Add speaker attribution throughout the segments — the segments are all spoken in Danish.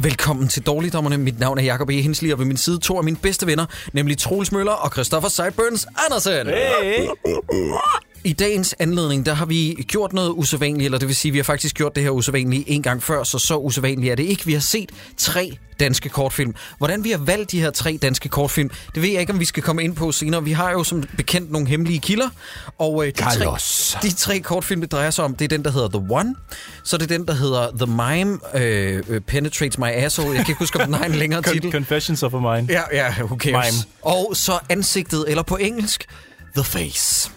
Speaker 1: Velkommen til Dårligdommerne. Mit navn er Jacob E. Hensli, og ved min side to af mine bedste venner, nemlig Troels Møller og Christoffer Seiburns Andersen.
Speaker 2: Hey.
Speaker 1: I dagens anledning, der har vi gjort noget usædvanligt, eller det vil sige, vi har faktisk gjort det her usædvanlige en gang før, så så usædvanligt er det ikke. Vi har set tre danske kortfilm. Hvordan vi har valgt de her tre danske kortfilm, det ved jeg ikke, om vi skal komme ind på senere. Vi har jo som bekendt nogle hemmelige kilder, og øh, de,
Speaker 2: Carlos.
Speaker 1: tre, de tre kortfilm, det drejer sig om, det er den, der hedder The One, så det er den, der hedder The Mime øh, øh, Penetrates My Asshole. Jeg kan ikke huske, om den har en længere
Speaker 2: Con-
Speaker 1: titel.
Speaker 2: Confessions of a Mind.
Speaker 1: Ja, ja, who cares?
Speaker 2: Mime.
Speaker 1: Og så ansigtet, eller på engelsk, The Face.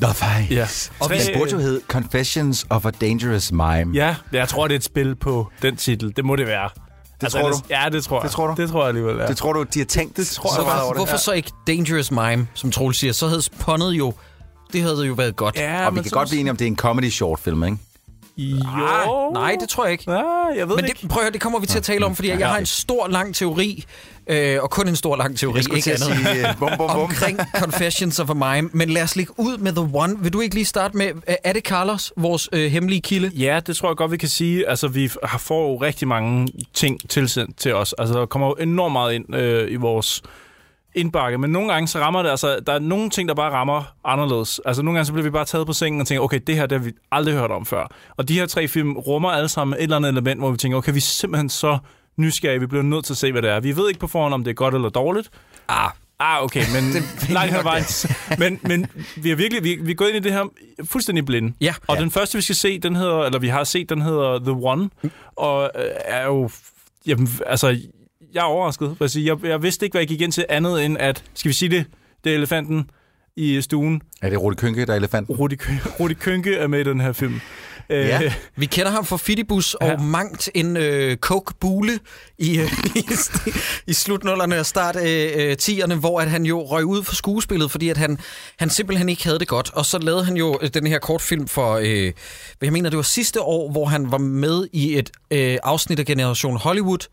Speaker 3: Nå, fej.
Speaker 2: Ja.
Speaker 1: Og
Speaker 2: Tre-
Speaker 1: vi-
Speaker 3: Den burde jo hedde Confessions of a Dangerous Mime.
Speaker 2: Ja, jeg tror, det er et spil på den titel. Det må det være. Det
Speaker 3: tror
Speaker 2: ellers- Ja, det tror jeg.
Speaker 3: Det tror du?
Speaker 2: Det tror jeg alligevel, ja.
Speaker 3: Det tror du, de har tænkt det, tror
Speaker 1: Så hvorfor, hvorfor så ikke Dangerous Mime, som Troels siger? Så havde pundet jo... Det havde jo været godt.
Speaker 2: ja,
Speaker 3: Og vi kan godt blive enige om, det er en comedy short film, ikke?
Speaker 2: Jo.
Speaker 1: Nej, det tror jeg ikke.
Speaker 2: Ah, jeg ved
Speaker 1: Men
Speaker 2: det ikke.
Speaker 1: det, prøv at høre, det kommer vi til at tale om, fordi jeg har en stor, lang teori, øh, og kun en stor, lang teori,
Speaker 3: Jeg skulle til
Speaker 1: ikke
Speaker 3: at
Speaker 1: andet,
Speaker 3: sige, øh, bum, bum, bum.
Speaker 1: omkring Confessions of a Mime. Men lad os ligge ud med The One. Vil du ikke lige starte med, øh, er det Carlos, vores øh, hemmelige kilde?
Speaker 2: Ja, det tror jeg godt, vi kan sige. Altså, vi f- har- får jo rigtig mange ting tilsendt til os. Altså, der kommer jo enormt meget ind øh, i vores indbakke, men nogle gange så rammer det, altså, der er nogle ting, der bare rammer anderledes. Altså, nogle gange så bliver vi bare taget på sengen og tænker, okay, det her, det har vi aldrig hørt om før. Og de her tre film rummer alle sammen et eller andet element, hvor vi tænker, okay, vi er simpelthen så nysgerrige, vi bliver nødt til at se, hvad det er. Vi ved ikke på forhånd, om det er godt eller dårligt, Ah, okay, men langt hen ad vejen. Men, men vi er virkelig, vi, vi er gået ind i det her fuldstændig blinde.
Speaker 1: Ja.
Speaker 2: Og den første, vi skal se, den hedder, eller vi har set, den hedder The One, og øh, er jo, f- jamen, altså, jeg er overrasket. vil Jeg, sige. jeg, jeg vidste ikke, hvad jeg gik ind til andet end, at, skal vi sige det, det er elefanten i stuen.
Speaker 3: Er det Rode Kynke, der er elefanten?
Speaker 2: Rudi, Kø- Rudi Kynke er med i den her film.
Speaker 3: Ja.
Speaker 2: Øh,
Speaker 1: Vi kender ham fra Fidibus og mangt en øh, coke-bule i, øh, i, i slutnullerne og start øh, øh, 10'erne, hvor at han jo røg ud for skuespillet, fordi at han, han simpelthen ikke havde det godt. Og så lavede han jo øh, den her kortfilm for, øh, hvad jeg mener, det var sidste år, hvor han var med i et øh, afsnit af Generation Hollywood,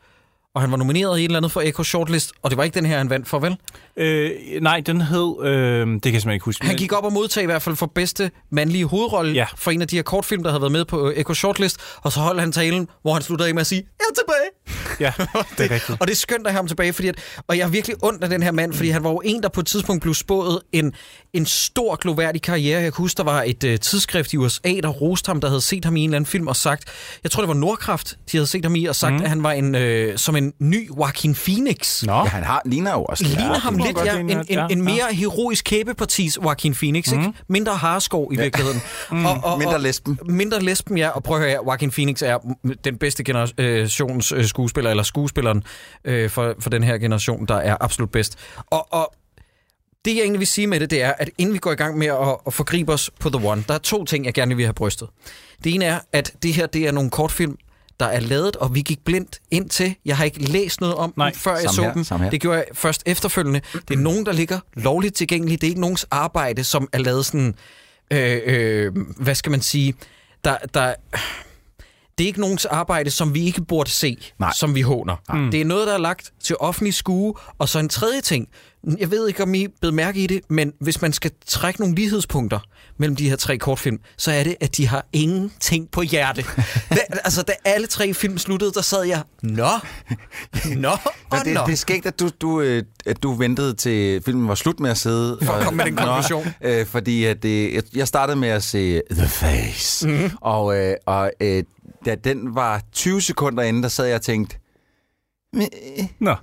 Speaker 1: og han var nomineret i et eller andet for Echo Shortlist, og det var ikke den her, han vandt for, vel?
Speaker 2: øh, nej, den hed, øh, det kan jeg simpelthen ikke huske.
Speaker 1: Han gik op og modtog i hvert fald for bedste mandlige hovedrolle ja.
Speaker 2: Ja.
Speaker 1: for en af de her kortfilm, der havde været med på øh, Echo Shortlist, og så holdt han talen, hvor han sluttede af med at sige, jeg er tilbage.
Speaker 2: Ja, det er rigtigt.
Speaker 1: Og det er skønt at have ham tilbage, fordi at, og jeg er virkelig ondt af den her mand, fordi han var jo en, der på et tidspunkt blev spået en, en stor, gloværdig karriere. Jeg kan huske, der var et øh, tidsskrift i USA, der roste ham, der havde set ham i en eller anden film og sagt, jeg tror det var Nordkraft, de havde set ham i, og
Speaker 2: Mhm.
Speaker 1: sagt, mm. at han var en, øh, som en ny Joaquin Phoenix.
Speaker 2: Nå,
Speaker 3: Ja, han har, ligner jo også.
Speaker 1: Ligner
Speaker 3: ja.
Speaker 1: ham
Speaker 2: det må
Speaker 1: lidt,
Speaker 2: godt
Speaker 1: ja. En,
Speaker 2: ligne,
Speaker 1: en,
Speaker 2: at- ja, Mhm.
Speaker 1: en mere heroisk kæbepartis Joaquin Phoenix, ikke? Mindre harskov i virkeligheden.
Speaker 2: Mm.
Speaker 1: og, og,
Speaker 3: Mindre lesben.
Speaker 1: Mindre lesben, ja. Og prøv at høre, her, Joaquin Phoenix er m- den bedste generations øh, skuespiller, eller skuespilleren øh, for, for den her generation, der er absolut bedst. Og, og det, jeg egentlig vil sige med det, det er, at inden vi går i gang med at, at forgribe os på The One, der er to ting, jeg gerne vil have brystet. Det ene er, at det her, det er nogle kortfilm, der er lavet, og vi gik blindt ind til. Jeg har ikke læst noget om
Speaker 2: Nej.
Speaker 1: dem, før jeg
Speaker 3: Samme
Speaker 1: så
Speaker 3: her,
Speaker 1: dem.
Speaker 3: samme her.
Speaker 1: Det gjorde jeg først efterfølgende. Det er nogen, der ligger lovligt tilgængeligt. Det er ikke nogens arbejde, som er lavet sådan... Øh, øh, hvad skal man sige? Der, der, det er ikke nogens arbejde, som vi ikke burde se, Nej.
Speaker 3: Nej.
Speaker 1: som vi håner. Mm. Det er noget, der er lagt til offentlig skue. Og så en tredje ting. Jeg ved ikke, om I blev mærke i det, men hvis man skal trække nogle lighedspunkter mellem de her tre kortfilm, så er det, at de har ingenting på hjerte. da, altså, da alle tre film sluttede, der sad jeg, nå, nå og
Speaker 3: Men
Speaker 1: nå.
Speaker 3: det, det er skægt, at du, du, øh, at du ventede til filmen var slut med at sidde. For
Speaker 1: at komme med den konklusion.
Speaker 3: Øh, fordi at, øh, jeg- jeg startede med at se The Face.
Speaker 1: Mhm.
Speaker 3: Mm. Og, øh, og øh, da den var 20 sekunder inde, der sad jeg og tænkte, "Men, øh,
Speaker 2: nå.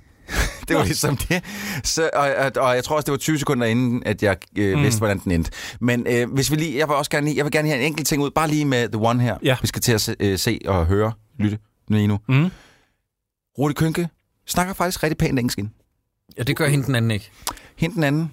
Speaker 3: det var ligesom det. Så, og, og, og jeg tror også, det var 20 sekunder inden, at jeg øh, mm. vidste, hvordan den endte. Men øh, hvis vi lige, jeg vil også gerne lige, jeg vil gerne have en enkelt ting ud, bare lige med The One her.
Speaker 2: Ja.
Speaker 3: Vi skal til at se, øh, se og høre, lytte lige nu.
Speaker 2: Mm.
Speaker 3: Rudi Kønke snakker faktisk rigtig pænt engelsk ind.
Speaker 1: Ja, det gør hende den anden ikke.
Speaker 3: Hende den anden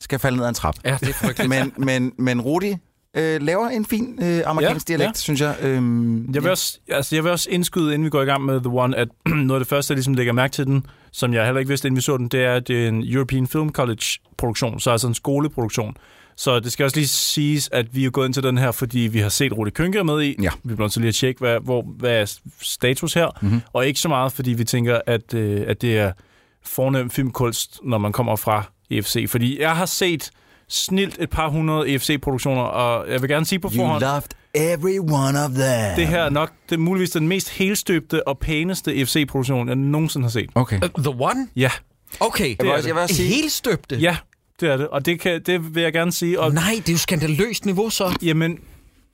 Speaker 3: skal falde ned ad en trap.
Speaker 1: Ja, det er frygteligt.
Speaker 3: Men, men, men Rudi øh, laver en fin øh, amerikansk
Speaker 2: Ja,
Speaker 3: ja, dialekt,
Speaker 2: ja.
Speaker 3: ja. synes jeg. Øhm,
Speaker 2: Jeg vil, også, altså, jeg vil også indskyde, inden vi går i gang med The One, at noget af det første, jeg ligesom lægger mærke til den, som jeg heller ikke vidste, inden vi så den, det er, at det er en European Film College-produktion, så altså en skoleproduktion. Så det skal også lige siges, at vi er gået ind til den her, fordi vi har set Rudi Kynke med i.
Speaker 3: Ja.
Speaker 2: Vi bliver nødt til lige at tjekke, hvad, hvor, hvad er status her.
Speaker 3: Mhm.
Speaker 2: Mm-hmm. Og ikke så meget, fordi vi tænker, at, øh, at det er fornem filmkunst, når man kommer fra EFC. Fordi jeg har set snilt et par hundrede EFC-produktioner, og jeg vil gerne sige på
Speaker 3: You
Speaker 2: forhånd...
Speaker 3: loved every one of them.
Speaker 2: Det her er nok det er muligvis den mest helstøbte og pæneste FC-produktion, jeg nogensinde har set.
Speaker 3: Okay.
Speaker 1: Øh, The One?
Speaker 2: Ja,
Speaker 1: Okay.
Speaker 3: Jeg vil også, jeg vil også sige,
Speaker 1: Helt støbte?
Speaker 2: ja, det er det. Og det, kan, det vil jeg gerne sige. Og,
Speaker 1: Nej, det er jo skandaløst niveau, så.
Speaker 2: jamen,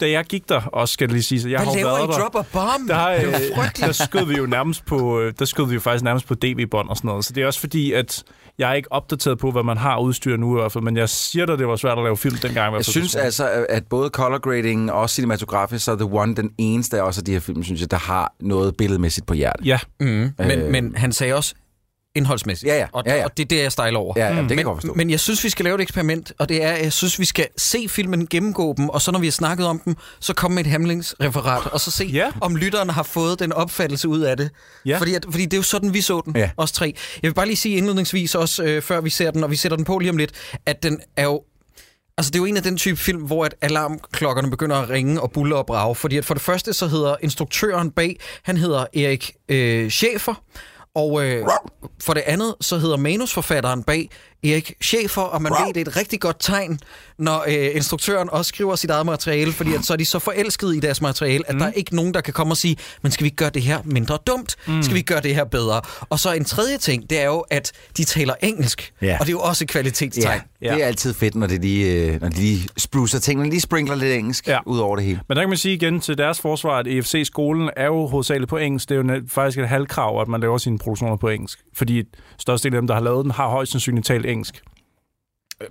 Speaker 2: da jeg gik der, også skal det lige sige, så jeg
Speaker 1: Hvad
Speaker 2: har jo
Speaker 1: laver
Speaker 2: været
Speaker 1: I?
Speaker 2: der.
Speaker 1: Drop a bomb?
Speaker 2: Der,
Speaker 1: det er jo
Speaker 2: øh, der
Speaker 1: frygteligt.
Speaker 2: skød vi jo nærmest på, øh, der skød vi jo faktisk nærmest på DB-bånd og sådan noget. Så det er også fordi, at jeg er ikke opdateret på, hvad man har udstyr nu i hvert fald, men jeg siger dig, det var svært at lave film dengang. i hvert
Speaker 3: Jeg
Speaker 2: fald.
Speaker 3: synes altså, at- at både color grading og cinematografisk, så er The One den eneste af også af de her film, synes jeg, der har noget billedmæssigt på hjertet.
Speaker 2: Ja,
Speaker 1: Mm, men,
Speaker 3: Øh.
Speaker 1: men han sagde også indholdsmæssigt.
Speaker 3: Ja, ja,
Speaker 1: Og,
Speaker 3: ja, ja.
Speaker 1: og det er det, jeg stejler over.
Speaker 3: Ja, ja det kan jeg godt forstå.
Speaker 1: Men, men jeg synes, vi skal lave et eksperiment, og det er, at jeg synes, vi skal se filmen, gennemgå dem, og så når vi har snakket om dem, så komme med et handlingsreferat, og så se,
Speaker 2: Ja.
Speaker 1: om lytteren har fået den opfattelse ud af det.
Speaker 2: Ja.
Speaker 1: Fordi, at, fordi det er jo sådan, vi så den,
Speaker 3: Ja.
Speaker 1: os tre. Jeg vil bare lige sige indledningsvis også, øh, før vi ser den, og vi sætter den på lige om lidt, at den er jo Altså, det er jo en af den type film, hvor at alarmklokkerne begynder at ringe og bulle og brage. Fordi at for det første, så hedder instruktøren bag, han hedder Erik øh, Schäfer. Og øh, for det andet, så hedder manusforfatteren bag Erik Schäfer, og man ved, det er et rigtig godt tegn, når øh, instruktøren også skriver sit eget materiale, fordi at så er de så forelskede i deres materiale, at mm. der er ikke nogen, der kan komme og sige, men skal vi ikke gøre det her mindre dumt? Mm. Skal vi ikke gøre det her bedre? Og så en tredje ting, det er jo, at de taler engelsk,
Speaker 3: Ja.
Speaker 1: og det er jo også et kvalitetstegn.
Speaker 3: ja, det er altid fedt, når, det lige, øh, når de lige spruser tingene, lige sprinkler lidt engelsk
Speaker 2: Ja.
Speaker 3: ja. ud over det hele.
Speaker 2: Men der kan man sige igen til deres forsvar, at EFC-skolen er jo hovedsageligt på engelsk. Det er jo net- faktisk et halvkrav, at man laver sine produktioner på engelsk. Fordi størstedelen af dem, der har lavet den, har højst sandsynligt talt engelsk.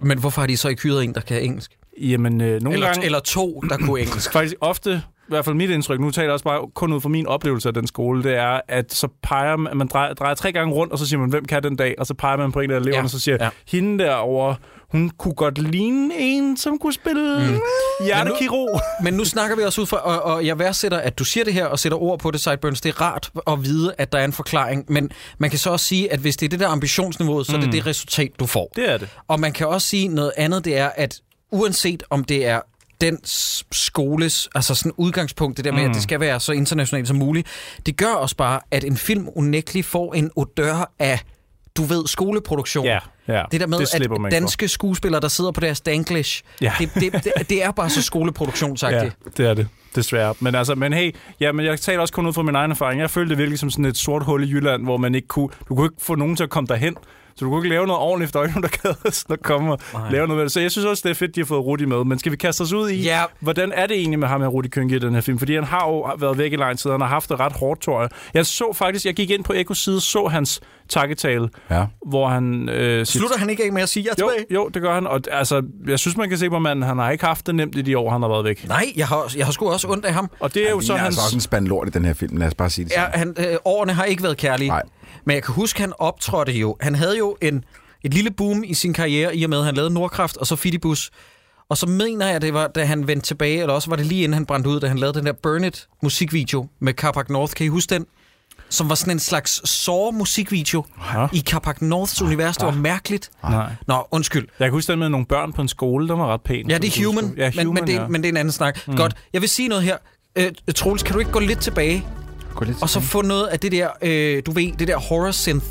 Speaker 1: Men hvorfor har de så ikke hyret en, der kan engelsk?
Speaker 2: Jamen, øh, nogle
Speaker 1: Eller,
Speaker 2: gange...
Speaker 1: eller to, der kunne engelsk.
Speaker 2: Faktisk ofte, i hvert fald mit indtryk, nu taler jeg også bare kun ud fra min oplevelse af den skole, det er, at så peger man, man drejer, drejer tre gange rundt, og så siger man, hvem kan den dag? Og så peger man på en af eleverne,
Speaker 1: Ja,
Speaker 2: ja. og så siger
Speaker 1: ja.
Speaker 2: ja. hende derovre, hun kunne godt ligne en, som kunne spille mm. hjertekirurg.
Speaker 1: Men nu snakker vi også ud fra, og, og jeg værdsætter, at du siger det her og sætter ord på det, Sideburns. Det er rart at vide, at der er en forklaring, men man kan så også sige, at hvis det er det der ambitionsniveau, så er det det resultat, du får.
Speaker 2: Mm. Det er det.
Speaker 1: Og man kan også sige noget andet, det er, at uanset om det er den s- skoles altså sådan udgangspunkt, det der med, mm. at det skal være så internationalt som muligt, det gør også bare, at en film unægteligt får en odør af, du ved, skoleproduktion.
Speaker 2: Ja, ja.
Speaker 1: Det der med,
Speaker 2: Det
Speaker 1: det
Speaker 2: slipper man
Speaker 1: at
Speaker 2: ikke for.
Speaker 1: danske skuespillere, der sidder på deres danglish,
Speaker 2: Ja.
Speaker 1: det, det, det, det er bare så skoleproduktionsagtigt.
Speaker 2: Ja, det er det. Desværre. Men, altså, men hey, ja, men jeg taler også kun ud fra min egen erfaring. Jeg følte det virkelig som sådan et sort hul i Jylland, hvor man ikke kunne, du kunne ikke få nogen til at komme derhen. Så du kunne ikke lave noget ordentligt, efter der var ikke nogen, der gad sådan at komme og lave noget med det. Så jeg synes også, det er fedt, de har fået Rudi med. Men skal vi kaste os ud i,
Speaker 1: Ja.
Speaker 2: hvordan er det egentlig med ham her, Rudi Kynke, i den her film? Fordi han har jo været væk i lang tid, og han har haft det ret hårdt, tror jeg. Jeg så faktisk, jeg gik ind på Ekos side, så hans takketale,
Speaker 3: Ja.
Speaker 2: hvor han... Øh, siger-
Speaker 1: Slutter han ikke af med at sige, jeg er
Speaker 2: jo,
Speaker 1: tilbage?
Speaker 2: jo, det gør han. Og altså, jeg synes, man kan se på manden, han har ikke haft det nemt i de år, han har været væk.
Speaker 1: Nej, jeg har, jeg har sgu også ondt af ham.
Speaker 2: Og det er jo
Speaker 3: Han
Speaker 2: så
Speaker 3: ligner
Speaker 2: hans...
Speaker 3: altså også en spand lort i den her film, lad os bare sige det
Speaker 1: Ja,
Speaker 3: sådan.
Speaker 1: han, øh, årene har ikke været kærlige.
Speaker 3: Nej.
Speaker 1: Men jeg kan huske, han optrådte jo. Han havde jo en, et lille boom i sin karriere, i og med, at han lavede Nordkraft og så Fidibus. Og så mener jeg, at det var, da han vendte tilbage, eller også var det lige inden han brændte ud, da han lavede den der Burn It musikvideo med Carpac North. Kan I huske den? Som var sådan en slags sår musikvideo
Speaker 2: Ja.
Speaker 1: i Carpac Norths univers. Det var mærkeligt.
Speaker 2: Ah, Nej.
Speaker 1: Nå, undskyld.
Speaker 2: Jeg kan huske den med nogle børn på en skole, der var ret pæn.
Speaker 1: Ja, det er human,
Speaker 2: Ja,
Speaker 1: men,
Speaker 2: human
Speaker 1: men, det,
Speaker 2: ja.
Speaker 1: men det er en anden snak. Mm. Godt, jeg vil sige noget her. Øh, Troels, kan du ikke gå lidt tilbage
Speaker 3: Gå lidt
Speaker 1: Og så få noget af det der, øh, du ved, det der horror synth,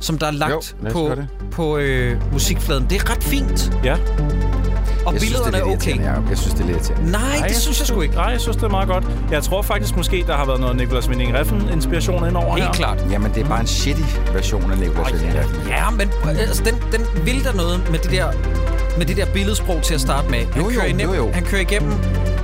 Speaker 1: som der er lagt
Speaker 3: Jo, lad os
Speaker 1: på,
Speaker 3: gøre det.
Speaker 1: på øh, musikfladen. Det er ret fint,
Speaker 2: ja.
Speaker 1: og
Speaker 3: jeg synes, det
Speaker 1: billederne
Speaker 3: er
Speaker 1: er
Speaker 3: lidt
Speaker 1: okay.
Speaker 3: irriterende,
Speaker 1: Nej,
Speaker 3: Jacob. Jeg synes, det er lidt irriterende.
Speaker 1: Nej, det synes jeg sgu ikke.
Speaker 2: Nej, jeg synes, det er meget godt. Jeg tror faktisk måske, der har været noget Nicolas Winding Refn inspiration ind over her.
Speaker 1: Helt klart.
Speaker 3: Jamen, det er bare en shitty version af Nicolas oh, ja.
Speaker 1: Ja, men altså, den, den vil der noget med det der, med det der billedsprog til at starte med. Han,
Speaker 3: Jo, jo,
Speaker 1: kører, igennem,
Speaker 3: jo, jo.
Speaker 1: han kører igennem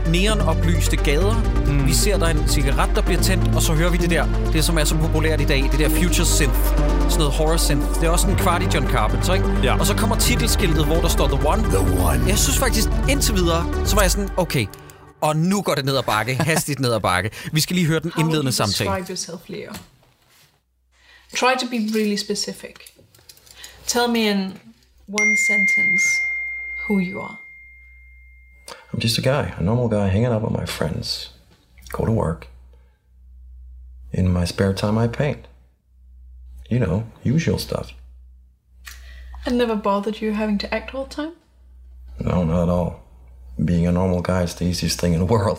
Speaker 1: neonoplyste gader. Mm. Vi ser, der er en cigaret, der bliver tændt, og så hører vi det der, det som er så populært i dag, det der future synth, sådan noget horror synth. Det er også en kvart i John Carpenter, ikke?
Speaker 2: Ja.
Speaker 1: Og så kommer titelskiltet, hvor der står The One.
Speaker 3: The one.
Speaker 1: Jeg synes faktisk, indtil videre, så var jeg sådan, okay, og nu går det ned ad bakke, hastigt ned ad bakke. Vi skal lige høre den
Speaker 4: How would
Speaker 1: indledende
Speaker 4: you
Speaker 1: samtale.
Speaker 4: Describe yourself, Leo. Try to be really specific. Tell me in one sentence who you are.
Speaker 5: I'm just a guy, a normal guy hanging out with my friends. Go to work. In my spare time, I paint. You know, usual stuff.
Speaker 4: It never bothered you having to act all the time?
Speaker 5: No, not at all. Being a normal guy is the easiest thing in the world.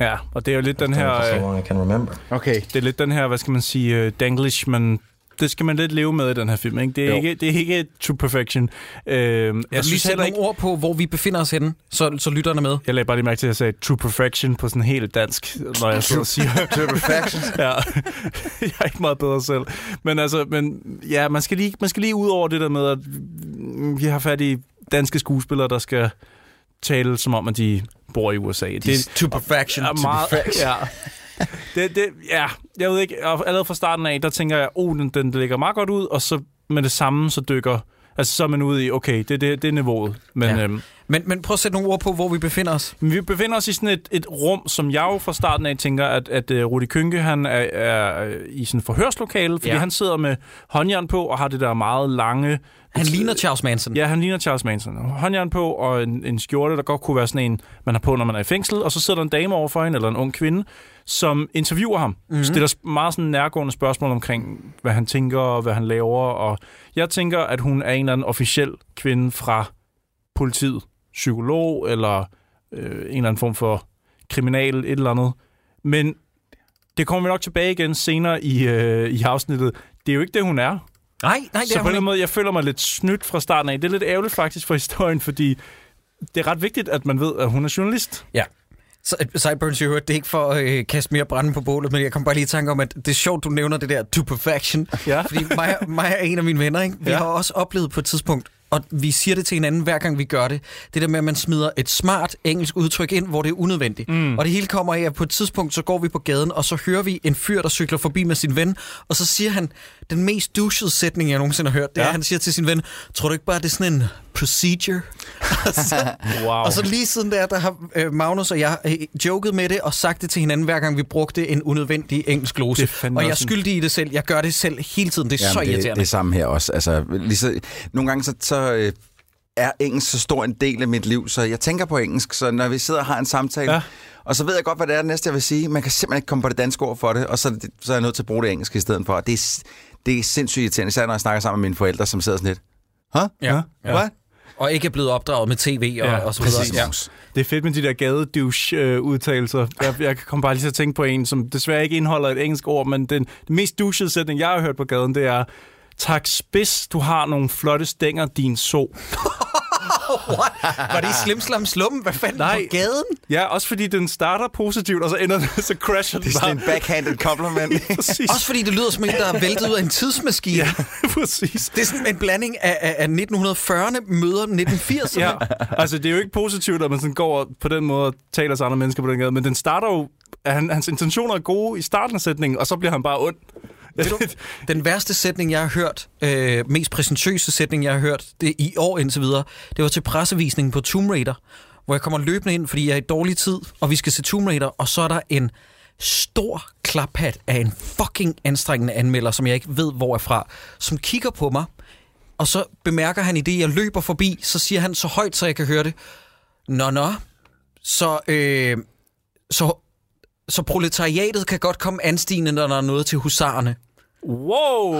Speaker 2: Ja, og det er jo lidt den
Speaker 5: Done it
Speaker 2: her...
Speaker 5: for so
Speaker 2: Øh,
Speaker 5: long I can remember.
Speaker 3: Okay.
Speaker 2: det er lidt den her, hvad skal man sige, øh, danglish, men det skal man lidt leve med i den her film. Ikke? Det, er
Speaker 3: Jo.
Speaker 2: ikke, det er ikke to perfection. Øh, jeg
Speaker 1: Jeg synes
Speaker 2: synes
Speaker 1: sætte
Speaker 2: heller
Speaker 1: nogle
Speaker 2: ikke...
Speaker 1: ord på, hvor vi befinder os henne, så, så lytterne med.
Speaker 2: Jeg lagde bare lige mærke til, at jeg sagde to perfection på sådan helt dansk, når jeg sidder og siger...
Speaker 3: Perfection.
Speaker 2: Ja, jeg er ikke meget bedre selv. Men altså, men, ja, man skal, lige, man skal lige ud over det der med, at vi har fat i danske skuespillere, der skal tale som om, at de bor i USA. Det,
Speaker 1: to perfection.
Speaker 2: er meget, ja. Det, det, ja, jeg ved ikke, og allerede fra starten af, der tænker jeg, oh, den, den ligger meget godt ud, og så med det samme, så dykker, altså så er man ude i, okay, det, det, det er niveauet. Men,
Speaker 1: Ja.
Speaker 2: ja. øhm,
Speaker 1: Men, men prøv at sætte nogle ord på, hvor vi befinder os.
Speaker 2: men vi befinder os i sådan et, et rum, som jeg jo fra starten af tænker, at, at uh, Rudi Kynke, han er, er øh, i sådan et forhørslokale, fordi
Speaker 1: Ja.
Speaker 2: ja. han sidder med håndjern på, og har det der meget lange...
Speaker 1: Han ligner Charles Manson.
Speaker 2: Ja, han ligner Charles Manson. Håndjern på, og en, en skjorte, der godt kunne være sådan en, man har på, når man er i fængsel. Og så sidder der en dame overfor hende, eller en ung kvinde, som interviewer ham. Mm-hmm. Stiller sp- meget sådan nærgående spørgsmål omkring, hvad han tænker, og hvad han laver. Og jeg tænker, at hun er en eller anden officiel kvinde fra politiet. Psykolog, eller øh, en eller anden form for kriminal, et eller andet. Men det kommer vi nok tilbage igen senere i, øh, i afsnittet. Det er jo ikke det, hun er.
Speaker 1: Nej, nej, det
Speaker 2: Så
Speaker 1: er
Speaker 2: på en
Speaker 1: hun
Speaker 2: eller anden
Speaker 1: ikke.
Speaker 2: måde, jeg føler mig lidt snydt fra starten af. Det er lidt ærgerligt faktisk for historien, fordi det er ret vigtigt, at man ved, at hun er journalist.
Speaker 1: Ja. Så- Sideburns, jeg hørte det er ikke for at øh, kaste mere brænde på bålet, men jeg kom bare lige i tanke om, at det er sjovt, du nævner det der to perfection.
Speaker 2: Ja.
Speaker 1: Fordi mig, mig er en af mine venner, ikke? Vi ja.
Speaker 2: Ja.
Speaker 1: har også oplevet på et tidspunkt, og vi siger det til hinanden, hver gang vi gør det, det der med, at man smider et smart engelsk udtryk ind, hvor det er unødvendigt. Mm. Og det hele kommer af, at på et tidspunkt, så går vi på gaden, og så hører vi en fyr, der cykler forbi med sin ven, og så siger han, den mest douchede sætning, jeg nogensinde har hørt, det ja. er,
Speaker 2: Ja.
Speaker 1: at han siger til sin ven, tror du ikke bare, det er sådan en procedure? og så,
Speaker 2: Wow.
Speaker 1: og så lige siden der, der har øh, Magnus og jeg øh, joket med det og sagt det til hinanden, hver gang vi brugte en unødvendig engelsk glose.
Speaker 2: Det er fandme
Speaker 1: og jeg er
Speaker 2: også en-
Speaker 1: skyldig i det selv. Jeg gør det selv hele tiden. Det er så
Speaker 3: Jamen, det,
Speaker 1: irriterende.
Speaker 3: det er samme her også. Altså, lige så, nogle gange så, så øh, er engelsk så stor en del af mit liv, så jeg tænker på engelsk, så når vi sidder og har en samtale, ja.
Speaker 2: Ja.
Speaker 3: og så ved jeg godt, hvad det er det næste, jeg vil sige. Man kan simpelthen ikke komme på det danske ord for det, og så, er det- så er jeg nødt til at bruge det engelsk i stedet for. Og det er, s- det er sindssygt irriterende, især når jeg snakker sammen med mine forældre, som sidder sådan lidt. Huh?
Speaker 1: Ja.
Speaker 3: Ja. Hvad?
Speaker 1: Og ikke er blevet opdraget med tv og, ja,
Speaker 2: Ja,
Speaker 1: og så
Speaker 3: Præcis.
Speaker 1: videre.
Speaker 3: Ja.
Speaker 1: Ja.
Speaker 2: Det er fedt med de der gadedouche-udtalelser. Jeg, jeg kom bare lige til at tænke på en, som desværre ikke indeholder et engelsk ord, men den, den mest douchede sætning, jeg har hørt på gaden, det er, tak spids, du har nogle flotte stænger, din so.
Speaker 1: Var det i Slim Slam Slum? Hvad fanden
Speaker 2: Nej.
Speaker 1: på gaden?
Speaker 2: Ja, også fordi den starter positivt, og så ender den, så crasher den
Speaker 3: Det er
Speaker 2: bare.
Speaker 3: sådan en backhanded compliment.
Speaker 2: Præcis.
Speaker 1: Også fordi det lyder som en, der er væltet ud af en tidsmaskine.
Speaker 2: Ja,
Speaker 1: Ja.
Speaker 2: præcis.
Speaker 1: Det er sådan en blanding af, af, af 1940'erne møder 1980'erne.
Speaker 2: Ja,
Speaker 1: Ja.
Speaker 2: altså det er jo ikke positivt, at man sådan går og på den måde og taler til andre mennesker på den måde, men den starter jo, at han, hans intentioner er gode i starten af sætningen, og så bliver han bare ond.
Speaker 1: Den værste sætning, jeg har hørt, øh, mest præsentøse sætning, jeg har hørt det i år indtil videre, det var til pressevisningen på Tomb Raider, hvor jeg kommer løbende ind, fordi jeg er i dårlig tid, og vi skal se Tomb Raider, og så er der en stor klaphat af en fucking anstrengende anmelder, som jeg ikke ved, hvor er fra, som kigger på mig, og så bemærker han i det, jeg løber forbi, så siger han så højt, så jeg kan høre det. Nå, nå. Så, øh, så, så proletariatet kan godt komme anstigende, når der er noget til husarerne
Speaker 2: Wow!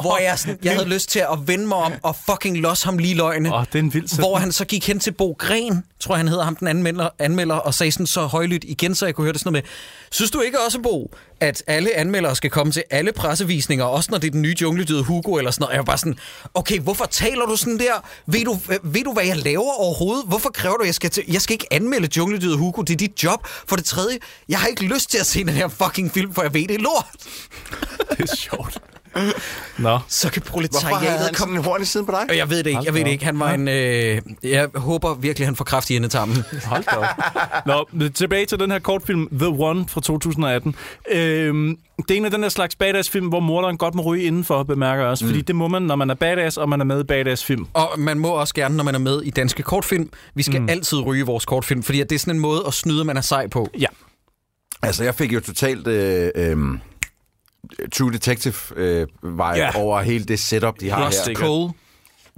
Speaker 1: hvor jeg, sådan, jeg havde lyst til at vende mig om og fucking losse ham lige i løgne.
Speaker 2: Åh, det er en vild sætning.
Speaker 1: Hvor han så gik hen til Bo Gren, tror jeg han hedder ham, den anmelder, anmelder og sagde sådan så højlydt igen, så jeg kunne høre det sådan noget med, synes du ikke også, Bo, at alle anmeldere skal komme til alle pressevisninger, også når det er den nye jungledyde Hugo eller sådan noget? Og Jeg var bare sådan, okay, hvorfor taler du sådan der? Ved du, øh, ved du hvad jeg laver overhovedet? Hvorfor kræver du, at jeg skal, til, jeg skal ikke anmelde jungledyde Hugo? Det er dit job. For det tredje, jeg har ikke lyst til at se den her fucking film, for jeg ved, det er lort.
Speaker 2: det er sjovt. Nå.
Speaker 1: Så kan
Speaker 3: Hvorfor havde
Speaker 1: proletariatet
Speaker 3: han
Speaker 1: komme
Speaker 3: sådan en horn i siden på dig?
Speaker 1: Øh, Jeg ved det ikke, jeg ved det ikke. Han var en... Øh, jeg håber virkelig, han får kraft i endetarmen.
Speaker 2: Hold da op. Nå, men tilbage til den her kortfilm The One fra 2018. Øhm, det er en af den her slags badass-film, hvor morderen godt må ryge indenfor, bemærker jeg også. Mm. Fordi det må man, når man er badass, og man er med i badass-film.
Speaker 1: Og man må også gerne, når man er med i danske kortfilm, vi skal mm. altid ryge vores kortfilm, fordi at det er sådan en måde at snyde, at man er sej på.
Speaker 2: Ja.
Speaker 3: Altså, jeg fik jo totalt øh, øh, True Detective-vibe øh, vibe
Speaker 2: Ja.
Speaker 3: over hele det setup, de har
Speaker 1: Lost
Speaker 3: her.
Speaker 1: Cold.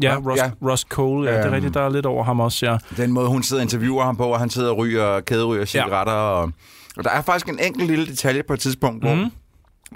Speaker 2: Ja, Ross,
Speaker 3: Ja.
Speaker 2: ja. Ross Cole, ja, det er
Speaker 3: Øhm.
Speaker 2: rigtigt, der er lidt over ham også, ja.
Speaker 3: Den måde, hun sidder og interviewer ham på, og han sidder og ryger, kæderyger cigaretter. Ja. Og, og der er faktisk en enkelt lille detalje på et tidspunkt, hvor
Speaker 2: Mhm.
Speaker 3: mm.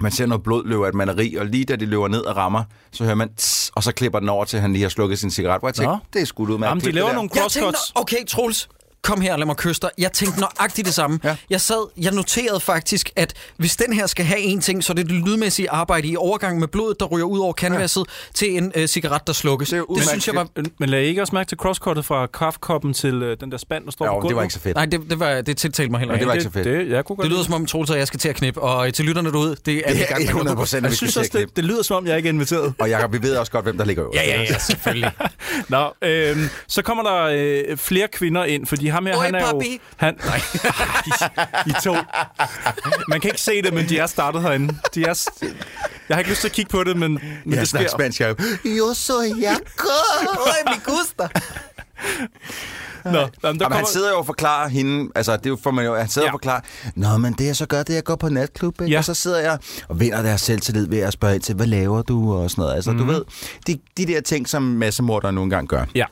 Speaker 3: man ser noget blod løbe af et manderi, og lige da det løber ned og rammer, så hører man tss, og så klipper den over til, at han lige har slukket sin cigaret. Hvor jeg tænkte,
Speaker 2: Nå.
Speaker 3: det er skudt ud med
Speaker 2: Jamen, de laver nogle
Speaker 1: Jeg tænkte,
Speaker 2: crosscuts.
Speaker 1: okay, Troels, kom her, lad mig kysse dig. Jeg tænkte nøjagtigt det samme.
Speaker 3: Ja.
Speaker 1: Ja. Jeg sad, jeg noterede faktisk, at hvis den her skal have en ting, så er det det lydmæssige arbejde i overgang med blodet, der ryger ud over kanvaset ja. til en øh, cigaret, der slukkes.
Speaker 3: Det er
Speaker 1: Det, det synes jeg var...
Speaker 2: Men lagde I ikke også mærke til crosscuttet fra kaffekoppen til øh, den der spand, der står på
Speaker 3: Ja,
Speaker 2: gulvet?
Speaker 3: det var ikke så fedt.
Speaker 1: Nej, det, det, var, det tiltalte mig heller
Speaker 3: Men det
Speaker 1: ikke.
Speaker 3: var ikke så fedt.
Speaker 2: Det, jeg kunne godt
Speaker 1: Det lyder som om, Troels og jeg skal til at knippe, og øh, til lytterne derude, det er vi i gang
Speaker 3: Det er
Speaker 1: med.
Speaker 3: 100 procent,
Speaker 2: jeg synes også, det, det lyder som om, jeg ikke er inviteret.
Speaker 3: Og Jacob, vi ved også godt, hvem der ligger øverst.
Speaker 1: Ja, ja, ja, selvfølgelig.
Speaker 2: Nå, øhm, så kommer der øh, flere kvinder ind, fordi ham her,
Speaker 1: Oi,
Speaker 2: han er jo...
Speaker 1: papi.
Speaker 2: Han, nej, I, I to. Man kan ikke se det, men de er startet herinde. De er, s- jeg har ikke lyst til at kigge på det, men, men
Speaker 3: Jeg
Speaker 2: det sker.
Speaker 3: snakker spansk, Jacob. Jo, så Jacob.
Speaker 1: Oi, mi gusta.
Speaker 2: Nå, jamen, der
Speaker 3: Jamen,
Speaker 2: kommer,
Speaker 3: han sidder jo og forklarer hende, altså det får man jo, han sidder ja.
Speaker 2: Ja.
Speaker 3: og forklarer, Nå, men det jeg så gør, det er, at jeg går på natklub, ikke? Ja.
Speaker 2: Ja.
Speaker 3: og så sidder jeg og vinder deres selvtillid ved at spørge ind til, hvad laver du og sådan noget. Altså, mm. du ved, de, de der ting, som massemordere nogle gange gør.
Speaker 2: Mhm. Ja,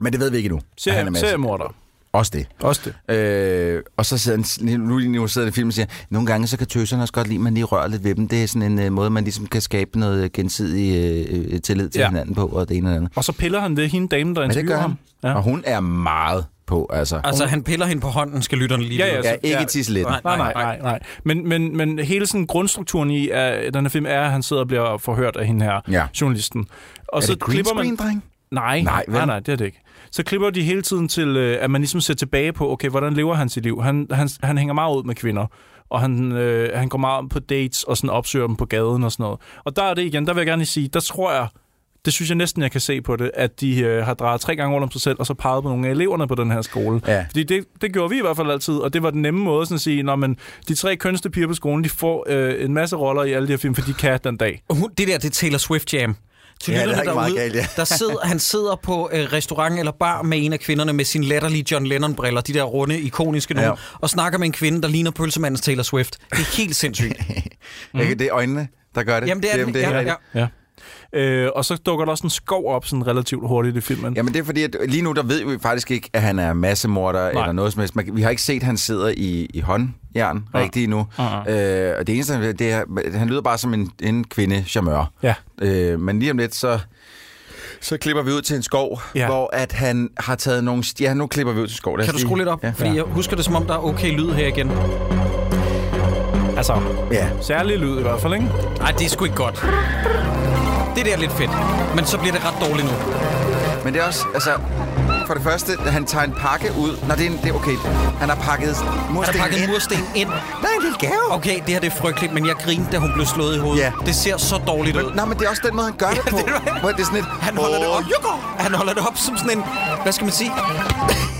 Speaker 3: Men det ved vi ikke endnu. at han er
Speaker 2: serie,
Speaker 3: masse-
Speaker 2: seriemorder.
Speaker 3: Også det.
Speaker 2: Også det.
Speaker 3: Øh, og så sidder han, nu, nu sidder det film og siger, nogle gange så kan tøserne også godt lide, at man lige rører lidt ved dem. Det er sådan en øh, måde, man ligesom kan skabe noget gensidig øh, øh, tillid til ja.
Speaker 2: Ja.
Speaker 3: hinanden på, og det ene og det andet.
Speaker 2: Og så piller han ved hende dame, der
Speaker 3: Men det gør
Speaker 2: interviewer
Speaker 3: han.
Speaker 2: ham.
Speaker 3: Ja.
Speaker 2: Ja.
Speaker 3: Og hun er meget på, altså.
Speaker 1: Altså, han piller hende på hånden, skal lytterne lige
Speaker 2: Ja,
Speaker 1: vide.
Speaker 2: ja,
Speaker 3: Ja,
Speaker 2: så-
Speaker 3: ikke ja. tisletten.
Speaker 2: Nej, nej, nej, nej. Men, men, men hele sådan grundstrukturen i uh, den her film er, at han sidder og bliver forhørt af hende her,
Speaker 3: Ja.
Speaker 2: journalisten. Og
Speaker 3: Er
Speaker 2: så
Speaker 3: det green
Speaker 2: klipper man...
Speaker 3: screen, dreng?
Speaker 2: Nej,
Speaker 3: Nej,
Speaker 2: nej,
Speaker 3: vel?
Speaker 2: nej, nej, det er det ikke. Så klipper de hele tiden til, øh, at man ligesom ser tilbage på, okay, hvordan lever han sit liv? Han, han, han hænger meget ud med kvinder, og han, øh, han går meget på dates og sådan opsøger dem på gaden og sådan noget. Og der er det igen, der vil jeg gerne lige sige, der tror jeg, det synes jeg næsten, jeg kan se på det, at de øh, har drejet tre gange rundt om sig selv, og så peget på nogle af eleverne på den her skole.
Speaker 3: Ja.
Speaker 2: Fordi det, det gjorde vi i hvert fald altid, og det var den nemme måde sådan at sige, når men de tre kønste piger på skolen, de får øh, en masse roller i alle de her film, for de kan den dag.
Speaker 1: Hun, det der, det er Taylor Swift Jam. Til
Speaker 3: Ja, der er
Speaker 1: lytterne
Speaker 3: ikke meget galt, ja.
Speaker 1: der sidder, han sidder på øh, restaurant eller bar med en af kvinderne med sin latterlige John Lennon-briller, de der runde, ikoniske nogle,
Speaker 3: Ja.
Speaker 1: og snakker med en kvinde, der ligner pølsemandens Taylor Swift. Det er helt sindssygt.
Speaker 3: Mm.
Speaker 2: Mhm.
Speaker 3: Ikke, det er øjnene, der gør det.
Speaker 1: Jamen, det er
Speaker 3: det,
Speaker 1: den. Ja,
Speaker 3: rigtigt.
Speaker 1: ja.
Speaker 2: Ja. Øh, og så dukker der også en skov op sådan relativt hurtigt i filmen.
Speaker 3: Jamen det er fordi, at lige nu der ved vi faktisk ikke, at han er massemorder
Speaker 2: Nej.
Speaker 3: eller noget som helst. Man, vi har ikke set, at han sidder i, i håndjern ja. rigtigt endnu.
Speaker 2: Ja.
Speaker 3: Øh, og det eneste, han, det er, han lyder bare som en, en kvinde charmeur.
Speaker 2: Ja.
Speaker 3: Øh, men lige om lidt, så, så klipper vi ud til en skov, ja.
Speaker 2: Ja.
Speaker 3: hvor at han har taget nogle... st- Ja, nu klipper vi ud til skov.
Speaker 1: Kan du skrue lidt op?
Speaker 3: Ja.
Speaker 1: Fordi jeg husker det, som om der er okay lyd her igen.
Speaker 2: Altså,
Speaker 3: ja.
Speaker 2: særlig lyd i hvert fald, ikke?
Speaker 1: Nej, det er sgu ikke godt. Det der er lidt fedt, men så bliver det ret dårligt nu.
Speaker 3: Men det er også, altså... For det første, han tager en pakke ud. Nå, det er, en, det er okay. Han har pakket
Speaker 1: Han
Speaker 3: mursten
Speaker 1: har pakket
Speaker 3: ind.
Speaker 1: mursten ind.
Speaker 3: Der er en lille gave.
Speaker 1: Okay, det her det er frygteligt, men jeg grinte, da hun blev slået i hovedet.
Speaker 3: Ja.
Speaker 1: Det ser så dårligt ud.
Speaker 3: Nej, men det er også den måde, han gør det på.
Speaker 1: det er-
Speaker 3: Hvor det er sådan et...
Speaker 1: Han holder det
Speaker 3: "Åh,
Speaker 1: op. Han holder det op som sådan en, hvad skal man sige,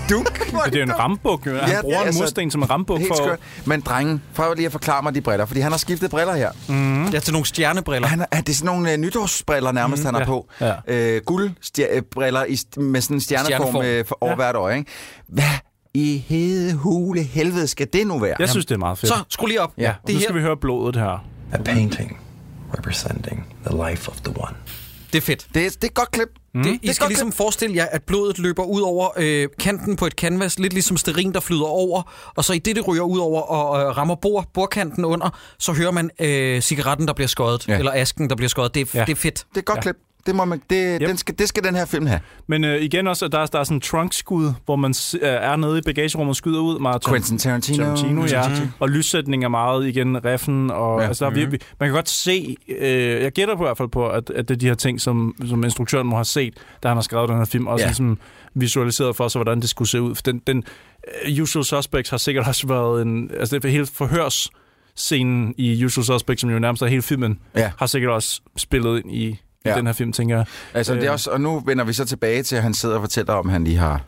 Speaker 3: Dunk.
Speaker 2: Men det er jo en rambuk, jo. Han
Speaker 3: Ja,
Speaker 2: ja, bruger
Speaker 3: altså,
Speaker 2: en mursten som en rambuk
Speaker 3: Helt
Speaker 2: for...
Speaker 3: skørt. Men drengen, prøv lige at forklare mig de briller, fordi han har skiftet briller her.
Speaker 2: Mm.
Speaker 1: ja, til nogle stjernebriller.
Speaker 3: Hmm? Han, er, det er sådan nogle øh, nytårsbriller nærmest, mm, han har
Speaker 2: ja,
Speaker 3: på.
Speaker 2: ja.
Speaker 3: Øh, Guldbriller i, st- med sådan en stjerneform,
Speaker 1: Stjerneform.
Speaker 3: stjerneform. Øh, for over ja. hvert øje. Ikke? Hvad i hede hule helvede skal det nu være?
Speaker 2: Jeg synes, det er meget fedt.
Speaker 1: Så, skru lige op.
Speaker 3: Ja.
Speaker 1: Det,
Speaker 2: nu
Speaker 1: her,
Speaker 2: skal vi høre blodet her.
Speaker 5: A painting representing the life of the one.
Speaker 1: det er fedt.
Speaker 3: Det, er- Hmm? det er et godt klip.
Speaker 1: Mm. Det, I
Speaker 3: godt
Speaker 1: skal ligesom forestille jer, at blodet løber ud over øh, kanten på et canvas, lidt ligesom sterin, der flyder over, og så i det, det ryger ud over og øh, rammer bord, bordkanten under, så hører man øh, cigaretten, der bliver skåret,
Speaker 3: Ja.
Speaker 1: ja. eller asken, der bliver skåret. Det, er-
Speaker 2: Ja.
Speaker 1: det er fedt.
Speaker 3: Det er et godt ja. klip. Det, må man, det, yep. den skal, det skal den her film have.
Speaker 2: Men øh, igen også, at der, er- der er sådan en trunkskud, hvor man s- øh, er nede i bagagerummet og skyder ud. Martin.
Speaker 3: Quentin Tarantino.
Speaker 2: Tarantino, ja. Og lyssætning er meget igen reffen. Og,
Speaker 3: Ja.
Speaker 2: ja. altså, der er virkelig, man kan godt se, øh, jeg gætter på i hvert fald på, at, at det er de her ting, som, som instruktøren må have set, da han har skrevet den her film, også
Speaker 3: Ja.
Speaker 2: ja. ligesom visualiseret for sig, hvordan det skulle se ud. For den, den øh, Usual Suspects har sikkert også været en... Altså, det er helt forhørs scenen i Usual Suspects, som jo nærmest er hele filmen,
Speaker 3: Ja.
Speaker 2: har sikkert også spillet ind i, i
Speaker 3: Ja.
Speaker 2: ja. den her film, tænker jeg.
Speaker 3: Altså, det er
Speaker 2: Øh.
Speaker 3: også, og nu vender vi så tilbage til, at han sidder og fortæller om, at han lige har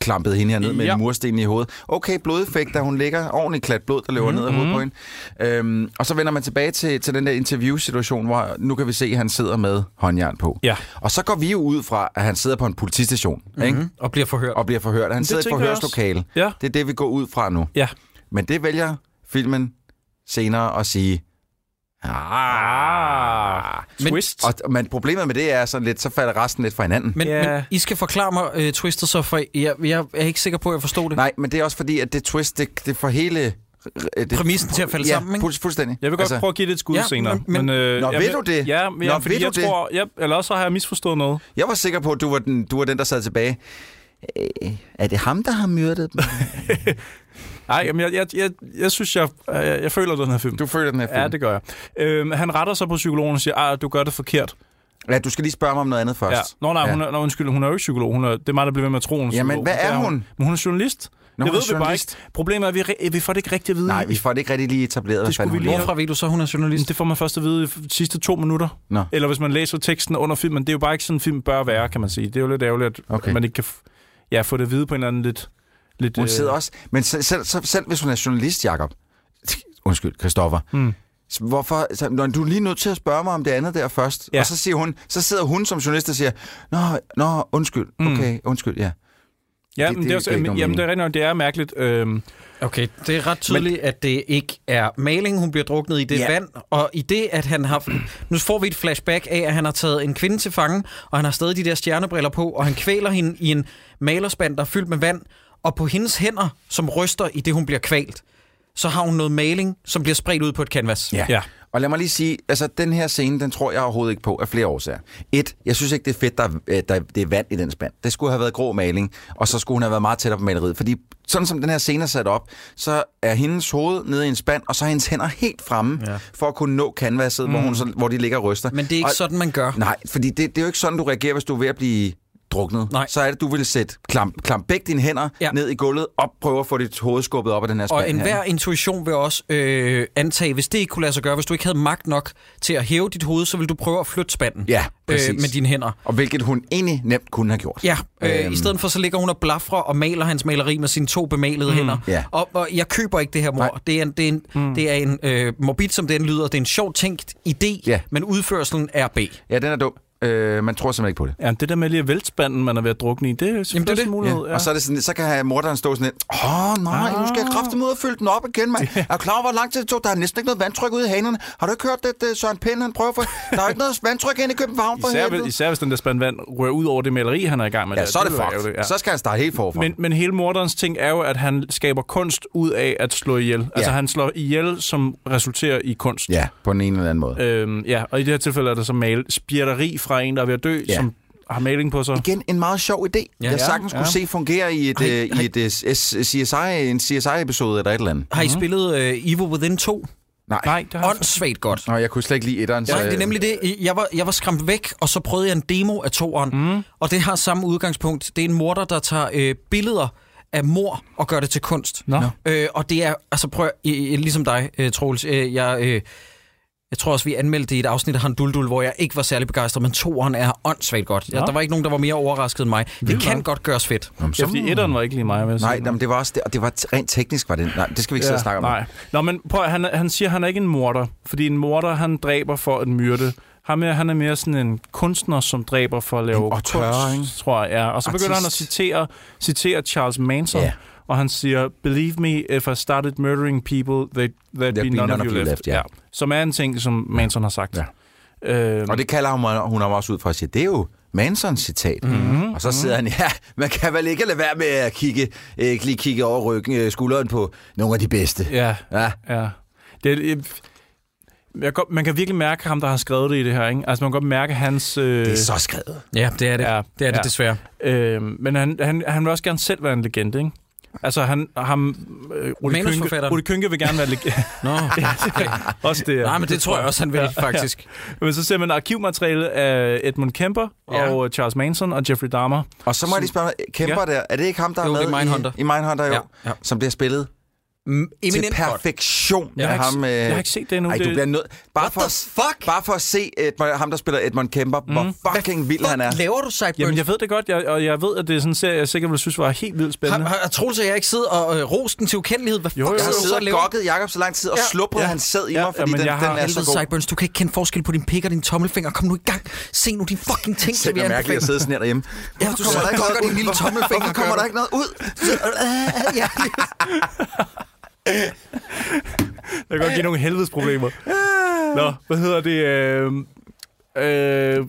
Speaker 3: klampet hende herned med
Speaker 2: Ja.
Speaker 3: en mursten i hovedet. Okay, blodeffekt, da hun ligger ordentligt klat blod, der
Speaker 2: Mhm,
Speaker 3: løber mm, ned af hovedet på hende. Øhm, og så vender man tilbage til, til den der interviewsituation, hvor nu kan vi se, at han sidder med håndjern på.
Speaker 2: Ja. Mhm.
Speaker 3: Og så går vi jo ud fra, at han sidder på en politistation mm-hmm. ikke?
Speaker 1: Og bliver forhørt.
Speaker 3: og bliver forhørt. Han sidder i et
Speaker 2: tænker jeg også.
Speaker 3: forhørslokale.
Speaker 2: Ja.
Speaker 3: Det er det, vi går ud fra nu.
Speaker 2: Ja.
Speaker 3: Men det vælger filmen senere at sige,
Speaker 2: Ah,
Speaker 1: Men-
Speaker 2: twist.
Speaker 3: Og, men problemet med det er sådan lidt, så falder resten lidt fra hinanden.
Speaker 1: Men,
Speaker 2: Ja.
Speaker 1: yeah. men I skal forklare mig øh, twistet så, for jeg, jeg er ikke sikker på, at jeg forstod det.
Speaker 3: Nej, men det er også fordi, at det twist, det, det får hele... øh, Det,
Speaker 1: Præmissen til at falde
Speaker 3: ja,
Speaker 1: sammen, ikke?
Speaker 3: fu- fuldstændig.
Speaker 2: Jeg vil godt altså, prøve at give det et skud
Speaker 1: ja,
Speaker 2: ja, senere.
Speaker 1: men- men-
Speaker 2: øh,
Speaker 3: Nå,
Speaker 2: jeg
Speaker 3: vil du det?
Speaker 2: Ja,
Speaker 3: Nå,
Speaker 2: ja Nå, fordi
Speaker 3: vil
Speaker 2: jeg
Speaker 3: du det?
Speaker 2: tror... Ja, eller også har jeg misforstået noget.
Speaker 3: Jeg var sikker på, at du var den, du var den der sad tilbage. Øh, er det ham, der har myrdet dem?
Speaker 2: Nej, jamen, jeg, jeg, jeg, jeg synes, jeg, øh, jeg, jeg føler den her film.
Speaker 3: Du føler den her film.
Speaker 2: Ja, det gør jeg. Øhm, han retter sig på psykologen og siger, at du gør det forkert.
Speaker 3: ja, du skal lige spørge mig om noget andet først.
Speaker 2: Ja. Nå, nej,
Speaker 3: Ja.
Speaker 2: hun er, nå, undskyld, hun er jo ikke psykolog. Hun er, det er mig, der bliver ved med at tro, hun er
Speaker 3: Jamen,
Speaker 2: psykolog.
Speaker 3: hvad
Speaker 2: Det
Speaker 3: er hun?
Speaker 2: Men hun er journalist.
Speaker 3: Nå,
Speaker 2: det
Speaker 3: hun
Speaker 2: ved
Speaker 3: er
Speaker 2: vi bare
Speaker 3: journalist.
Speaker 2: ikke. Problemet er, at vi, re- vi får det ikke rigtig at vide.
Speaker 3: Nej, vi får det ikke rigtig lige etableret. hvad
Speaker 2: skulle
Speaker 3: fanden
Speaker 2: vi
Speaker 3: hun
Speaker 2: lige
Speaker 3: laver.
Speaker 1: Hvorfra ved du så, hun er journalist?
Speaker 2: Det får man først at vide i f- sidste to minutter.
Speaker 3: Nå.
Speaker 2: Eller hvis man læser teksten under filmen. Det er jo bare ikke sådan, en film bør være, kan man sige. Det er jo lidt ærgerligt, at
Speaker 3: Okay.
Speaker 2: okay. man ikke kan f- ja, få det at vide på en eller anden lidt... lidt
Speaker 3: Hun
Speaker 2: øh,
Speaker 3: sidder også... Men selv, selv, selv, selv hvis hun er journalist, Jacob... Undskyld, Christoffer. Mm. Hvorfor, så, når du er lige nødt til at spørge mig om det andet der først, ja.
Speaker 2: Ja.
Speaker 3: og så, siger hun, så sidder hun som journalist og siger, Nå, nå undskyld, okay, mm. undskyld, ja.
Speaker 2: Ja,
Speaker 3: det-
Speaker 2: men
Speaker 3: det
Speaker 2: det, er
Speaker 3: giver
Speaker 2: også,
Speaker 3: ikke nogen
Speaker 2: jamen,
Speaker 3: mening.
Speaker 2: det er rigtigt, nok, det er mærkeligt. Øhm,
Speaker 1: Okay, det er ret tydeligt, men, at det ikke er maling, hun bliver druknet i det
Speaker 3: Ja.
Speaker 1: ja. vand, og i det, at han har... Nu får vi et flashback af, at han har taget en kvinde til fange, og han har stadig de der stjernebriller på, og han kvæler hende i en malerspand, der er fyldt med vand, og på hendes hænder, som ryster i det, hun bliver kvalt, så har hun noget maling, som bliver spredt ud på et canvas.
Speaker 2: Ja.
Speaker 3: Og lad mig lige sige, altså den her scene, den tror jeg overhovedet ikke på af flere årsager. Et, jeg synes ikke, det er fedt, der, er- øh, der det er vand i den spand. Det skulle have været grå maling, og så skulle hun have været meget tættere på maleriet. Fordi sådan som den her scene er sat op, så er hendes hoved nede i en spand, og så er hendes hænder helt fremme, ja. for at kunne nå canvaset, mm. hvor, hun så, hvor de ligger og ryster.
Speaker 1: Men det er ikke
Speaker 3: og,
Speaker 1: og, sådan, man gør.
Speaker 3: Nej, fordi det, det er jo ikke sådan, du reagerer, hvis du er ved at blive druknet.
Speaker 1: Nej.
Speaker 3: Så er det, du vil sætte klam, klam begge dine hænder ja.
Speaker 1: Ja.
Speaker 3: ned i gulvet, og prøve at få dit hoved skubbet op af den her spand.
Speaker 1: Og enhver intuition vil også øh, antage, hvis det ikke kunne lade sig gøre, hvis du ikke havde magt nok til at hæve dit hoved, så vil du prøve at flytte spanden
Speaker 3: Ja,
Speaker 1: øh,
Speaker 3: præcis.
Speaker 1: med dine hænder.
Speaker 3: Og hvilket hun egentlig nemt kunne have gjort.
Speaker 1: Ja, øh,
Speaker 3: Øhm.
Speaker 1: i stedet for så ligger hun og blafrer og maler hans maleri med sine to bemalede mm. hænder.
Speaker 3: Ja.
Speaker 1: Og, og jeg køber ikke det her
Speaker 3: Nej.
Speaker 1: mor. Det er en, det er en, mm. det er en øh, morbid, som den lyder. Det er en sjov tænkt idé,
Speaker 3: Ja.
Speaker 1: men udførselen er B.
Speaker 3: Ja, den er dum. Øh, man tror simpelthen ikke på det.
Speaker 2: ja, det der med lige at vælte spanden, man er ved at drukne i, det er selvfølgelig
Speaker 1: det.
Speaker 2: også en mulighed.
Speaker 3: Ja. Og så, er det sådan, så kan morderen stå sådan lidt, åh nej, nu skal jeg kraftigt ud og fylde den op igen, mand. Er du klar over, hvor lang tid det tog? Der er næsten ikke noget vandtryk ude i hanerne. Har du ikke hørt, at øh, Søren Pind, han prøver for... Der er ikke noget vandtryk hen i København for
Speaker 2: Især, hvis-
Speaker 3: helvede.
Speaker 2: især hvis den der spandvand rører ud over det maleri, han er i gang med.
Speaker 3: Ja,
Speaker 2: der.
Speaker 3: så er det
Speaker 2: ville være
Speaker 3: fucked.
Speaker 2: ærgerligt,
Speaker 3: Ja. Så skal han starte helt forfra.
Speaker 2: Men, men hele morderens ting er jo, at han skaber kunst ud af at slå ihjel. Ja. Altså,
Speaker 3: Ja.
Speaker 2: han slår ihjel, som resulterer i kunst.
Speaker 3: Ja, på den ene eller anden måde.
Speaker 2: Øhm, ja, og i det her tilfælde er der så mal spjætteri fra en, der er ved at dø,
Speaker 3: Ja.
Speaker 2: ja. som har maling på sig.
Speaker 3: Igen en meget sjov idé. Ja, jeg sagtens ja. kunne se fungere i et, øh, i et øh, s- CSI, en CSI-episode eller et eller andet.
Speaker 1: Har I spillet øh, Evil Within 2?
Speaker 2: Nej, Mhm. det har jeg
Speaker 1: Åndssvagt godt.
Speaker 3: Nå, jeg kunne slet ikke lide øh, etteren.
Speaker 1: Nej, det er nemlig det. Jeg var, jeg var skræmt væk, og så prøvede jeg en demo af toeren. Mm. Og det har samme udgangspunkt. Det er en morder, der tager øh, billeder af mor og gør det til kunst.
Speaker 2: Nå. Nå.
Speaker 1: Øh, og det er, altså prøv, øh, ligesom dig, øh, Troels, øh, jeg, øh, jeg tror også, vi anmeldte det i et afsnit af Han Duldul, hvor jeg ikke var særlig begejstret, men toeren er åndssvagt godt. Ja,
Speaker 2: Nå.
Speaker 1: der var ikke nogen, der var mere overrasket end mig. Det kan godt gøres fedt.
Speaker 2: Ja, fordi etteren var ikke lige mig, vil jeg
Speaker 3: Nej,
Speaker 2: sige.
Speaker 3: jamen, det var også det, og det var t- rent teknisk, var det. Nej, det skal vi ikke ja, sidde og snakke om.
Speaker 2: Nej. Nå, men prøv, at- han, er- han siger, at han er ikke en morder, fordi en morder, han dræber for at myrde. Ham er, han er mere sådan en kunstner, som dræber for at lave
Speaker 3: Og tørre, ikke?
Speaker 2: tror jeg. Ja. Og så begynder han at
Speaker 3: Artist.
Speaker 2: citere, citere Charles Manson,
Speaker 3: Ja.
Speaker 2: yeah. og han siger, believe me, if I started murdering people, they'd, they'd be, none, of you left.
Speaker 3: ja.
Speaker 2: Som er en ting, som Manson har sagt. Ja. Øhm,
Speaker 3: Og det kalder hun, hun ham også ud for at sige, det er jo Mansons citat. Mm-hmm. Og så sidder han, ja, man kan vel ikke lade være med at kigge, øh, lige kigge over ryggen, øh, skulderen på nogle af de bedste.
Speaker 2: ja,
Speaker 3: Ja.
Speaker 2: ja. Det, er- jeg, jeg, kan godt- man kan virkelig mærke ham, der har skrevet det i det her. Ikke? Altså, man kan godt mærke hans... Øh,
Speaker 3: Det er så skrevet.
Speaker 1: Ja, det er det.
Speaker 2: Ja,
Speaker 1: Ja, det er det
Speaker 2: ja.
Speaker 1: desværre.
Speaker 2: Øh, men han, han, han vil også gerne selv være en legende, ikke? Altså, han, ham, øh, Rudi, Kynke,
Speaker 1: Manusforfatteren.
Speaker 2: Rudi Kynke vil gerne være legende.
Speaker 1: Nå,
Speaker 2: også det. ja.
Speaker 1: Nej, men det tror jeg også, han vil, faktisk.
Speaker 2: Men så ser man arkivmateriale af Edmund Kemper
Speaker 1: Ja.
Speaker 2: ja. og øh, Charles Manson og Jeffrey Dahmer.
Speaker 3: Og så må jeg lige spørge, mig, Kemper der, er det ikke ham, der
Speaker 1: Jo,
Speaker 3: er med
Speaker 1: det er Mindhunter.
Speaker 3: i, i Mindhunter, jo,
Speaker 1: Ja, ja.
Speaker 3: som bliver spillet
Speaker 1: Mm,
Speaker 3: til
Speaker 1: Eminent godt.
Speaker 3: perfektion
Speaker 2: Jeg
Speaker 3: af
Speaker 2: har,
Speaker 3: ham?
Speaker 2: ikke,
Speaker 3: øh,
Speaker 2: jeg har ikke set det endnu.
Speaker 3: Ej, du
Speaker 2: det,
Speaker 3: bliver nødt... Bare,
Speaker 1: What
Speaker 3: for,
Speaker 1: the
Speaker 3: at-
Speaker 1: fuck?
Speaker 3: bare for at se Edmund, ham, der spiller Edmund Kemper, mm. hvor fucking vild
Speaker 1: Fuck,
Speaker 3: han er.
Speaker 1: laver du sideburns?
Speaker 2: Jamen, jeg ved det godt, jeg, og jeg ved, at det er sådan en serie, jeg sikkert ville synes var helt vildt
Speaker 1: Har,
Speaker 2: spændende.
Speaker 1: har, har Troels og jeg ikke siddet og øh, rost den til ukendelighed? Hvad
Speaker 2: Jo,
Speaker 1: fuck
Speaker 2: jo.
Speaker 3: Jeg
Speaker 1: skal
Speaker 3: har
Speaker 1: du så
Speaker 3: siddet
Speaker 1: lave?
Speaker 3: og gokket Jacob så lang tid og
Speaker 1: Ja.
Speaker 3: sluppet
Speaker 2: Ja.
Speaker 3: hans sæd i
Speaker 2: Ja,
Speaker 3: mig, fordi
Speaker 2: men
Speaker 3: den, den
Speaker 2: jeg har
Speaker 3: er så
Speaker 1: Helvede,
Speaker 3: god.
Speaker 1: Sideburns, du kan ikke kende forskel på din pik og din tommelfinger. Kom nu i gang. Se nu de fucking ting,
Speaker 3: Sæt
Speaker 1: som vi
Speaker 3: mig mærkeligt at
Speaker 1: anbefaler.
Speaker 3: sidde sådan her derhjemme.
Speaker 1: Ja, du sidder og kokker din lille tommelfinger.
Speaker 3: Hvorfor kommer
Speaker 1: gør
Speaker 3: der
Speaker 1: du?
Speaker 3: ikke noget ud?
Speaker 1: ja.
Speaker 2: Det kan godt give nogle helvedes problemer.
Speaker 1: Ah.
Speaker 2: Nå, hvad hedder det? Øh, øh,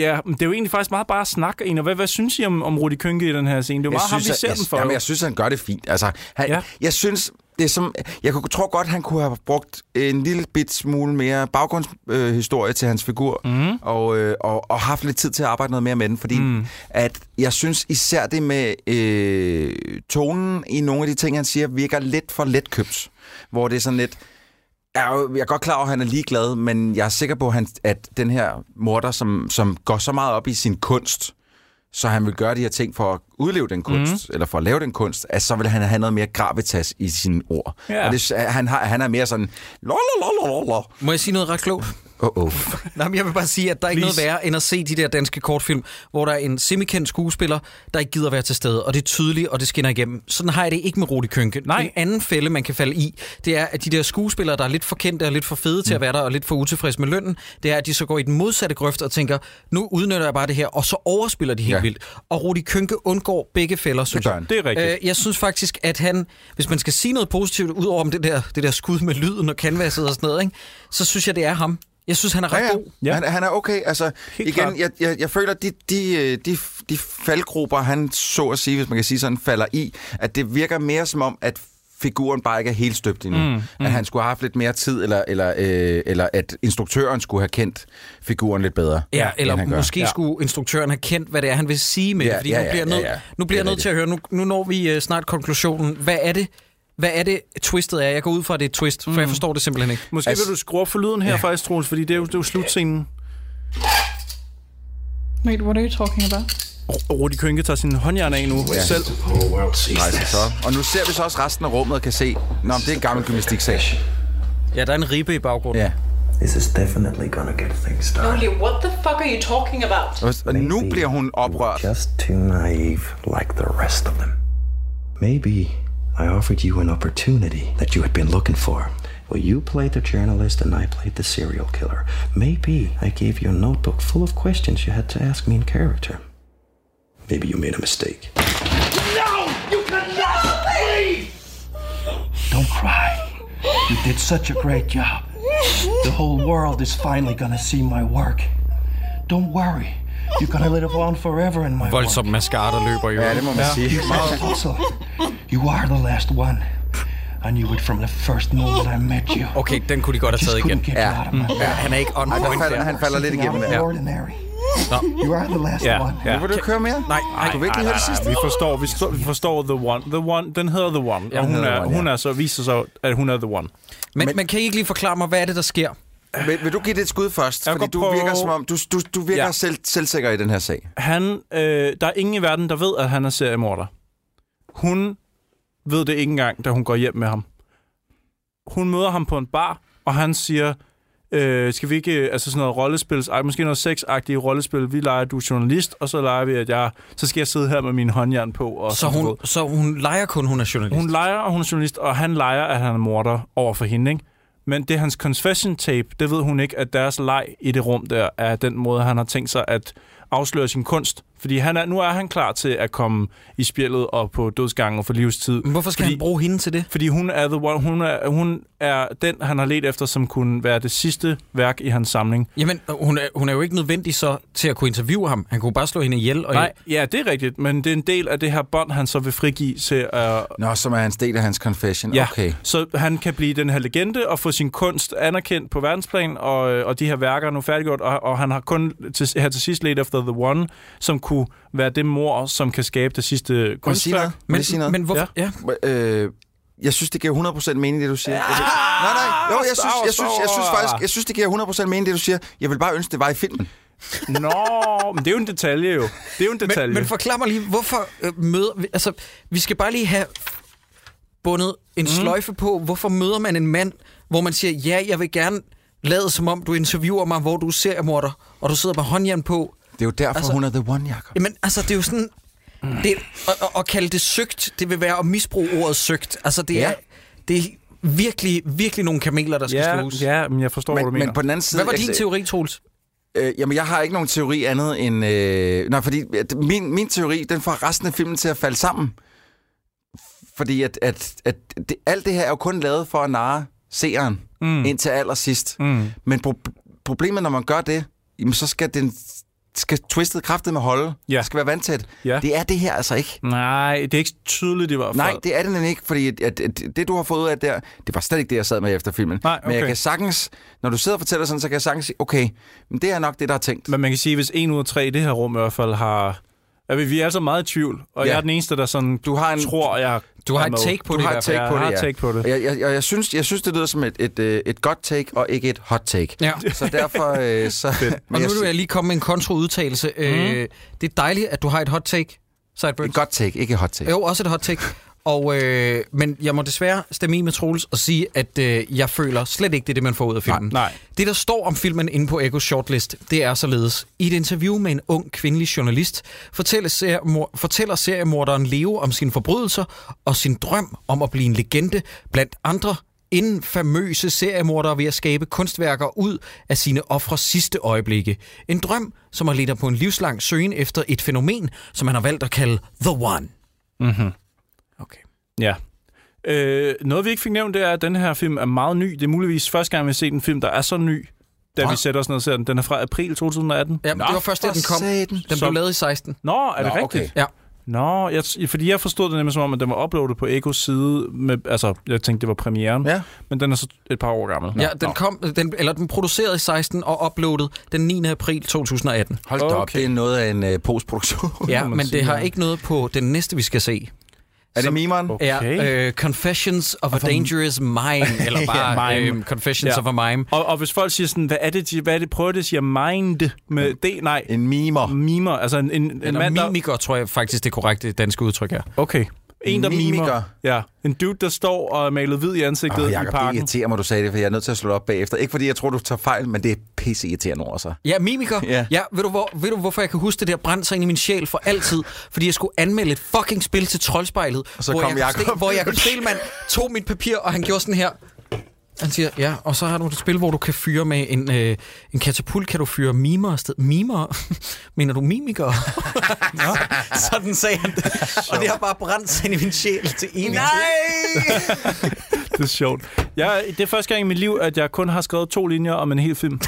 Speaker 2: ja, men det er jo egentlig faktisk meget bare at snakke. egentlig. Og hvad, hvad synes I om, om Rudi Kønke i den her scene? Det er jo meget ham, vi ser
Speaker 3: jeg,
Speaker 2: den for.
Speaker 3: Jamen,
Speaker 2: jo.
Speaker 3: jeg synes, han gør det fint. Altså, han,
Speaker 2: Ja.
Speaker 3: ja. Jeg synes, det er som, jeg kunne- tror godt, han kunne have brugt en lille bit smule mere baggrundshistorie øh, historie til hans figur,
Speaker 2: Mhm.
Speaker 3: mm. og, øh, og, og haft lidt tid til at arbejde noget mere med den, fordi mm. at jeg synes især det med øh, tonen i nogle af de ting, han siger, virker lidt for letkøbt, hvor det er sådan lidt, jeg er, jo, jeg er godt klar over, at han er ligeglad, men jeg er sikker på, at, han, at den her morder, som, som går så meget op i sin kunst, så han vil gøre de her ting for at udleve den kunst, mm. eller for at lave den kunst, at så vil han have noget mere gravitas i sine ord.
Speaker 2: Ja.
Speaker 3: Ja. Og det, han, har, han er mere sådan... Lolololololol.
Speaker 1: Må jeg sige noget ret klogt?
Speaker 3: Oh, oh.
Speaker 1: Nej, men jeg vil bare sige, at der er ikke
Speaker 2: Please.
Speaker 1: noget værre end at se de der danske kortfilm, hvor der er en semikendt skuespiller, der ikke gider være til stede, og det er tydeligt, og det skinner igennem. Sådan har jeg det ikke med Rudi Kønke.
Speaker 2: Nej.
Speaker 1: En anden fælde, man kan falde i, det er, at de der skuespillere, der er lidt for kendte og lidt for fede
Speaker 2: Mm.
Speaker 1: til at være der, og lidt for utilfredse med lønnen, det er, at de så går i den modsatte grøft og tænker, nu udnytter jeg bare det her, og så overspiller de helt ja.
Speaker 3: Ja.
Speaker 1: vildt. Og Rudi Kønke undgår begge fælder, synes
Speaker 3: gør
Speaker 1: jeg.
Speaker 3: han.
Speaker 2: Det er rigtigt.
Speaker 1: Øh, jeg synes faktisk, at han, hvis man skal sige noget positivt, ud over om det der, det der skud med lyden og canvaset og sådan noget, ikke, så synes jeg, det er ham. Jeg synes, han er ret
Speaker 3: Ja, ja.
Speaker 1: god.
Speaker 2: Ja.
Speaker 3: ja. Han, han er okay. Altså,
Speaker 2: Helt klart.
Speaker 3: igen, jeg, jeg, jeg føler, at de, de, øh, de, de faldgrupper, han så at sige, hvis man kan sige sådan, falder i, at det virker mere som om, at figuren bare ikke er helt støbt endnu. Mm, mm. At han skulle have haft lidt mere tid, eller, eller, øh, eller at instruktøren skulle have kendt figuren lidt bedre.
Speaker 1: Ja,
Speaker 3: end
Speaker 1: eller
Speaker 3: han gør.
Speaker 1: måske
Speaker 2: Ja.
Speaker 1: ja. skulle instruktøren have kendt, hvad det er, han vil sige med ja, det. Fordi ja, ja, nu bliver jeg nødt, ja, ja. nu bliver jeg
Speaker 3: Det er
Speaker 1: nødt til at høre, nu, nu når vi uh, snart konklusionen. Hvad er det, hvad er det twistet er? Jeg går ud fra, at det er et twist, for jeg forstår det simpelthen ikke.
Speaker 2: Måske altså, vil du skrue op for lyden her ja. faktisk, Troels, fordi det er jo, det er jo slutscenen.
Speaker 4: Wait, what are you talking about?
Speaker 2: R- Rudi Kønke tager sin håndjern af nu ja. selv.
Speaker 3: Rejse så. Og nu ser vi så også resten af rummet og kan se, Nå, men det er en gammel gymnastiksal.
Speaker 1: Ja, der er en ribbe i baggrunden.
Speaker 3: Ja.
Speaker 6: This is definitely gonna get things done.
Speaker 4: Oli, what the fuck are you talking about?
Speaker 3: Og- Og nu
Speaker 6: Maybe
Speaker 3: bliver hun
Speaker 6: you were
Speaker 3: oprørt.
Speaker 6: Just too naive, like the rest of them. Maybe I offered you an opportunity that you had been looking for. Well, you played the journalist and I played the serial killer. Maybe I gave you a notebook full of questions you had to ask me in character. Maybe you made a mistake. Don't cry. You did such a great job. The whole world is finally gonna see my work. Don't worry. You're gonna live on forever in my work.
Speaker 1: Voldsom mascara, der løber i
Speaker 3: Ja, det
Speaker 1: øvrigt.
Speaker 3: må man sige.
Speaker 6: Mr. Hustle, you are the last one. I knew it from the first moment I met you.
Speaker 1: Okay, den kunne de godt have
Speaker 6: I just
Speaker 1: taget
Speaker 6: couldn't
Speaker 1: Oh. igen.
Speaker 6: get you out of my
Speaker 1: Ja,
Speaker 6: head.
Speaker 1: han er ikke on
Speaker 3: Ej,
Speaker 1: point
Speaker 3: der falder,
Speaker 1: der.
Speaker 3: han falder lidt igennem
Speaker 6: Out
Speaker 3: der.
Speaker 6: of ordinary. You are the last
Speaker 2: Ja,
Speaker 6: one.
Speaker 2: ja.
Speaker 3: Vil du køre mere?
Speaker 1: Nej, nej,
Speaker 3: Du vil ikke
Speaker 2: Ej, nej,
Speaker 3: lige have det
Speaker 2: nej,
Speaker 3: sidste?
Speaker 2: vi forstår, vi, forstår, vi forstår The One. The One, den hedder The One, ja, og hun,
Speaker 3: den hedder
Speaker 2: er,
Speaker 3: The One,
Speaker 2: hun
Speaker 3: ja.
Speaker 2: er så, viser sig, at hun er The One.
Speaker 1: Men, men kan I ikke lige forklare mig, hvad er det, der sker?
Speaker 3: Vil, vil du give det et skud først?
Speaker 2: Jeg
Speaker 3: Fordi
Speaker 2: går
Speaker 3: du
Speaker 2: på-
Speaker 3: virker som om, du, du, du virker
Speaker 2: Ja.
Speaker 3: ja. selv, selvsikker i den her sag.
Speaker 2: Han, øh, der er ingen i verden, der ved, at han er seriemorder. Hun ved det ikke engang, da hun går hjem med ham. Hun møder ham på en bar, og han siger, øh, skal vi ikke, øh, altså sådan noget rollespil, ej, måske noget sexagtigt rollespil, vi leger, du er journalist, og så leger vi, at jeg, så skal jeg sidde her med min håndjern på. Og
Speaker 1: Så
Speaker 2: sådan noget.
Speaker 1: hun, så hun leger kun, hun er journalist.
Speaker 2: Hun leger, og hun er journalist, og han leger, at han er morder over for hende, ikke? Men det er hans confession tape, det ved hun ikke, at deres leg i det rum der, er den måde, han har tænkt sig at afsløre sin kunst. Fordi han er, nu er han klar til at komme i spjældet og på dødsgangen og for livstid.
Speaker 1: Men Hvorfor skal
Speaker 2: fordi,
Speaker 1: han bruge hende til det?
Speaker 2: Fordi hun er, the one, hun, er, hun er den, han har let efter, som kunne være det sidste værk i hans samling.
Speaker 1: Jamen, hun er, hun er jo ikke nødvendig så til at kunne interviewe ham. Han kunne bare slå hende ihjel. Og
Speaker 2: Nej, ja, det er rigtigt, men det er en del af det her bånd, han så vil frigive til at,
Speaker 3: Nå, som er hans del af hans confession.
Speaker 2: Ja,
Speaker 3: Okay.
Speaker 2: så han kan blive den her legende og få sin kunst anerkendt på verdensplan, og, øh, og de her værker er nu færdiggjort, og, og han har kun til, her til sidst let efter The One, som kunne være det mor, som kan skabe det sidste
Speaker 3: Må jeg sige
Speaker 2: kunstværk.
Speaker 3: noget? Må jeg sige noget?
Speaker 1: men hvorfor? Ja. ja.
Speaker 3: Øh, jeg synes, det giver 100% mening, det du siger. Jeg vil... Nej, nej. Jo, jeg synes, jeg, synes, jeg, synes faktisk, jeg synes, det giver 100% mening, det du siger. Jeg vil bare ønske, det var i filmen.
Speaker 2: Nå, men det er jo en detalje jo. Det er jo en detalje.
Speaker 1: Men, men forklar mig lige, hvorfor øh, møder... vi- Altså, vi skal bare lige have bundet en mm. sløjfe på, hvorfor møder man en mand, hvor man siger, ja, jeg vil gerne lade som om, du interviewer mig, hvor du er seriemorder, og du sidder med håndjern på.
Speaker 3: Det er jo derfor,
Speaker 1: Altså-
Speaker 3: altså... hun er the one, Jacob.
Speaker 1: Jamen, altså, det er jo sådan... Det, at, at, at kalde det søgt, det vil være at misbruge ordet søgt. Altså, det ja.
Speaker 3: Ja.
Speaker 1: er, det er virkelig, virkelig nogle kameler, der skal
Speaker 2: ja,
Speaker 1: slås.
Speaker 2: ja, men jeg forstår, hvad du
Speaker 3: Men,
Speaker 2: mener.
Speaker 3: men på den anden side...
Speaker 1: Hvad var din
Speaker 3: altså,
Speaker 1: teori, Troels?
Speaker 3: Øh, jamen, jeg har ikke nogen teori andet end... Øh, nej, fordi at min, min teori, den får resten af filmen til at falde sammen. Fordi at, at, at det, alt det her er jo kun lavet for at narre seeren mm. indtil allersidst. Mm. Men pro- problemet, når man gør det, jamen, så skal den skal twistet kraftet med holde.
Speaker 2: Ja.
Speaker 3: Det skal være vandtæt.
Speaker 2: Ja.
Speaker 3: Det er det her altså ikke.
Speaker 2: Nej, det er ikke tydeligt i hvert fald.
Speaker 3: Nej, det er det nemlig ikke, fordi at, at, at det, du har fået ud af der, det var slet ikke det, jeg sad med efter filmen.
Speaker 2: Nej,
Speaker 3: Men jeg
Speaker 2: okay.
Speaker 3: kan sagtens, når du sidder og fortæller sådan, så kan jeg sagtens sige, okay, men det er nok det, der er tænkt.
Speaker 2: Men man kan sige, at hvis en ud af tre i det her rum i hvert fald har... Ja, vi er altså meget i tvivl, og
Speaker 3: Ja.
Speaker 2: ja. jeg er den eneste, der sådan
Speaker 3: Du har en-
Speaker 2: tror, jeg
Speaker 1: Du har
Speaker 2: er
Speaker 1: et
Speaker 2: med.
Speaker 1: take på
Speaker 3: du
Speaker 1: det i
Speaker 3: har
Speaker 1: hvert fald.
Speaker 3: et take
Speaker 2: Jeg
Speaker 3: på det,
Speaker 2: har
Speaker 3: ja.
Speaker 2: et take på det.
Speaker 3: Og Jeg, jeg, jeg, jeg, synes, jeg synes, det lyder som et, et, øh, et godt take, og ikke et hot take.
Speaker 1: Ja.
Speaker 3: Så derfor... Øh, så,
Speaker 1: Og
Speaker 3: men
Speaker 1: nu
Speaker 3: jeg,
Speaker 1: vil jeg lige komme med en kontraudtalelse. Mm. Øh, det er dejligt, at du har et hot take, Sideburns.
Speaker 3: et godt take, ikke et hot take.
Speaker 1: Jo, også et hot take. Og, øh, men jeg må desværre stemme i med Troels og sige, at øh, jeg føler slet ikke, det er det, man får ud af filmen.
Speaker 2: nej.
Speaker 1: Det, der står om filmen inde på Echo's shortlist, det er således. I et interview med en ung kvindelig journalist fortæller, seriemor- fortæller seriemorderen Leo om sine forbrydelser og sin drøm om at blive en legende blandt andre inden famøse seriemordere ved at skabe kunstværker ud af sine ofres sidste øjeblikke. En drøm, som har ledt ham på en livslang søgen efter et fænomen, som han har valgt at kalde The One. Okay.
Speaker 2: Ja. Øh, noget, vi ikke fik nævnt, det er, at den her film er meget ny. Det er muligvis første gang, vi har set en film, der er så ny, da vi sætter os ned og ser den. Den er fra april 2018.
Speaker 1: Ja, Nå, det var først, da den kom.
Speaker 3: satan.
Speaker 1: Den
Speaker 2: Så-
Speaker 1: blev lavet i 16.
Speaker 2: Nå, er det
Speaker 3: Nå,
Speaker 2: rigtigt?
Speaker 3: okay.
Speaker 1: Ja.
Speaker 2: Nå, jeg, fordi jeg forstod det nemlig som om, at den var uploadet på Ekos side. Med, altså, jeg tænkte, det var premieren.
Speaker 3: Ja.
Speaker 2: Men den er så et par år gammel.
Speaker 1: Ja, den kom, den, eller den producerede i 16 og uploadet den 9. april 2018.
Speaker 3: Hold da op,
Speaker 2: Okay.
Speaker 3: det er noget af en øh, postproduktion.
Speaker 1: Ja,
Speaker 2: man
Speaker 1: men
Speaker 2: sige,
Speaker 1: det har
Speaker 2: ja.
Speaker 1: ikke noget på den næste, vi skal se.
Speaker 3: er det mimeren?
Speaker 2: Okay.
Speaker 1: Ja, øh, Confessions of a Dangerous Mind, eller bare
Speaker 2: mime.
Speaker 1: øh, Confessions
Speaker 2: Ja.
Speaker 1: of a Mime.
Speaker 2: Og, og hvis folk siger sådan, hvad er det, de, hvad er det prøver det, siger mind med D? Nej, en
Speaker 3: En mimer.
Speaker 2: mimer. Altså en, en, en mand,
Speaker 1: Eller
Speaker 2: der...
Speaker 1: mimiker, tror jeg faktisk, det korrekte danske udtryk er.
Speaker 2: Okay. En, der
Speaker 3: Mimiker.
Speaker 2: mimer. Ja. En dude, der står og er malet hvid i ansigtet
Speaker 3: Oh,
Speaker 2: oh, i
Speaker 3: Jacob, det
Speaker 2: parken.
Speaker 3: irriterer mig, du sagde det, for jeg er nødt til at slå det op bagefter. Ikke fordi jeg tror, du tager fejl, men det er pisse irriterende over sig.
Speaker 1: Ja, mimiker.
Speaker 3: Ja.
Speaker 1: ja ved, du, hvor, ved du, hvorfor jeg kan huske det der brændte sig ind i min sjæl for altid? Fordi jeg skulle anmelde et fucking spil til Troldspejlet,
Speaker 3: så
Speaker 1: hvor,
Speaker 3: kom
Speaker 1: Jacob
Speaker 3: Jacob.
Speaker 1: Stel, hvor Jacob Stelman tog mit papir, og han gjorde sådan her. Han siger, ja, og så har du et spil, hvor du kan fyre med en, øh, en katapult, kan du fyre mimer afsted. Mimer? Mener du mimikere? Nå, sådan sagde han det. Og det har bare brændt sig ind i min sjæl til en Nej!
Speaker 2: Det er sjovt. Jeg, det er første gang i mit liv, at jeg kun har skrevet to linjer om en hel film.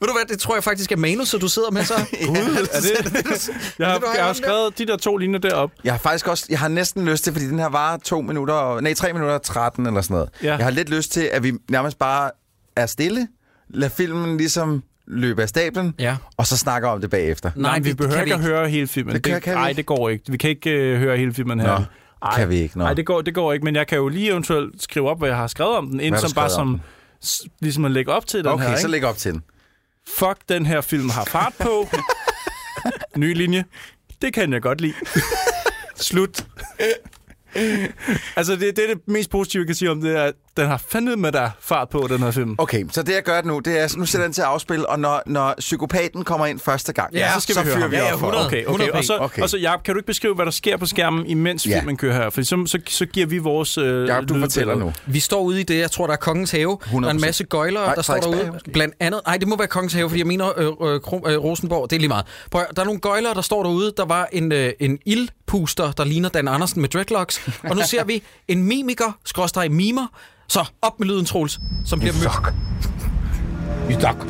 Speaker 1: Ved du hvad, det tror jeg faktisk er manuset, du sidder med så.
Speaker 2: er det? Jeg
Speaker 1: Det, du
Speaker 2: har,
Speaker 1: har
Speaker 2: jeg har
Speaker 1: ondt af?
Speaker 2: skrevet de der to linjer derop.
Speaker 3: Jeg har faktisk også, jeg har næsten lyst til, fordi den her var to minutter, og- nej, tre minutter og 13 eller sådan noget.
Speaker 2: Ja.
Speaker 3: Jeg har lidt lyst til, at vi nærmest bare er stille, lad filmen ligesom løbe af stablen,
Speaker 1: Ja.
Speaker 3: og så snakker om det bagefter.
Speaker 1: Nej,
Speaker 2: Nej, Nej vi
Speaker 1: det
Speaker 2: behøver
Speaker 1: kan
Speaker 2: ikke
Speaker 1: vi
Speaker 2: at høre hele filmen.
Speaker 3: Det kan- kan vi
Speaker 2: Nej,
Speaker 3: ikke.
Speaker 2: det går ikke. Vi kan ikke øh, høre hele filmen her.
Speaker 3: Nå, kan vi ikke. Nå.
Speaker 2: Nej, det går, det går ikke, men jeg kan jo lige eventuelt skrive op, hvad jeg har skrevet om den, inden
Speaker 3: har du
Speaker 2: som bare
Speaker 3: skrevet om
Speaker 2: som s- ligesom at lægge op til den
Speaker 3: okay,
Speaker 2: her.
Speaker 3: så
Speaker 2: ikke?
Speaker 3: læg op til den.
Speaker 2: Fuck, den her film har fart på. Ny linje. Det kan jeg godt lide. Slut. altså, det, det er det mest positive, jeg kan sige om det, er, at den har fandme med dig fart på, den her film.
Speaker 3: Okay, så det jeg gør nu, det er, nu sætter jeg den til afspil, og når, når psykopaten kommer ind første gang,
Speaker 1: Ja,
Speaker 3: så, skal vi
Speaker 1: så
Speaker 3: fyrer
Speaker 1: høre
Speaker 3: vi
Speaker 1: ham. Ja,
Speaker 3: op
Speaker 1: ja,
Speaker 3: for.
Speaker 1: 100.
Speaker 2: Okay, okay.
Speaker 1: 100p.
Speaker 2: Og så,
Speaker 3: Okay.
Speaker 2: okay. Og så Jacob, kan du ikke beskrive, hvad der sker på skærmen, imens
Speaker 3: Ja.
Speaker 2: ja. filmen kører her? For så, så, så giver vi vores øh,
Speaker 3: Jacob, du
Speaker 2: lydbillede.
Speaker 3: fortæller nu.
Speaker 1: Vi står ude i det, jeg tror, der er Kongens Have. 100%. Der er en
Speaker 3: 100%.
Speaker 1: masse gøjlere,
Speaker 3: Nej,
Speaker 1: der står
Speaker 3: Frederiksberg
Speaker 1: derude.
Speaker 3: måske.
Speaker 1: Blandt andet... Nej, det må være Kongens Have, fordi jeg mener øh, øh, Kro- øh, Rosenborg. Det er lige meget. Prøv, at høre, der er nogle gøjlere, der står derude. Der var en, øh, en ildpuster, der ligner Dan Andersen med dreadlocks. Og nu ser vi en mimiker, skråstreg mimer. Så op med lyden, Troels, som bliver mødt.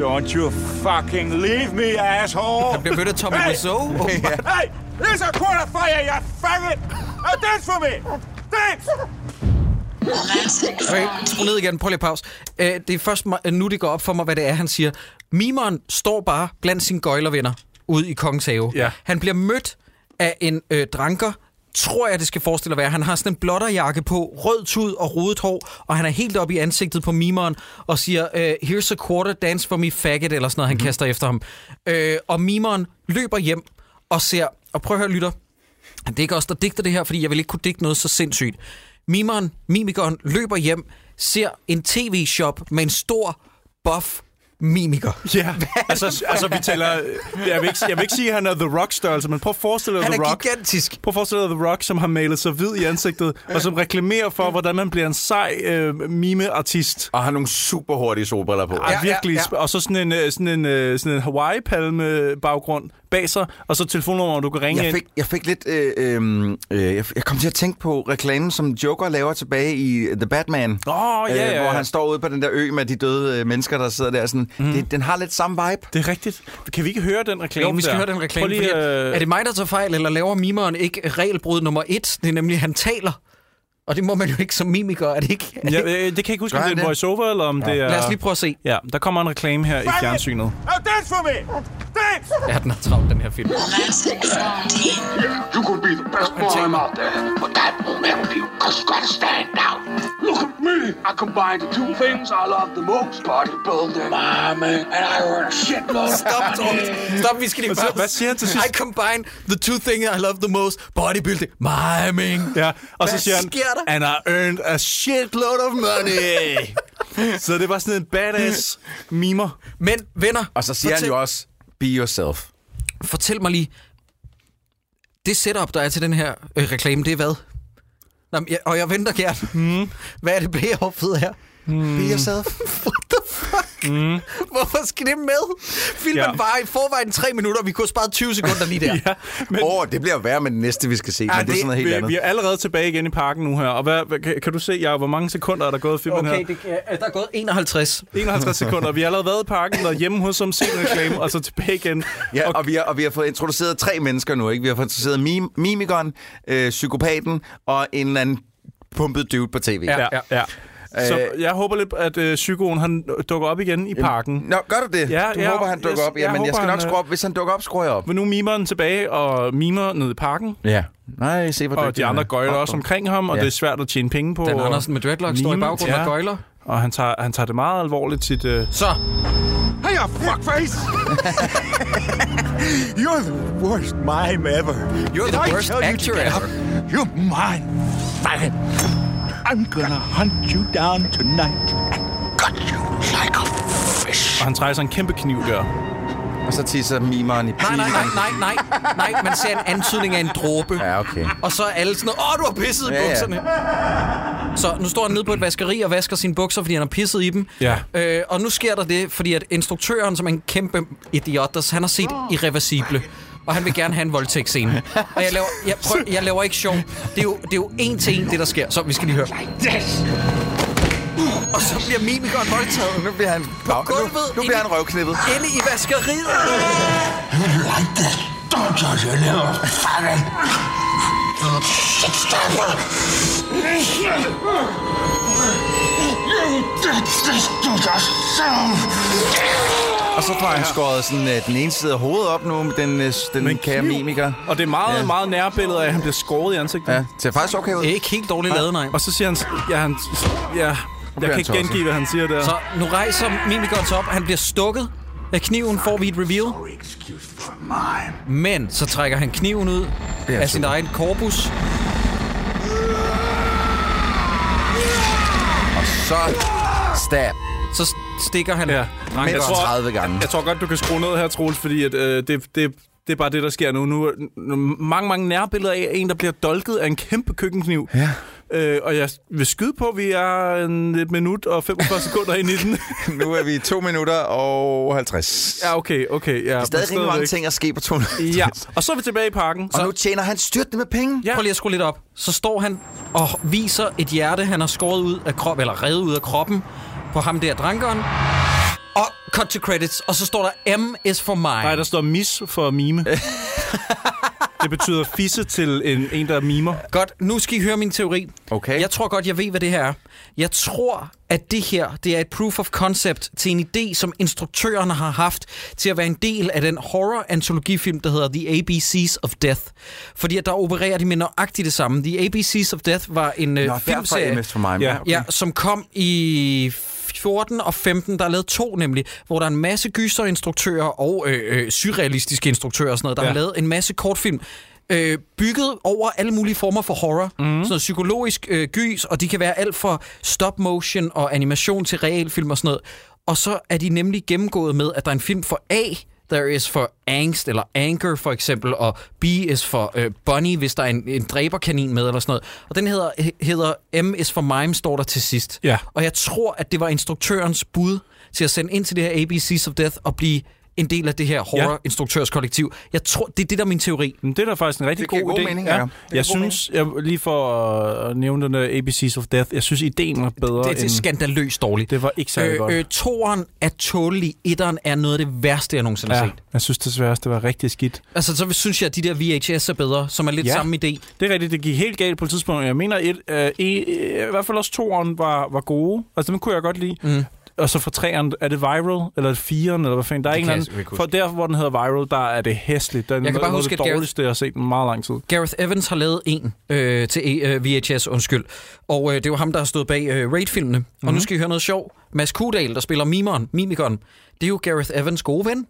Speaker 7: Don't you fucking leave me, asshole!
Speaker 1: Han bliver mødt af Tommy
Speaker 7: Hey!
Speaker 1: Wiseau. åbenbart.
Speaker 7: Hey, there's a quarter fire, you faggot! Now dance for me! Dance!
Speaker 1: Okay, skru ned igen. Prøv lige at pause. Øh, det er først mig- nu, det går op for mig, hvad det er, han siger. Mimeren står bare blandt sine gøjlervenner ude i Kongens Have.
Speaker 2: Ja.
Speaker 1: Han bliver mødt af en øh, dranker, tror jeg, det skal forestille at være. Han har sådan en blotterjakke på, rød tud og rodet hår, og han er helt oppe i ansigtet på mimeren og siger, øh, here's a quarter, dance for me, faggot, eller sådan noget, han mm. kaster efter ham. Øh, og mimeren løber hjem og ser, og prøv at høre, lytter, det er ikke os, der digter det her, fordi jeg vil ikke kunne digte noget så sindssygt. Mimeren, mimikeren, løber hjem, ser en tv-shop med en stor, buff
Speaker 8: mimiker.
Speaker 2: Ja, altså, altså vi taler... Jeg vil, ikke, jeg vil ikke sige, at han er The Rock-størrelse, men prøv at forestille dig
Speaker 1: Han
Speaker 2: The
Speaker 1: er
Speaker 2: Rock.
Speaker 1: gigantisk.
Speaker 2: Prøv at forestille dig The Rock, som har malet sig hvid i ansigtet, og som reklamerer for, hvordan man bliver en sej øh, mime-artist.
Speaker 3: Og har nogle super hurtige solbriller på.
Speaker 2: Ja,
Speaker 3: Ja.
Speaker 2: virkelig.
Speaker 1: ja,
Speaker 2: Ja,
Speaker 1: ja.
Speaker 2: ja. Og så sådan en, øh, sådan en, øh, sådan en Hawaii-palme-baggrund bag sig, og så telefonnummer, hvor du kan ringe
Speaker 3: Jeg fik, jeg fik lidt... Øh, øh, øh, jeg- jeg kom til at tænke på reklamen, som Joker laver tilbage i The Batman.
Speaker 2: ind. Åh,
Speaker 1: Øh,
Speaker 2: ja, ja,
Speaker 3: Øh, Hvor
Speaker 2: ja. Mhm.
Speaker 3: han står ude på den der ø med de døde øh, mennesker, der sidder der. Sådan, mm. det, den har lidt samme vibe.
Speaker 2: Det er rigtigt. Kan vi ikke høre den reklame
Speaker 1: Jo, vi skal
Speaker 2: der?
Speaker 1: høre den reklame.
Speaker 2: Prøv
Speaker 1: Lige, fordi,
Speaker 2: Lige,
Speaker 1: øh... Er
Speaker 2: øh,
Speaker 1: det mig, der tager fejl, eller laver mimeren ikke regelbrud nummer et? Det er nemlig, han taler. Og det må man jo ikke som mimiker, er det ikke? Er det
Speaker 2: ja,
Speaker 1: ikke?
Speaker 2: øh, det kan jeg ikke huske, om det
Speaker 3: Gør han
Speaker 2: er en
Speaker 3: det?
Speaker 2: voiceover, eller om ja. det er...
Speaker 1: Lad os lige prøve at se.
Speaker 2: Ja, der kommer en reklame her i
Speaker 7: Faggot!
Speaker 2: fjernsynet.
Speaker 7: Now dance for me! Dance!
Speaker 1: Ja, den har travlt, den her film.
Speaker 9: You could be the best boy out there, but that won't help you, because you gotta stand out. Look at me! I combined the two things I love the most, bodybuilding, my man, and I earn a shitload of
Speaker 1: Stop, Torben. Stop, vi skal lige
Speaker 2: så-
Speaker 1: pause.
Speaker 2: hvad siger han til sidst?
Speaker 1: I combine the two things I love the most. Bodybuilding. Miming.
Speaker 2: Ja, og
Speaker 1: Hvad
Speaker 2: så siger han,
Speaker 1: sker der?
Speaker 2: and I earned a shitload of money. så det var sådan en badass mimer.
Speaker 1: Men venner,
Speaker 3: Og så siger han
Speaker 1: fortæl,
Speaker 3: jo også, be yourself.
Speaker 1: fortæl mig lige, det setup, der er til den her øh, reklame, det er hvad? Nå, men jeg, og jeg venter gerne. Mm. Hvad er det payoffet her?
Speaker 3: Be yourself.
Speaker 1: What the fuck? Mm. Hvorfor skal det med? Filmen
Speaker 2: Ja.
Speaker 1: ja. var i forvejen tre minutter, og vi kunne have sparet 20 sekunder lige der. ja.
Speaker 2: Men Ah,
Speaker 3: Åh, oh, det bliver værre med det næste, vi skal se. Ja, men det, er sådan noget helt
Speaker 2: vi,
Speaker 3: andet.
Speaker 2: vi er allerede tilbage igen i parken nu her. Og hvad, hvad, kan, kan du se, ja, hvor mange sekunder er der gået i filmen
Speaker 1: Okay,
Speaker 2: her?
Speaker 1: det, kan- der er gået 51.
Speaker 2: 51 sekunder. Vi har allerede været i parken og hjemme hos som set en reklame, og så tilbage igen.
Speaker 3: Ja, og, og, vi har, og vi har fået introduceret tre mennesker nu, ikke? Vi har fået introduceret mim- mimikeren, øh, psykopaten og en eller anden pumpet dude på tv.
Speaker 2: ja, ja. ja. Så
Speaker 3: Øh,
Speaker 2: jeg håber lidt, at øh, psykoen han dukker op igen i parken.
Speaker 3: Nå, gør du det?
Speaker 2: Ja,
Speaker 3: du
Speaker 2: ja,
Speaker 3: håber, han dukker
Speaker 2: jeg-
Speaker 3: op? Ja,
Speaker 2: jeg
Speaker 3: men jeg
Speaker 2: håber,
Speaker 3: skal nok
Speaker 2: han, øh,
Speaker 3: skrue op. Hvis han dukker op, skruer jeg op.
Speaker 2: Men nu er mimeren tilbage og mimer ned i parken.
Speaker 3: Ja. Nej, se, hvor
Speaker 2: Og
Speaker 3: dygtig
Speaker 2: de
Speaker 3: han
Speaker 2: andre
Speaker 3: er.
Speaker 2: gøjler
Speaker 3: Hop,
Speaker 2: også
Speaker 3: hop.
Speaker 2: omkring ham, og
Speaker 3: Ja.
Speaker 2: det er svært at tjene penge på. øh,
Speaker 1: Dan
Speaker 2: og-
Speaker 1: Andersen med dreadlocks står i
Speaker 2: Mime,
Speaker 1: baggrunden og gøjler.
Speaker 2: Og han tager, han tager det meget alvorligt, sit... Øh,
Speaker 1: Så,
Speaker 7: Hey, you fuckface! You're the worst mime ever.
Speaker 1: You're
Speaker 7: Did
Speaker 1: the
Speaker 7: I
Speaker 1: worst
Speaker 7: tell you to
Speaker 1: actor
Speaker 7: get up? You're mine, faggot. I'm gonna hunt you down tonight and gut you like a fish.
Speaker 2: og han trækker sig en kæmpe kniv der.
Speaker 3: Og så tisser mimeren i
Speaker 1: nej, nej, nej,
Speaker 3: pilen.
Speaker 1: nej, nej, nej, man ser en antydning af en dråbe.
Speaker 3: Ja, okay.
Speaker 1: Og så er alle sådan, åh, du har pisset i
Speaker 3: Ja, ja.
Speaker 1: bukserne. Så nu står han nede på et vaskeri og vasker sine bukser, fordi han har pisset i dem.
Speaker 2: Ja.
Speaker 1: Øh, og nu sker der det, fordi at instruktøren, som er en kæmpe idiot, der, han har set irreversible. Og han vil gerne have en voldtægtsscene. Og jeg laver, jeg, prøv, jeg laver ikke sjov. Det er, jo, det er jo én til én, det der sker. Så vi skal lige høre. Og så bliver mimikeren voldtaget
Speaker 3: Nu bliver han, på
Speaker 1: gulvet,
Speaker 3: nu, nu bliver
Speaker 1: ind-
Speaker 3: han røvknippet.
Speaker 1: inde i vaskeriet.
Speaker 9: like this. Don't judge your little faggot. Little shit stopper. You did this to yourself.
Speaker 3: Og så får han skåret sådan, øh, den ene side af hovedet op nu, den, øh, den kære mimiker.
Speaker 2: Og det er meget, ja. meget nære billede af, at han bliver skåret i ansigtet.
Speaker 3: Ja, ser faktisk okay ud.
Speaker 1: Ikke helt dårligt lavet, nej.
Speaker 2: Og så siger han... s- Ja, han s- ja, jeg kan
Speaker 3: han
Speaker 2: ikke
Speaker 3: tosset.
Speaker 2: gengive, hvad han siger der.
Speaker 1: Så nu rejser mimikeren sig op. Han bliver stukket af kniven, får vi et reveal. Men så trækker han kniven ud af sin egen korpus.
Speaker 3: Så stab.
Speaker 1: Så stikker han.
Speaker 2: Ja.
Speaker 1: Rank-
Speaker 3: Mindst
Speaker 2: tror-
Speaker 3: 30 gange.
Speaker 2: Jeg tror godt, du kan skrue ned her, Troels, fordi at, øh, det, det, det er bare det, der sker nu. nu. nu- Mange, mange nærbilleder af en, der bliver dolket af en kæmpe køkkenkniv. Ja. Øh, og jeg vil skyde på, at vi er en, et minut og 45 sekunder ind i den.
Speaker 3: Nu er vi to minutter og 50.
Speaker 2: ja, okay, okay. Ja,
Speaker 3: Stadig rigtig mange ting at ske på to minutter.
Speaker 2: Ja, og så er vi tilbage i parken.
Speaker 3: Og nu tjener han styrtende med penge.
Speaker 2: Ja.
Speaker 1: Prøv lige at skrue lidt op. Så står han og viser et hjerte, han har skåret ud af kroppen, eller revet ud af kroppen på ham der drankeren. Og cut to credits, og så står der M is for mig.
Speaker 2: Nej, der står mis for mime. det betyder fisse til en, en der mimer.
Speaker 1: Godt, nu skal I høre min teori.
Speaker 3: Okay.
Speaker 1: Jeg tror godt, jeg ved, hvad det her er. Jeg tror, at det her det er et proof of concept til en idé, som instruktøren har haft til at være en del af den horror-antologifilm, der hedder The ABCs of Death. Fordi at der opererer de med nøjagtigt det samme. The ABCs of Death var en øh,
Speaker 3: Nå,
Speaker 1: filmserie,
Speaker 3: derfor MS for mig.
Speaker 2: Ja.
Speaker 1: ja, som kom i 14 og 15, der er lavet to nemlig, hvor der er en masse gyserinstruktører og øh, øh, surrealistiske instruktører og sådan noget, der ja.
Speaker 2: Ja.
Speaker 1: har lavet en masse kortfilm, øh, bygget over alle mulige former for horror. Mm. Sådan noget psykologisk øh, gys, og de kan være alt fra stop motion og animation til realfilm og sådan noget. Og så er de nemlig gennemgået med, at der er en film for A, there is for angst, eller anger for eksempel, og B is for øh, bunny, hvis der er en, en dræberkanin med, eller sådan noget. Og den hedder, he- hedder M is for mime, står der til sidst.
Speaker 2: Ja.
Speaker 1: Og jeg tror, at det var instruktørens bud til at sende ind til det her ABC's of Death og blive en del af det her horror-instruktørskollektiv. Jeg tror, det er det, der er min teori.
Speaker 2: Men det er da faktisk en rigtig
Speaker 3: Det giver
Speaker 2: god
Speaker 3: god
Speaker 2: idé.
Speaker 3: mening, ja.
Speaker 2: ja.
Speaker 3: Det giver
Speaker 2: Jeg
Speaker 3: god
Speaker 2: synes, jeg, lige for at nævne den der ABC's of Death, jeg synes, ideen var bedre
Speaker 1: Det, det er
Speaker 2: end...
Speaker 1: skandaløst dårligt.
Speaker 2: Det var ikke særlig
Speaker 1: Øh,
Speaker 2: godt.
Speaker 1: øh, toeren er tålig, etteren er noget af det værste, jeg nogensinde har
Speaker 2: ja,
Speaker 1: set.
Speaker 2: jeg synes desværre, det var rigtig skidt.
Speaker 1: Altså, så synes jeg, at de der VHS er bedre, som er lidt
Speaker 2: Ja.
Speaker 1: ja. samme idé.
Speaker 2: Det er rigtigt, det gik helt galt på et tidspunkt. Jeg mener, et, øh, i, i, i hvert fald også toeren var, var gode. Altså, dem kunne jeg godt lide. Mm. Og så fra træeren, er det viral, eller er det firen, eller hvad fanden? Der er ikke
Speaker 1: kan jeg
Speaker 2: anden.
Speaker 1: sgu ikke huske.
Speaker 2: For der, hvor den hedder viral, der er det hæsligt. Den
Speaker 1: Jeg kan bare
Speaker 2: noget
Speaker 1: huske,
Speaker 2: af
Speaker 1: at
Speaker 2: det
Speaker 1: Gareth-
Speaker 2: dårligste, jeg har set i meget lang tid.
Speaker 1: Gareth Evans har lavet en øh, til øh, VHS, undskyld. Og øh, det var ham, der har stået bag øh, Raid-filmene. Mm-hmm. Og nu skal I høre noget sjovt. Mads Kudal, der spiller Mimeren, Mimikon, det er jo Gareth Evans gode ven.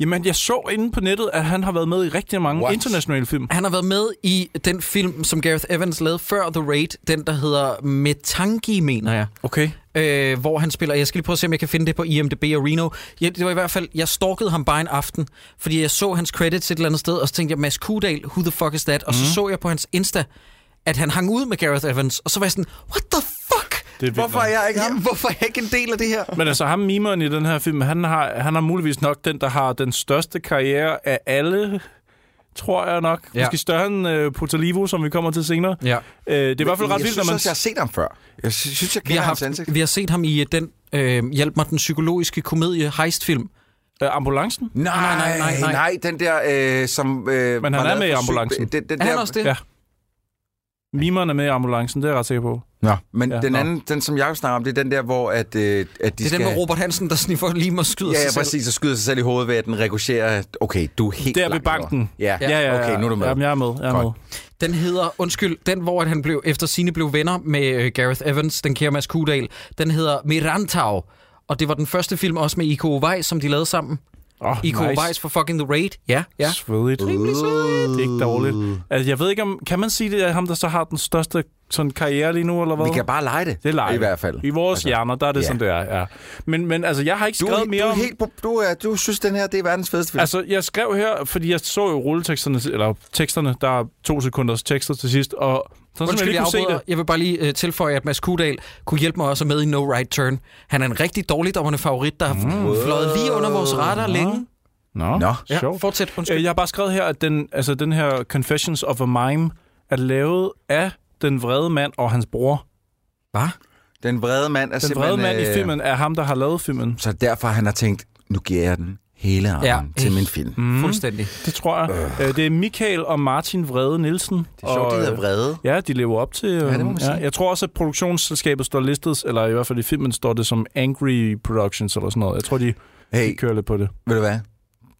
Speaker 2: Jamen, jeg så inde på nettet, at han har været med i rigtig mange What?
Speaker 3: What?
Speaker 2: internationale film.
Speaker 1: Han har været med i den film, som Gareth Evans lavede før The Raid, den der hedder Metangi, mener jeg.
Speaker 2: Okay.
Speaker 1: øh, hvor han spiller. Jeg skal lige prøve at se, om jeg kan finde det på IMDb og Reno. Ja, det var i hvert fald, jeg stalkede ham bare en aften, fordi jeg så hans credits et eller andet sted, og så tænkte jeg, Mads Kudal, who the fuck is that? Og så
Speaker 3: Mhm.
Speaker 1: så jeg på hans Insta, at han hang ud med Gareth Evans, og så var jeg sådan, what the fuck?
Speaker 2: Det er vildt
Speaker 3: Hvorfor er
Speaker 2: nok.
Speaker 3: jeg ikke...
Speaker 1: Jamen, hvorfor er jeg ikke en del af det her?
Speaker 2: Men altså, ham mimeren i den her film, han har, han har muligvis nok den, der har den største karriere af alle, tror jeg nok. Ja.
Speaker 1: Ja.
Speaker 2: Måske større end øh, Potalivo, som vi kommer til senere.
Speaker 1: Ja.
Speaker 2: Øh, det er i hvert fald ret
Speaker 3: jeg
Speaker 2: vildt, når
Speaker 3: synes
Speaker 2: man...
Speaker 3: også, jeg har set ham før. Jeg sy- synes, jeg
Speaker 1: Vi
Speaker 3: kender
Speaker 1: har,
Speaker 3: hans ansigt.
Speaker 1: haft, vi har set ham i øh, den, øh, hjælp mig, den psykologiske komedie Heist-film.
Speaker 2: Øh, ambulancen?
Speaker 3: Nej, nej, nej, nej. nej den der, øh, som... Øh,
Speaker 2: han
Speaker 3: var
Speaker 2: er
Speaker 3: lavet
Speaker 2: med i
Speaker 3: for syg-
Speaker 2: ambulancen.
Speaker 3: Den, den
Speaker 1: Er
Speaker 3: der,
Speaker 1: han også det?
Speaker 2: Ja. Mimeren er med i ambulancen, det er jeg ret sikker på.
Speaker 3: Nå, men
Speaker 2: Ja,
Speaker 3: ja, den
Speaker 2: nå.
Speaker 3: anden, den som jeg snakker om, det er den der, hvor at, øh, at de
Speaker 1: Det er
Speaker 3: skal...
Speaker 1: den med Robert Hansen, der sniffer lige og skyder
Speaker 3: Ja, ja,
Speaker 1: sig selv.
Speaker 3: præcis. Så skyder sig selv i hovedet ved, at den rekurserer. Okay, du er helt
Speaker 2: Der ved
Speaker 3: langt
Speaker 2: banken.
Speaker 3: over. Ja.
Speaker 2: Ja, ja, ja.
Speaker 3: Okay, nu er du med.
Speaker 2: Jamen, jeg er med. Jeg er
Speaker 3: Godt.
Speaker 2: med.
Speaker 1: Den hedder, undskyld, den hvor at han blev, efter sine blev venner med øh, Gareth Evans, den kære Mads Kudal, den hedder Mirantau. Og det var den første film også med I.K. Weiss, som de lavede sammen.
Speaker 2: Oh,
Speaker 1: I.K. Nice. Weiss for fucking The Raid. Ja, ja.
Speaker 2: Svedigt. Det er ikke dårligt. Altså, jeg ved ikke, om kan man sige, det er ham, der så har den største sådan, karriere lige nu, eller hvad?
Speaker 3: Vi kan bare lege det.
Speaker 2: det er live.
Speaker 3: I hvert fald.
Speaker 2: I vores altså,
Speaker 3: Altså,
Speaker 2: hjerner, der er det
Speaker 3: ja.
Speaker 2: sådan, det er. Ja. Men, men altså, jeg har ikke
Speaker 3: Du,
Speaker 2: skrevet
Speaker 3: er-
Speaker 2: mere
Speaker 3: du, er
Speaker 2: om...
Speaker 3: helt, på- du, er, du synes, den her det er verdens fedeste film.
Speaker 2: Altså, jeg skrev her, fordi jeg så jo rulleteksterne, eller teksterne, der er to sekunders tekster til sidst, og så som jeg
Speaker 1: Undskyld,
Speaker 2: lige
Speaker 1: jeg,
Speaker 2: kunne se
Speaker 1: afbryder.
Speaker 2: det.
Speaker 1: jeg vil bare lige øh, tilføje, at Mads Kudal kunne hjælpe mig også med i No Right Turn. Han er en rigtig dårligdommerne favorit, der har mm. fløjet lige under vores radar længe.
Speaker 2: Nå,
Speaker 3: Nå.
Speaker 1: Ja,
Speaker 2: sjovt.
Speaker 1: fortsæt. Undskyld.
Speaker 2: Øh, Jeg har bare skrevet her, at den, altså, den her Confessions of a Mime er lavet af den vrede mand og hans bror.
Speaker 1: Hvad?
Speaker 3: Den vrede mand er
Speaker 2: Den vrede
Speaker 3: simpelthen...
Speaker 2: mand i
Speaker 3: øh,
Speaker 2: filmen er ham, der har lavet filmen.
Speaker 3: Så derfor han har tænkt, nu giver jeg den hele armen
Speaker 1: Ja.
Speaker 3: til min film. Det
Speaker 1: Mm. Fuldstændig.
Speaker 2: Det tror jeg. Øh. Det er Michael og Martin Vrede Nielsen. Det
Speaker 3: er sjovt, de
Speaker 2: øh,
Speaker 3: hedder vrede.
Speaker 2: Ja, de lever op til... øh, Ja,
Speaker 3: det må man sige.
Speaker 2: Jeg tror også, at produktionsselskabet står listet, eller i hvert fald i filmen står det som Angry Productions eller sådan noget. Jeg tror, de, de
Speaker 3: Hey,
Speaker 2: kører lidt på det.
Speaker 3: ved du hvad?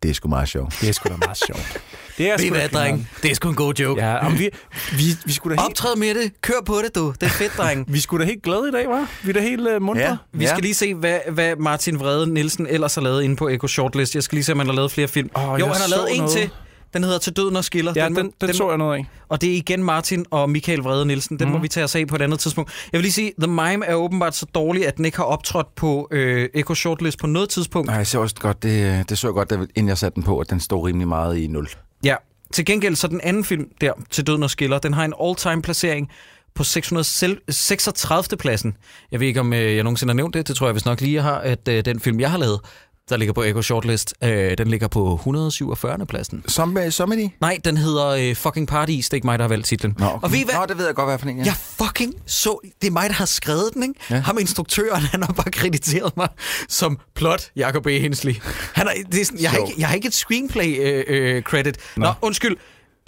Speaker 3: Det er sgu meget sjovt.
Speaker 2: Det er sgu da meget sjovt. Det er
Speaker 1: Ved I
Speaker 2: sgu da
Speaker 1: hvad, dreng? Det er sgu en god joke. Ja.
Speaker 2: Ja, jamen, vi, vi, vi, skulle da helt,
Speaker 1: Optræd med det. Kør på det, du. Det er fedt, dreng.
Speaker 2: vi skulle da helt glade i dag, var? Vi er da helt uh, mundre. Ja.
Speaker 1: Vi ja. skal lige se, hvad, hvad Martin Vrede Nielsen ellers har lavet inde på Echo Shortlist. Jeg skal lige se, om han har lavet flere film.
Speaker 2: Åh,
Speaker 1: jo,
Speaker 2: jeg
Speaker 1: han har
Speaker 2: så
Speaker 1: lavet en
Speaker 2: noget.
Speaker 1: til. Den hedder Til døden og skiller.
Speaker 2: Ja, den, den, den, så jeg Mhm. noget af.
Speaker 1: Og det er igen Martin og Michael Vrede Nielsen. Den mm. må vi tage os af på et andet tidspunkt. Jeg vil lige sige, The Mime er åbenbart så dårlig, at den ikke har optrådt på øh, Echo Shortlist på noget tidspunkt.
Speaker 3: Nej, jeg så også godt, det, det så jeg godt, da, inden jeg satte den på, at den stod rimelig meget i nul.
Speaker 1: Ja. Til gengæld så den anden film der, Til døden og skiller, den har en all-time placering på 636. pladsen. Jeg ved ikke, om øh, jeg nogensinde har nævnt det. Det tror jeg vist nok lige, jeg har, at øh, den film, jeg har lavet, der ligger på Echo Shortlist, øh, den ligger på 147. pladsen.
Speaker 3: Som, øh, som er de?
Speaker 1: Nej, den hedder øh, fucking Paradis. Det er ikke mig, der har valgt titlen.
Speaker 3: Nå, okay.
Speaker 1: Og ved I hvad?
Speaker 3: Nå, det ved jeg godt, hvad for en, ja.
Speaker 1: Jeg fucking så... Det er mig, der har skrevet den, ikke? Ja. Ham instruktøren, han har bare krediteret mig som plot Jacob E. Hensley. Han er, det er sådan, jeg, har ikke, jeg har ikke et screenplay-credit. Øh, øh, credit. Nå. Nå, undskyld.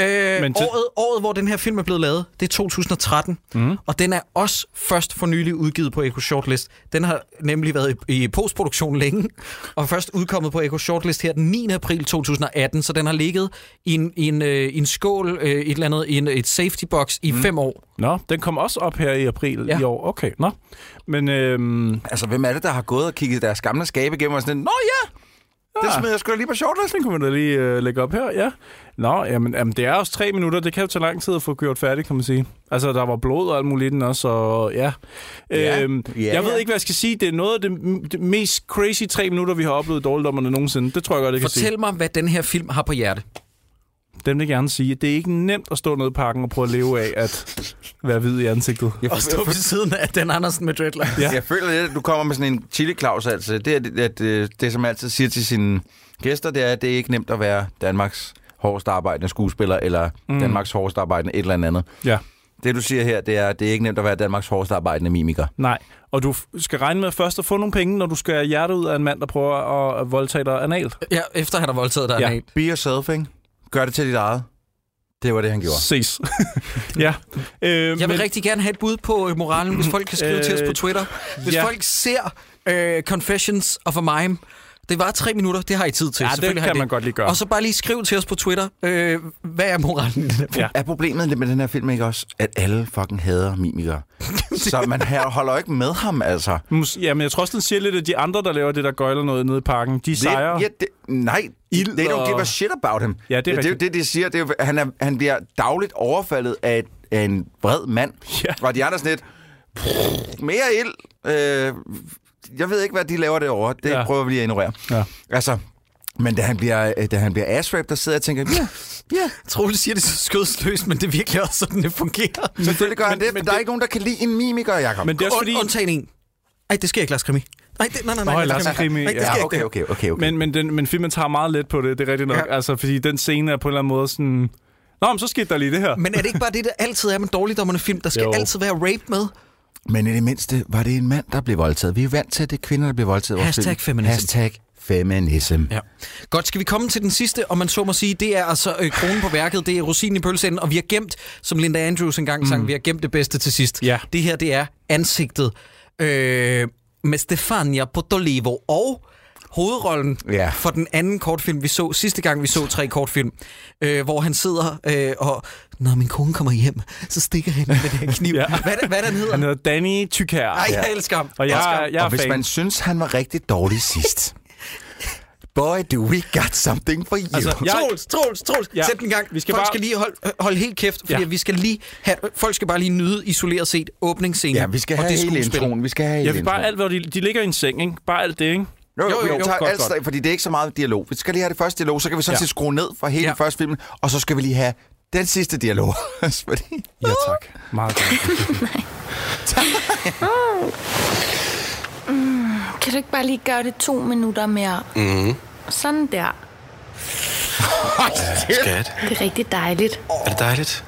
Speaker 1: Øh,
Speaker 2: Men til-
Speaker 1: året, året, hvor den her film er blevet lavet, det er 2013. Mm.
Speaker 2: Mhm.
Speaker 1: Og den er også først for nylig udgivet på Echo Shortlist. Den har nemlig været i, i postproduktion længe, og først udkommet på Echo Shortlist her den 9. april 2018. Så den har ligget i en, i en, øh, i en skål, øh, et eller andet, i en, et safety box
Speaker 2: Mhm.
Speaker 1: i mm. fem år.
Speaker 2: Nå, den kom også op her i april ja.
Speaker 1: Ja.
Speaker 2: i år. Okay, nå. Men øhm,
Speaker 3: Altså, hvem er det, der har gået og kigget deres gamle skabe igennem og sådan, Nå ja, Det smider jeg sgu da lige på shortlisten.
Speaker 2: Den kunne man da lige øh, lægge op her, ja. Nå, jamen, jamen, det er også tre minutter. Det kan jo tage lang tid at få gjort færdigt, kan man sige. Altså, der var blod og alt muligt i den også, og ja.
Speaker 3: Ja,
Speaker 2: Øhm,
Speaker 3: ja,
Speaker 2: jeg ved
Speaker 3: ja.
Speaker 2: ikke, hvad jeg skal sige. Det er noget af det, det mest crazy tre minutter, vi har oplevet i dårligdommerne nogensinde. Det tror jeg godt, jeg kan sige.
Speaker 1: Fortæl mig, hvad den her film har på hjerte.
Speaker 2: Dem vil jeg gerne sige, det er ikke nemt at stå nede i parken og prøve at leve af at være hvid i ansigtet.
Speaker 3: Jeg,
Speaker 1: Og stå ved siden af den Andersen med dreadlocks.
Speaker 2: Ja.
Speaker 3: jeg føler lidt, at du kommer med sådan en chili claus altså. Det er det, det, det, det, som jeg altid siger til sine gæster, det er, at det er ikke nemt at være Danmarks hårdest arbejdende skuespiller, eller mm. Danmarks hårdest arbejdende et eller andet.
Speaker 2: Ja.
Speaker 3: Det, du siger her, det er, at det er ikke nemt at være Danmarks hårdest arbejdende mimiker.
Speaker 2: Nej, og du f- skal regne med først at få nogle penge, når du skal have hjertet ud af en mand, der prøver at- at voldtage dig analt.
Speaker 1: Ja, efter han har voldtaget dig.
Speaker 2: Ja.
Speaker 1: Ja.
Speaker 3: Be yourself, ikke? Gør det til dit eget. Det var det, han gjorde.
Speaker 2: Ses. ja. Øh,
Speaker 1: Jeg vil men... rigtig gerne have et bud på øh, moralen, hvis folk kan skrive øh, til os på
Speaker 2: Øh,
Speaker 1: Twitter. Hvis
Speaker 2: ja.
Speaker 1: ja. folk ser øh, Confessions of a Mime, det var tre minutter, det har I tid til.
Speaker 2: Ja, det
Speaker 1: Selvfølgelig har
Speaker 2: kan
Speaker 1: I
Speaker 2: man godt lige gøre.
Speaker 1: Og så bare lige skriv til os på Twitter, øh, hvad er moralen i den her film?
Speaker 2: Ja.
Speaker 3: Er problemet lidt med den her film ikke også, at alle fucking hader mimikere? så man her holder jo ikke med ham, altså.
Speaker 2: Mus- Ja, men jeg tror også, den siger lidt, at de andre, der laver det, der gøjler noget nede i parken, de
Speaker 3: Det,
Speaker 2: sejrer.
Speaker 3: ja, det, nej,
Speaker 2: Ild
Speaker 3: Ild they don't
Speaker 2: og-
Speaker 3: give a shit about him.
Speaker 2: Ja, det er
Speaker 3: det, er jo
Speaker 2: rigtigt.
Speaker 3: det, de siger. Det er, jo- han, er, han bliver dagligt overfaldet af, et- af en vred mand.
Speaker 2: Ja.
Speaker 3: Og de andre sådan lidt, "Pff, mere ild. Øh, jeg ved ikke, hvad de laver derovre. Det
Speaker 2: Ja.
Speaker 3: ja. prøver vi lige at ignorere.
Speaker 2: Ja.
Speaker 3: Altså, men da han bliver, øh, da han bliver ass-raped, der sidder jeg og tænker, ja, ja,
Speaker 1: Troligt siger det så skødsløst, men det er virkelig også sådan, det fungerer.
Speaker 3: selvfølgelig gør han
Speaker 2: men-
Speaker 3: det,
Speaker 2: men
Speaker 3: men der er
Speaker 2: det-
Speaker 3: ikke nogen, der kan lide en mimiker, Jacob.
Speaker 2: Men det er også
Speaker 1: Und-
Speaker 2: fordi...
Speaker 1: Undtagen en. Ej, det sker ikke, Lars Krimi. Nej, det, nej, nej, nej.
Speaker 2: Nå,
Speaker 1: Lars
Speaker 2: Lars
Speaker 1: Krimi.
Speaker 2: Krimi,
Speaker 1: Nej, det
Speaker 2: ja.
Speaker 1: sker
Speaker 3: Ja,
Speaker 1: ikke.
Speaker 3: okay,
Speaker 1: det.
Speaker 3: okay, okay, okay.
Speaker 2: Men, men, den, men filmen tager meget let på det, det er rigtigt nok. Ja.
Speaker 1: Ja.
Speaker 2: Altså, fordi den scene er på en eller anden måde sådan... Nå, men så skete der lige det her.
Speaker 1: Men er det ikke bare det, der altid er med dårligdommerne film? Der skal
Speaker 2: Jo.
Speaker 1: jo. altid være rape med.
Speaker 3: Men i det mindste var det en mand, der blev voldtaget. Vi er vant til, at det er kvinder, der bliver voldtaget. i vores
Speaker 1: Hashtag
Speaker 3: film.
Speaker 1: feminism.
Speaker 3: Hashtag feminism. Ja.
Speaker 1: Godt, skal vi komme til den sidste, og man så må sige, det er altså øh, kronen på værket, det er rosinen i pølseenden, og vi har gemt, som Linda Andrews engang sang, mm. vi har gemt det bedste til sidst.
Speaker 2: Ja.
Speaker 1: Det her, det er ansigtet øh, med Stefania Potolivo og hovedrollen
Speaker 3: Ja.
Speaker 1: for den anden kortfilm, vi så sidste gang, vi så tre kortfilm, øh, hvor han sidder øh, og, når min kone kommer hjem, så stikker han med den her kniv.
Speaker 2: Ja.
Speaker 1: ja. hvad, er det- hvad er det, han hedder?
Speaker 2: Han hedder Danny Tykær.
Speaker 1: Ej, jeg elsker ham.
Speaker 2: Og jeg,
Speaker 1: elsker ham.
Speaker 2: jeg, jeg
Speaker 3: Og
Speaker 2: er
Speaker 3: hvis
Speaker 2: fan.
Speaker 3: man synes, han var rigtig dårlig sidst. Boy, do we got something for you.
Speaker 2: Altså,
Speaker 3: Altså,
Speaker 2: jeg-
Speaker 3: jeg...
Speaker 1: Troels, Troels, Troels,
Speaker 2: Ja.
Speaker 1: ja. sæt den i gang.
Speaker 2: Vi
Speaker 1: Vi skal
Speaker 2: skal
Speaker 1: folk
Speaker 2: bare-
Speaker 1: skal lige holde, øh, holde helt kæft, fordi
Speaker 2: Ja.
Speaker 1: ja. vi skal lige have, folk skal bare lige nyde isoleret set åbningsscenen.
Speaker 3: Ja, vi skal
Speaker 1: og
Speaker 3: have
Speaker 1: det
Speaker 3: hele
Speaker 1: skuespil.
Speaker 3: introen. Vi skal have
Speaker 2: Jeg
Speaker 3: hele
Speaker 2: vil bare alt,
Speaker 3: introen.
Speaker 2: hvor de, de ligger i en seng, ikke? Bare alt det, ikke?
Speaker 3: Jo, jo,
Speaker 1: Jo,
Speaker 3: jo,
Speaker 1: jo,
Speaker 3: vi
Speaker 1: jo.
Speaker 3: tager
Speaker 2: Godt,
Speaker 3: alt
Speaker 2: godt.
Speaker 3: godt. fordi det er ikke så meget dialog. Vi skal lige have det første dialog, så kan vi sådan
Speaker 2: Ja.
Speaker 3: ja. set skrue ned for hele
Speaker 1: Ja.
Speaker 3: ja. første film, og så skal vi lige have den sidste dialog. også, fordi...
Speaker 2: Ja, tak. Meget godt.
Speaker 8: Kan du ikke bare lige gøre det to minutter mere? Mm. Sådan der.
Speaker 10: Skat,
Speaker 8: Det er rigtig dejligt.
Speaker 10: er det dejligt?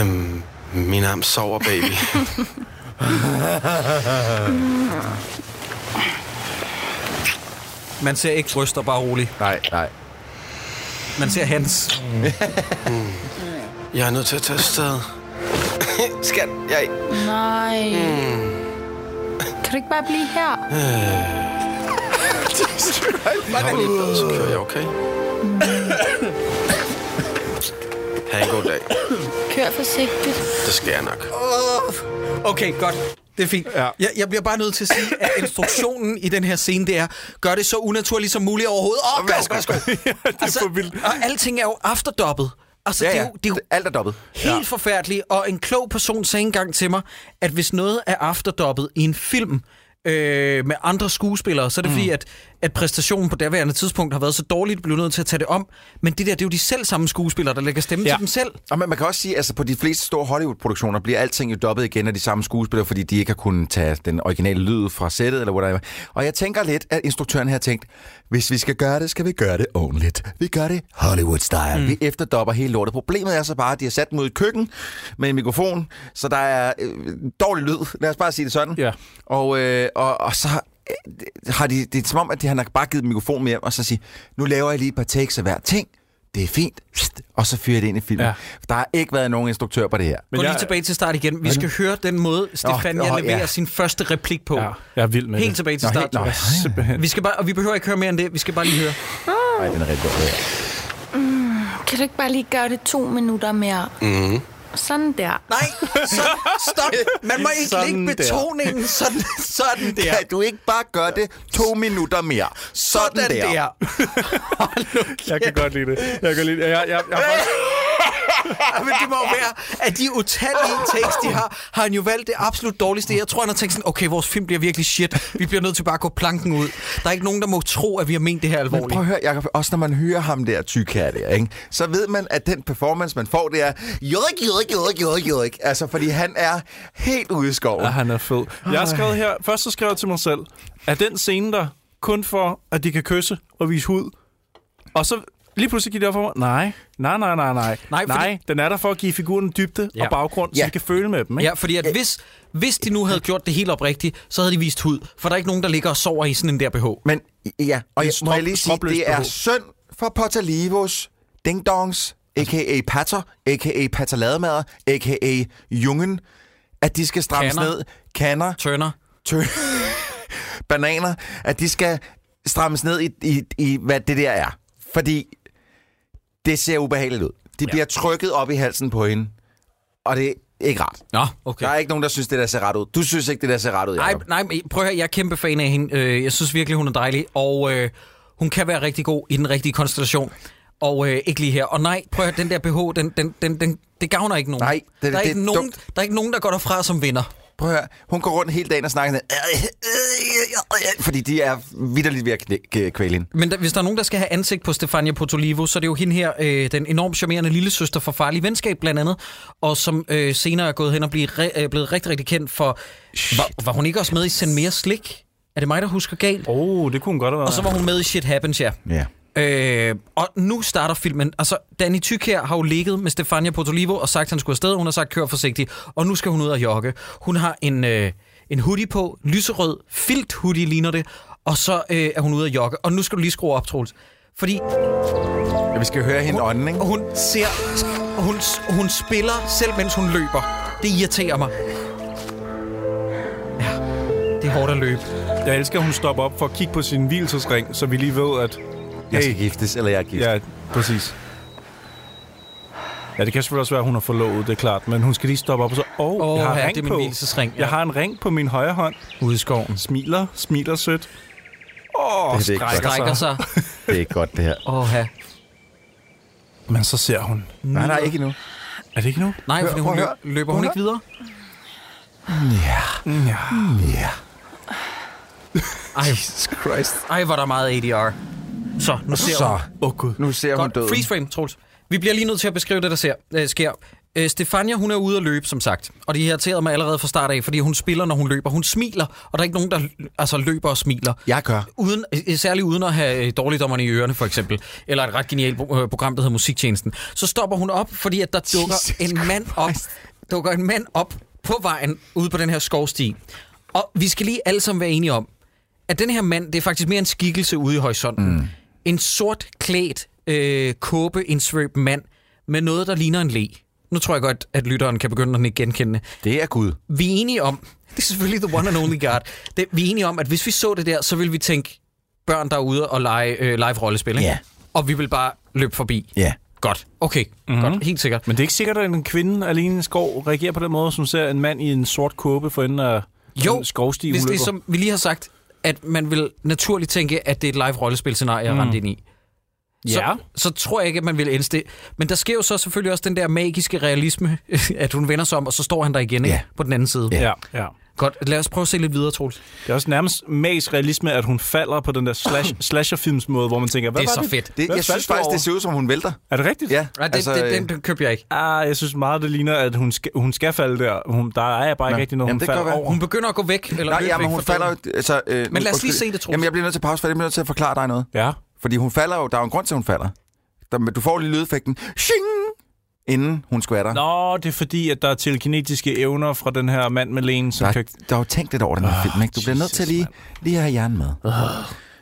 Speaker 10: Øhm, min arm sover, baby.
Speaker 1: Man ser ikke bryster, bare roligt.
Speaker 3: Nej, nej.
Speaker 1: Man ser hans.
Speaker 10: Jeg er nødt til at tage afsted. Skat, jeg...
Speaker 8: Nej. Mm. Kan du ikke bare blive her?
Speaker 10: Så kører jeg, okay? Ha' en god dag.
Speaker 8: Kør forsigtigt.
Speaker 10: Det skal jeg nok.
Speaker 1: Okay, godt. Det er fint. Ja. Jeg, jeg bliver bare nødt til at sige, at instruktionen i den her scene, det er, gør det så unaturligt som muligt overhovedet. Åh, oh, værsgo, værsgo. Altså,
Speaker 2: det er for vildt.
Speaker 1: Og alting er jo afterdoppet. Altså,
Speaker 3: Ja,
Speaker 1: det
Speaker 3: ja.
Speaker 1: er jo, det er jo
Speaker 3: Alt er dobbelt.
Speaker 1: helt ja. forfærdelig, og en klog person sagde engang til mig, at hvis noget er afterdoppet i en film øh, med andre skuespillere, så er det mm. fordi, at, at præstationen på daværende tidspunkt har været så dårligt, at vi blev nødt til at tage det om. Men det der, det er jo de selv samme skuespillere, der lægger stemme
Speaker 2: Ja.
Speaker 1: ja. til dem selv.
Speaker 3: Og man, man kan også sige, at altså, på de fleste store Hollywood-produktioner bliver alting jo dobbet igen af de samme skuespillere, fordi de ikke har kunnet tage den originale lyd fra sættet eller whatever. Og jeg tænker lidt, at instruktøren her tænkt, hvis vi skal gøre det, skal vi gøre det ordentligt. Vi gør det Hollywood-style. Mm. Vi efterdopper hele lortet. Problemet er så bare, at de har sat mod et køkken med en mikrofon, så der er øh, dårlig lyd. Lad os bare sige det sådan.
Speaker 2: Ja.
Speaker 3: Og, øh, og, og så øh, har de, det er som om, at de, han har bare givet mikrofonen med hjem, og så siger, nu laver jeg lige et par takes af hver ting. Det er fint. Og så fyrer jeg det ind i filmen.
Speaker 2: Ja.
Speaker 3: Ja. Der har ikke været nogen instruktør på det her.
Speaker 1: Men Gå lige tilbage til start igen. Vi skal høre den måde, Stefania oh,
Speaker 3: åh, ja.
Speaker 1: oh, leverer sin første replik på.
Speaker 2: Ja, jeg er vild med
Speaker 1: Helt
Speaker 2: det.
Speaker 1: tilbage til
Speaker 3: Nå,
Speaker 1: start.
Speaker 3: helt- nå,
Speaker 2: Simpelthen.
Speaker 1: vi skal bare, og vi behøver ikke høre mere end det. Vi skal bare lige høre.
Speaker 3: Nej, den er rigtig god.
Speaker 8: Kan du ikke bare lige gøre det to minutter mere? Mm. Sådan der.
Speaker 1: Nej, så, stop. Man må ikke
Speaker 3: Sådan
Speaker 1: sådan lægge
Speaker 3: der.
Speaker 1: betoningen der. sådan, sådan der.
Speaker 3: Kan du ikke bare gøre det to minutter mere? Sådan,
Speaker 1: Sådan
Speaker 3: der.
Speaker 1: der.
Speaker 2: Jeg kan godt lide det. Jeg kan lide det. Jeg, jeg, jeg, har faktisk-
Speaker 1: Men det må jo være, at de utallige tekst, de har, har han jo valgt det absolut dårligste. Jeg tror, han har tænkt sådan, okay, vores film bliver virkelig shit. Vi bliver nødt til bare at gå planken ud. Der er ikke nogen, der må tro, at vi har ment det her
Speaker 3: Men
Speaker 1: alvorligt.
Speaker 3: prøv at høre, Jacob, også når man hører ham der tykke her der, ikke? så ved man, at den performance, man får, det er jørik, jørik, jørik, jørik, jørik. Altså, fordi han er helt ude i skoven.
Speaker 2: Ja, han er fed. Jeg har skrevet her, først så skrev jeg til mig selv, at den scene der, kun for, at de kan kysse og vise hud, og så lige pludselig giver det op for mig, nej, nej, nej, nej, nej, nej,
Speaker 1: Nej, fordi-
Speaker 2: nej den er der for at give figuren dybde ja.
Speaker 1: Ja.
Speaker 2: og baggrund, ja. så
Speaker 3: Ja.
Speaker 2: vi kan føle med dem, ikke?
Speaker 1: Ja, fordi at hvis, hvis de nu havde gjort det helt oprigtigt, så havde de vist hud. For der er ikke nogen, der ligger og sover i sådan en der BH.
Speaker 3: Men ja, og jeg, må
Speaker 2: strop-
Speaker 3: jeg lige sige,
Speaker 2: stropløst
Speaker 3: det er
Speaker 2: behov.
Speaker 3: synd for Portalivos Ding Dongs, a.k.a. Patter, a.k.a. Patterlademader, a.k.a. Jungen, at de skal strammes
Speaker 1: Kanner.
Speaker 3: ned. Kanner,
Speaker 1: Turner.
Speaker 3: tø- bananer, at de skal strammes ned i, i, i, hvad det der er. Fordi det ser ubehageligt ud. De ja. bliver trykket op i halsen på hende, og det er ikke rart.
Speaker 1: Nå, okay.
Speaker 3: Der er ikke nogen, der synes, det der ser ret ud. Du synes ikke, det der ser ret ud,
Speaker 1: Nej,
Speaker 3: Jacob.
Speaker 1: nej, men prøv at høre, jeg er kæmpe fan af hende. Øh, Jeg synes virkelig, hun er dejlig, og øh, hun kan være rigtig god i den rigtige konstellation. Og øh, ikke lige her. Og nej, prøv at høre, den der BH, den, den, den, den, det gavner ikke nogen.
Speaker 3: Nej, det-
Speaker 1: der, er
Speaker 3: det-
Speaker 1: ikke
Speaker 3: det er
Speaker 1: nogen
Speaker 3: dumt.
Speaker 1: der er ikke nogen, der går derfra som vinder.
Speaker 3: Prøv at høre, hun går rundt hele dagen og snakker sådan, "Øh, fordi de er vidderligt ved at knæ- k- kvæle hende.
Speaker 1: Men der, hvis der er nogen, der skal have ansigt på Stefania Potolivo, så er det jo hende her, øh, den enormt charmerende lillesøster fra Farlig Venskab blandt andet, og som øh, senere er gået hen og blevet, re- øh, blevet rigtig, rigtig kendt for... Var, var hun ikke også med i Send Mere Slik? Er det mig, der husker galt?
Speaker 2: Åh, oh, det kunne hun godt have været.
Speaker 1: Og så var hun med i Shit Happens, ja.
Speaker 3: Ja.
Speaker 1: Øh, og nu starter filmen. Altså, Danny Tyk her har jo ligget med Stefania Portolivo og sagt, at han skulle afsted. Hun har sagt, kør forsigtigt. Og nu skal hun ud og jogge. Hun har en, øh, en hoodie på. Lyserød filt hoodie ligner det. Og så øh, er hun ude at jogge. Og nu skal du lige skrue op, Troels. Fordi
Speaker 3: ja. Vi skal høre hende ånden, ikke?
Speaker 1: hun ser... Hun, hun spiller, selv mens hun løber. Det irriterer mig. Ja, det er hårdt at løbe.
Speaker 2: Jeg elsker, at hun stopper op for at kigge på sin hvilesesring, så vi lige ved, at...
Speaker 3: Jeg skal giftes, eller jeg er gift. Ja.
Speaker 2: Ja, præcis. Ja, det kan selvfølgelig også være, at hun har forlovet, det er klart. Men hun skal lige stoppe op og så... Åh, oh,
Speaker 1: Åh,
Speaker 2: jeg har
Speaker 1: ja,
Speaker 2: ring
Speaker 1: det er min
Speaker 2: på.
Speaker 1: hvilesesring, ja.
Speaker 2: Jeg har en ring på min højre hånd.
Speaker 1: Ude i skoven.
Speaker 2: Smiler, smiler sødt. Åh, oh,
Speaker 3: Det er ikke
Speaker 2: strækker,
Speaker 1: Strækker sig.
Speaker 3: Det er ikke godt, det her.
Speaker 1: Åh, ja.
Speaker 2: Men så ser hun.
Speaker 3: Nej, nej, ikke endnu.
Speaker 2: Er det ikke nu?
Speaker 1: Nej,
Speaker 3: Hør,
Speaker 1: fordi
Speaker 3: prøv
Speaker 1: hun
Speaker 3: at
Speaker 1: løb,
Speaker 3: høre.
Speaker 1: løber hun
Speaker 3: Prøv
Speaker 1: ikke
Speaker 3: at
Speaker 1: videre?
Speaker 2: Ja.
Speaker 1: Ej,
Speaker 3: Jesus Christ.
Speaker 1: Ej, hvor er der meget ADR. Så, nu ser
Speaker 3: Så,
Speaker 1: hun.
Speaker 2: Åh, oh, gud.
Speaker 3: nu ser hun
Speaker 1: Godt,
Speaker 3: døden.
Speaker 1: freeze frame, Troels. Vi bliver lige nødt til at beskrive det, der ser, øh, sker. Øh, Stefania, hun er ude at løbe, som sagt. Og det irriterede mig allerede fra start af, fordi hun spiller, når hun løber. Hun smiler, og der er ikke nogen, der l- altså, løber og smiler.
Speaker 3: Jeg gør.
Speaker 1: Uden, øh, særligt uden at have øh, dårligdommerne i ørerne, for eksempel. Eller et ret genialt pro- øh, program, der hedder Musiktjenesten. Så stopper hun op, fordi at der dukker
Speaker 3: Jesus
Speaker 1: en mand op, dukker en mand op på vejen ude på den her skovsti. Og vi skal lige alle sammen være enige om, at den her mand, det er faktisk mere en skikkelse ude i horisonten. Mm. En sort klædt øh, kåbe, en svøb mand med noget, der ligner en le. Nu tror jeg godt, at lytteren kan begynde at nikke genkendende
Speaker 3: Det er Gud.
Speaker 1: vi er enige om, det er selvfølgelig the one and only God, det, vi er enige om, at hvis vi så det der, så ville vi tænke, børn der er ude og lege øh, live-rollespil, ikke?
Speaker 3: Ja.
Speaker 1: og vi vil bare løbe forbi.
Speaker 3: Ja. Mhm.
Speaker 1: Godt, okay, mm-hmm. godt, helt sikkert.
Speaker 2: Men det er ikke sikkert, at en kvinde alene i skov reagerer på den måde, som ser en mand i en sort kåbe for enden af
Speaker 1: Jo,
Speaker 2: en skovsti
Speaker 1: hvis det er,
Speaker 2: ulykker.
Speaker 1: som vi lige har sagt, at man vil naturligt tænke, at det er et live-rollespil-scenarie, jeg mm. rendte ind i. Så,
Speaker 2: Ja.
Speaker 1: så tror jeg ikke, at man vil ændre det. Men der sker jo så selvfølgelig også den der magiske realisme, at hun vender sig om, og så står han der igen ikke?
Speaker 3: Ja.
Speaker 1: på den anden side.
Speaker 2: Ja, ja.
Speaker 1: Godt, lad os prøve at se lidt videre, Troels.
Speaker 2: Det er også nærmest magisk realisme, at hun falder på den der slash, slasherfilms måde, hvor man tænker, hvad
Speaker 1: Det er så
Speaker 2: var det?
Speaker 1: fedt.
Speaker 3: Det,
Speaker 2: Hvad
Speaker 3: jeg synes
Speaker 2: faldt du
Speaker 3: faktisk,
Speaker 2: over?
Speaker 3: det ser ud som, hun vælter.
Speaker 2: Er det rigtigt?
Speaker 3: Ja, øh,
Speaker 1: Nej, det, altså, det, den, den køber jeg ikke.
Speaker 2: Ah, jeg synes meget, det ligner, at hun skal, hun skal falde der. Hun, der er bare ikke
Speaker 3: Nå,
Speaker 2: rigtig noget,
Speaker 3: jamen,
Speaker 2: hun
Speaker 3: det kan
Speaker 2: falder
Speaker 3: være.
Speaker 2: over.
Speaker 1: Hun begynder at gå væk, eller
Speaker 3: Nej,
Speaker 1: løbe
Speaker 3: jamen,
Speaker 1: væk
Speaker 3: hun
Speaker 1: fra
Speaker 3: falder
Speaker 1: døden.
Speaker 3: jo... Altså, øh, nu-
Speaker 1: Men lad os lige
Speaker 3: undskyld.
Speaker 1: se det, Troels.
Speaker 3: Jamen, jeg bliver nødt til at pause, for jeg bliver nødt til at forklare dig noget.
Speaker 2: Ja.
Speaker 3: Fordi hun falder jo... Der er jo en grund til, at hun falder. Der, du får lige lydeffekten. Shing! Inden hun skvatter.
Speaker 2: Nå, det er fordi, at der er telekinetiske evner fra den her mand med lægen, som
Speaker 3: Der,
Speaker 2: kan...
Speaker 3: er- der er jo tænkt lidt over den her oh, film, ikke? Du bliver nødt til
Speaker 2: Jesus,
Speaker 3: lige, lige at have hjernen med. Oh.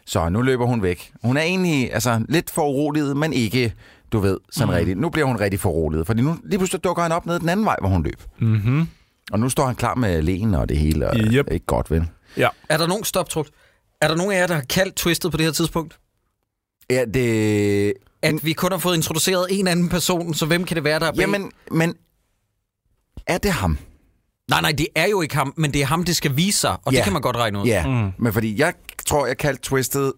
Speaker 3: Så nu løber hun væk. Hun er egentlig altså, lidt for uroliget, men ikke, du ved, sådan mm. rigtigt. Nu bliver hun rigtig for uroliget, fordi nu lige pludselig dukker han op ned den anden vej, hvor hun løb. Mm-hmm. Og nu står han klar med lægen og det hele, og
Speaker 2: Yep.
Speaker 3: yep. ikke godt, vel?
Speaker 2: Ja.
Speaker 1: Er der nogen stoptryk? Er der nogen af jer, der har kaldt twistet på det her tidspunkt?
Speaker 3: Ja, det...
Speaker 1: At vi kun har fået introduceret en anden person, så hvem kan det være, der er bag?
Speaker 3: Jamen, men er det ham?
Speaker 1: Nej, nej, det er jo ikke ham, men det er ham, det skal vise sig, og
Speaker 3: Ja.
Speaker 1: det kan man godt regne ud.
Speaker 3: Ja, mm. men fordi jeg tror, jeg kaldte Twisted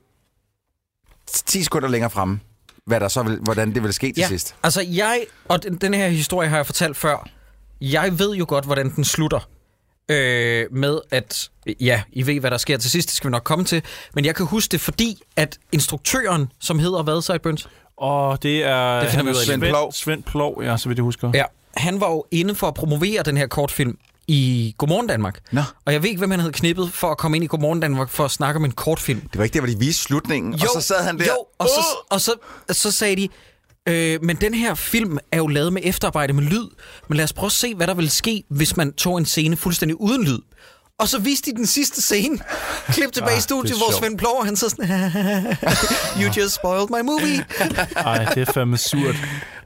Speaker 3: 10 sekunder længere fremme, hvad der så vil, hvordan det vil ske til
Speaker 1: ja.
Speaker 3: sidst.
Speaker 1: Altså, jeg, og den, den her historie har jeg fortalt før, jeg ved jo godt, hvordan den slutter. Øh, med at, ja, I ved, hvad der sker til sidst, det skal vi nok komme til, men jeg kan huske det, fordi at instruktøren, som hedder hvad, Sideburns?
Speaker 2: Og det er
Speaker 1: Det finder vi ud af.
Speaker 2: Svend
Speaker 1: Svend
Speaker 2: Plov. Svend Plov, ja, så vidt jeg husker.
Speaker 1: Ja, han var jo inde for at promovere den her kortfilm i Godmorgen Danmark. Nå. Og jeg ved ikke, hvem han havde knippet for at komme ind i Godmorgen Danmark for at snakke om en kortfilm.
Speaker 3: Det var ikke det, hvor de viste slutningen, og så sad han der.
Speaker 1: Jo, og, så, og så, så sagde de, øh, men den her film er jo lavet med efterarbejde med lyd, men lad os prøve at se, hvad der ville ske, hvis man tog en scene fuldstændig uden lyd. Og så viste de den sidste scene, klip tilbage i
Speaker 2: Ah, det
Speaker 1: studiet,
Speaker 2: er
Speaker 1: hvor
Speaker 2: sjovt.
Speaker 1: Svend Plover, han så sådan, you just spoiled my movie.
Speaker 2: Ej, det er fandme surt.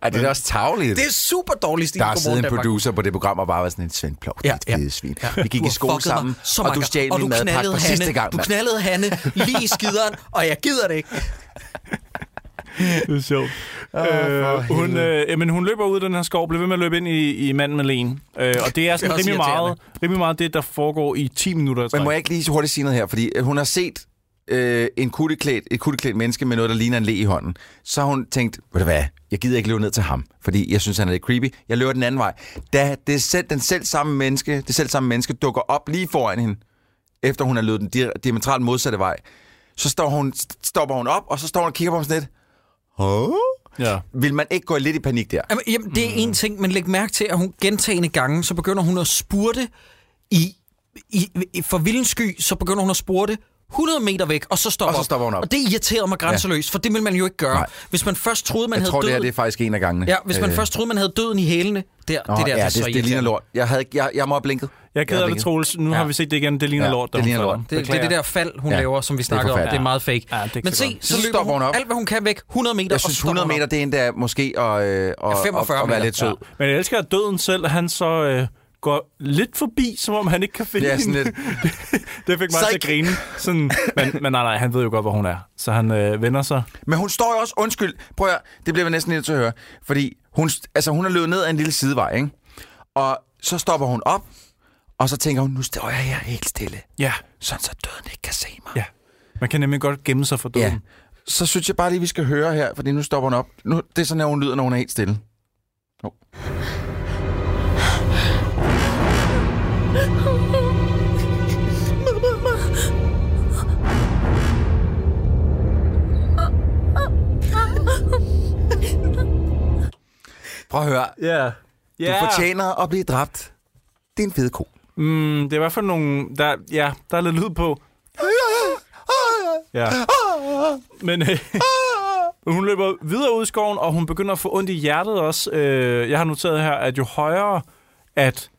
Speaker 3: Ej, det er da også tavligt.
Speaker 1: Det er super dårlig stil.
Speaker 3: Der har
Speaker 1: Godmorgen
Speaker 3: siddet en
Speaker 1: Danmark.
Speaker 3: producer på det program og bare været sådan en Svend Plov,
Speaker 1: Ja,
Speaker 3: ja, dit
Speaker 1: ja.
Speaker 3: ja. svin.
Speaker 1: Ja.
Speaker 3: Ja. Vi gik
Speaker 1: Du
Speaker 3: i
Speaker 1: har
Speaker 3: skole
Speaker 1: fucket
Speaker 3: sammen,
Speaker 1: mig så
Speaker 3: og
Speaker 1: mange
Speaker 3: du
Speaker 1: gange.
Speaker 3: stjal
Speaker 1: Og
Speaker 3: min
Speaker 1: du
Speaker 3: madpakke
Speaker 1: knaldede
Speaker 3: for
Speaker 1: Hanne.
Speaker 3: sidste gang.
Speaker 1: Du
Speaker 3: mand.
Speaker 1: knaldede Hanne lige i skideren, og jeg gider det ikke.
Speaker 2: det er sjovt.
Speaker 3: for
Speaker 2: Øh, hun,
Speaker 3: helvede.
Speaker 2: øh, men hun løber ud af den her skov, bliver ved med at løbe ind i, i manden med len. Øh, og det er sådan
Speaker 1: også
Speaker 2: rimelig meget,
Speaker 1: irriterende.
Speaker 2: rimelig meget det, der foregår i 10 minutter. i
Speaker 3: Men må
Speaker 2: træk.
Speaker 3: jeg ikke lige så hurtigt sige noget her? Fordi øh, hun har set øh, en kutteklædt, et kutteklædt menneske med noget, der ligner en le i hånden. Så har hun tænkt, ved du hvad, jeg gider ikke løbe ned til ham, fordi jeg synes, han er lidt creepy. Jeg løber den anden vej. Da det selv, den selv samme menneske, det selv samme menneske dukker op lige foran hende, efter hun har løbet den di- diametralt modsatte vej, så står hun, st- stopper hun op, og så står hun og kigger på ham sådan lidt. Hå?
Speaker 2: Ja.
Speaker 3: Vil man ikke gå lidt i panik der?
Speaker 1: Jamen, jamen, det er
Speaker 3: Mm.
Speaker 1: en ting, men læg mærke til, at hun gentagende gange, så begynder hun at spurte i, i, i for vildens sky, så begynder hun at spurte 100 meter væk, og så stopper,
Speaker 3: Og så stopper hun op.
Speaker 1: Og det irriterede mig grænseløst, for det ville man jo ikke gøre.
Speaker 3: Nej.
Speaker 1: Hvis man først troede, man
Speaker 3: Jeg
Speaker 1: havde
Speaker 3: tror, det her
Speaker 1: døden...
Speaker 3: det er faktisk en af gangene.
Speaker 1: Ja, hvis man
Speaker 3: Øh,
Speaker 1: først troede, man havde døden i hælene, der,
Speaker 3: Nå,
Speaker 1: det der,
Speaker 3: ja,
Speaker 1: det, er så
Speaker 3: det, det ligner
Speaker 1: irriterende.
Speaker 3: lort. Jeg, havde, ikke- jeg, jeg må have blinket.
Speaker 2: Jeg er
Speaker 3: Jeg
Speaker 2: ked af det,
Speaker 3: ringer.
Speaker 2: Troels. Nu ja. har vi set det igen. Det ligner
Speaker 3: Ja,
Speaker 2: lort, der
Speaker 3: det ligner
Speaker 2: omfatter.
Speaker 3: lort.
Speaker 1: Det, det er det der fald, hun
Speaker 3: Ja,
Speaker 1: ja, laver, som vi
Speaker 3: det er
Speaker 1: snakkede om. Det er
Speaker 3: forfærdeligt.
Speaker 1: meget fake.
Speaker 2: Ja, det kan
Speaker 1: Men
Speaker 2: jeg
Speaker 1: se,
Speaker 2: godt.
Speaker 1: så
Speaker 3: Så
Speaker 1: løber
Speaker 3: stopper
Speaker 1: hun
Speaker 3: hun op.
Speaker 1: alt, hvad hun kan væk. 100 meter,
Speaker 3: Jeg
Speaker 1: og
Speaker 3: synes,
Speaker 1: så stopper
Speaker 3: 100
Speaker 1: hun op.
Speaker 3: meter, det er endda måske at, øh, og,
Speaker 1: Ja, 45
Speaker 3: og, og være
Speaker 1: meter.
Speaker 3: lidt sød. Ja.
Speaker 2: Men jeg elsker, at døden selv, han så øh, går lidt forbi, som om han ikke kan finde
Speaker 3: Det er sådan
Speaker 2: hende.
Speaker 3: lidt...
Speaker 2: Det fik mig til at
Speaker 3: Psych.
Speaker 2: grine. Sådan, men, men nej, nej, han ved jo godt, hvor hun er. Så han øh, vender sig.
Speaker 3: Men hun står jo også... Undskyld, prøv at, høre, det bliver vi næsten nødt til at høre. Fordi hun, altså, hun er løbet ned ad en lille sidevej, ikke? Og så stopper hun op, og så tænker hun, nu står jeg her helt stille,
Speaker 2: Ja,
Speaker 3: sådan så døden ikke kan se mig.
Speaker 2: ja. Man kan nemlig godt gemme sig for døden.
Speaker 3: Ja. Så synes jeg bare lige, vi skal høre her, fordi nu stopper hun op. Nu, det er sådan, at hun lyder, når hun er helt stille. Prøv at høre.
Speaker 2: Ja.
Speaker 3: Du fortjener at blive dræbt. Det er en fed ko.
Speaker 2: Mm, det er i hvert fald nogle... Der, ja, der er lidt lyd på. Ja. Men øh, hun løber videre ud i skoven, og hun begynder at få ondt i hjertet også. Øh, jeg har noteret her, at jo højere, at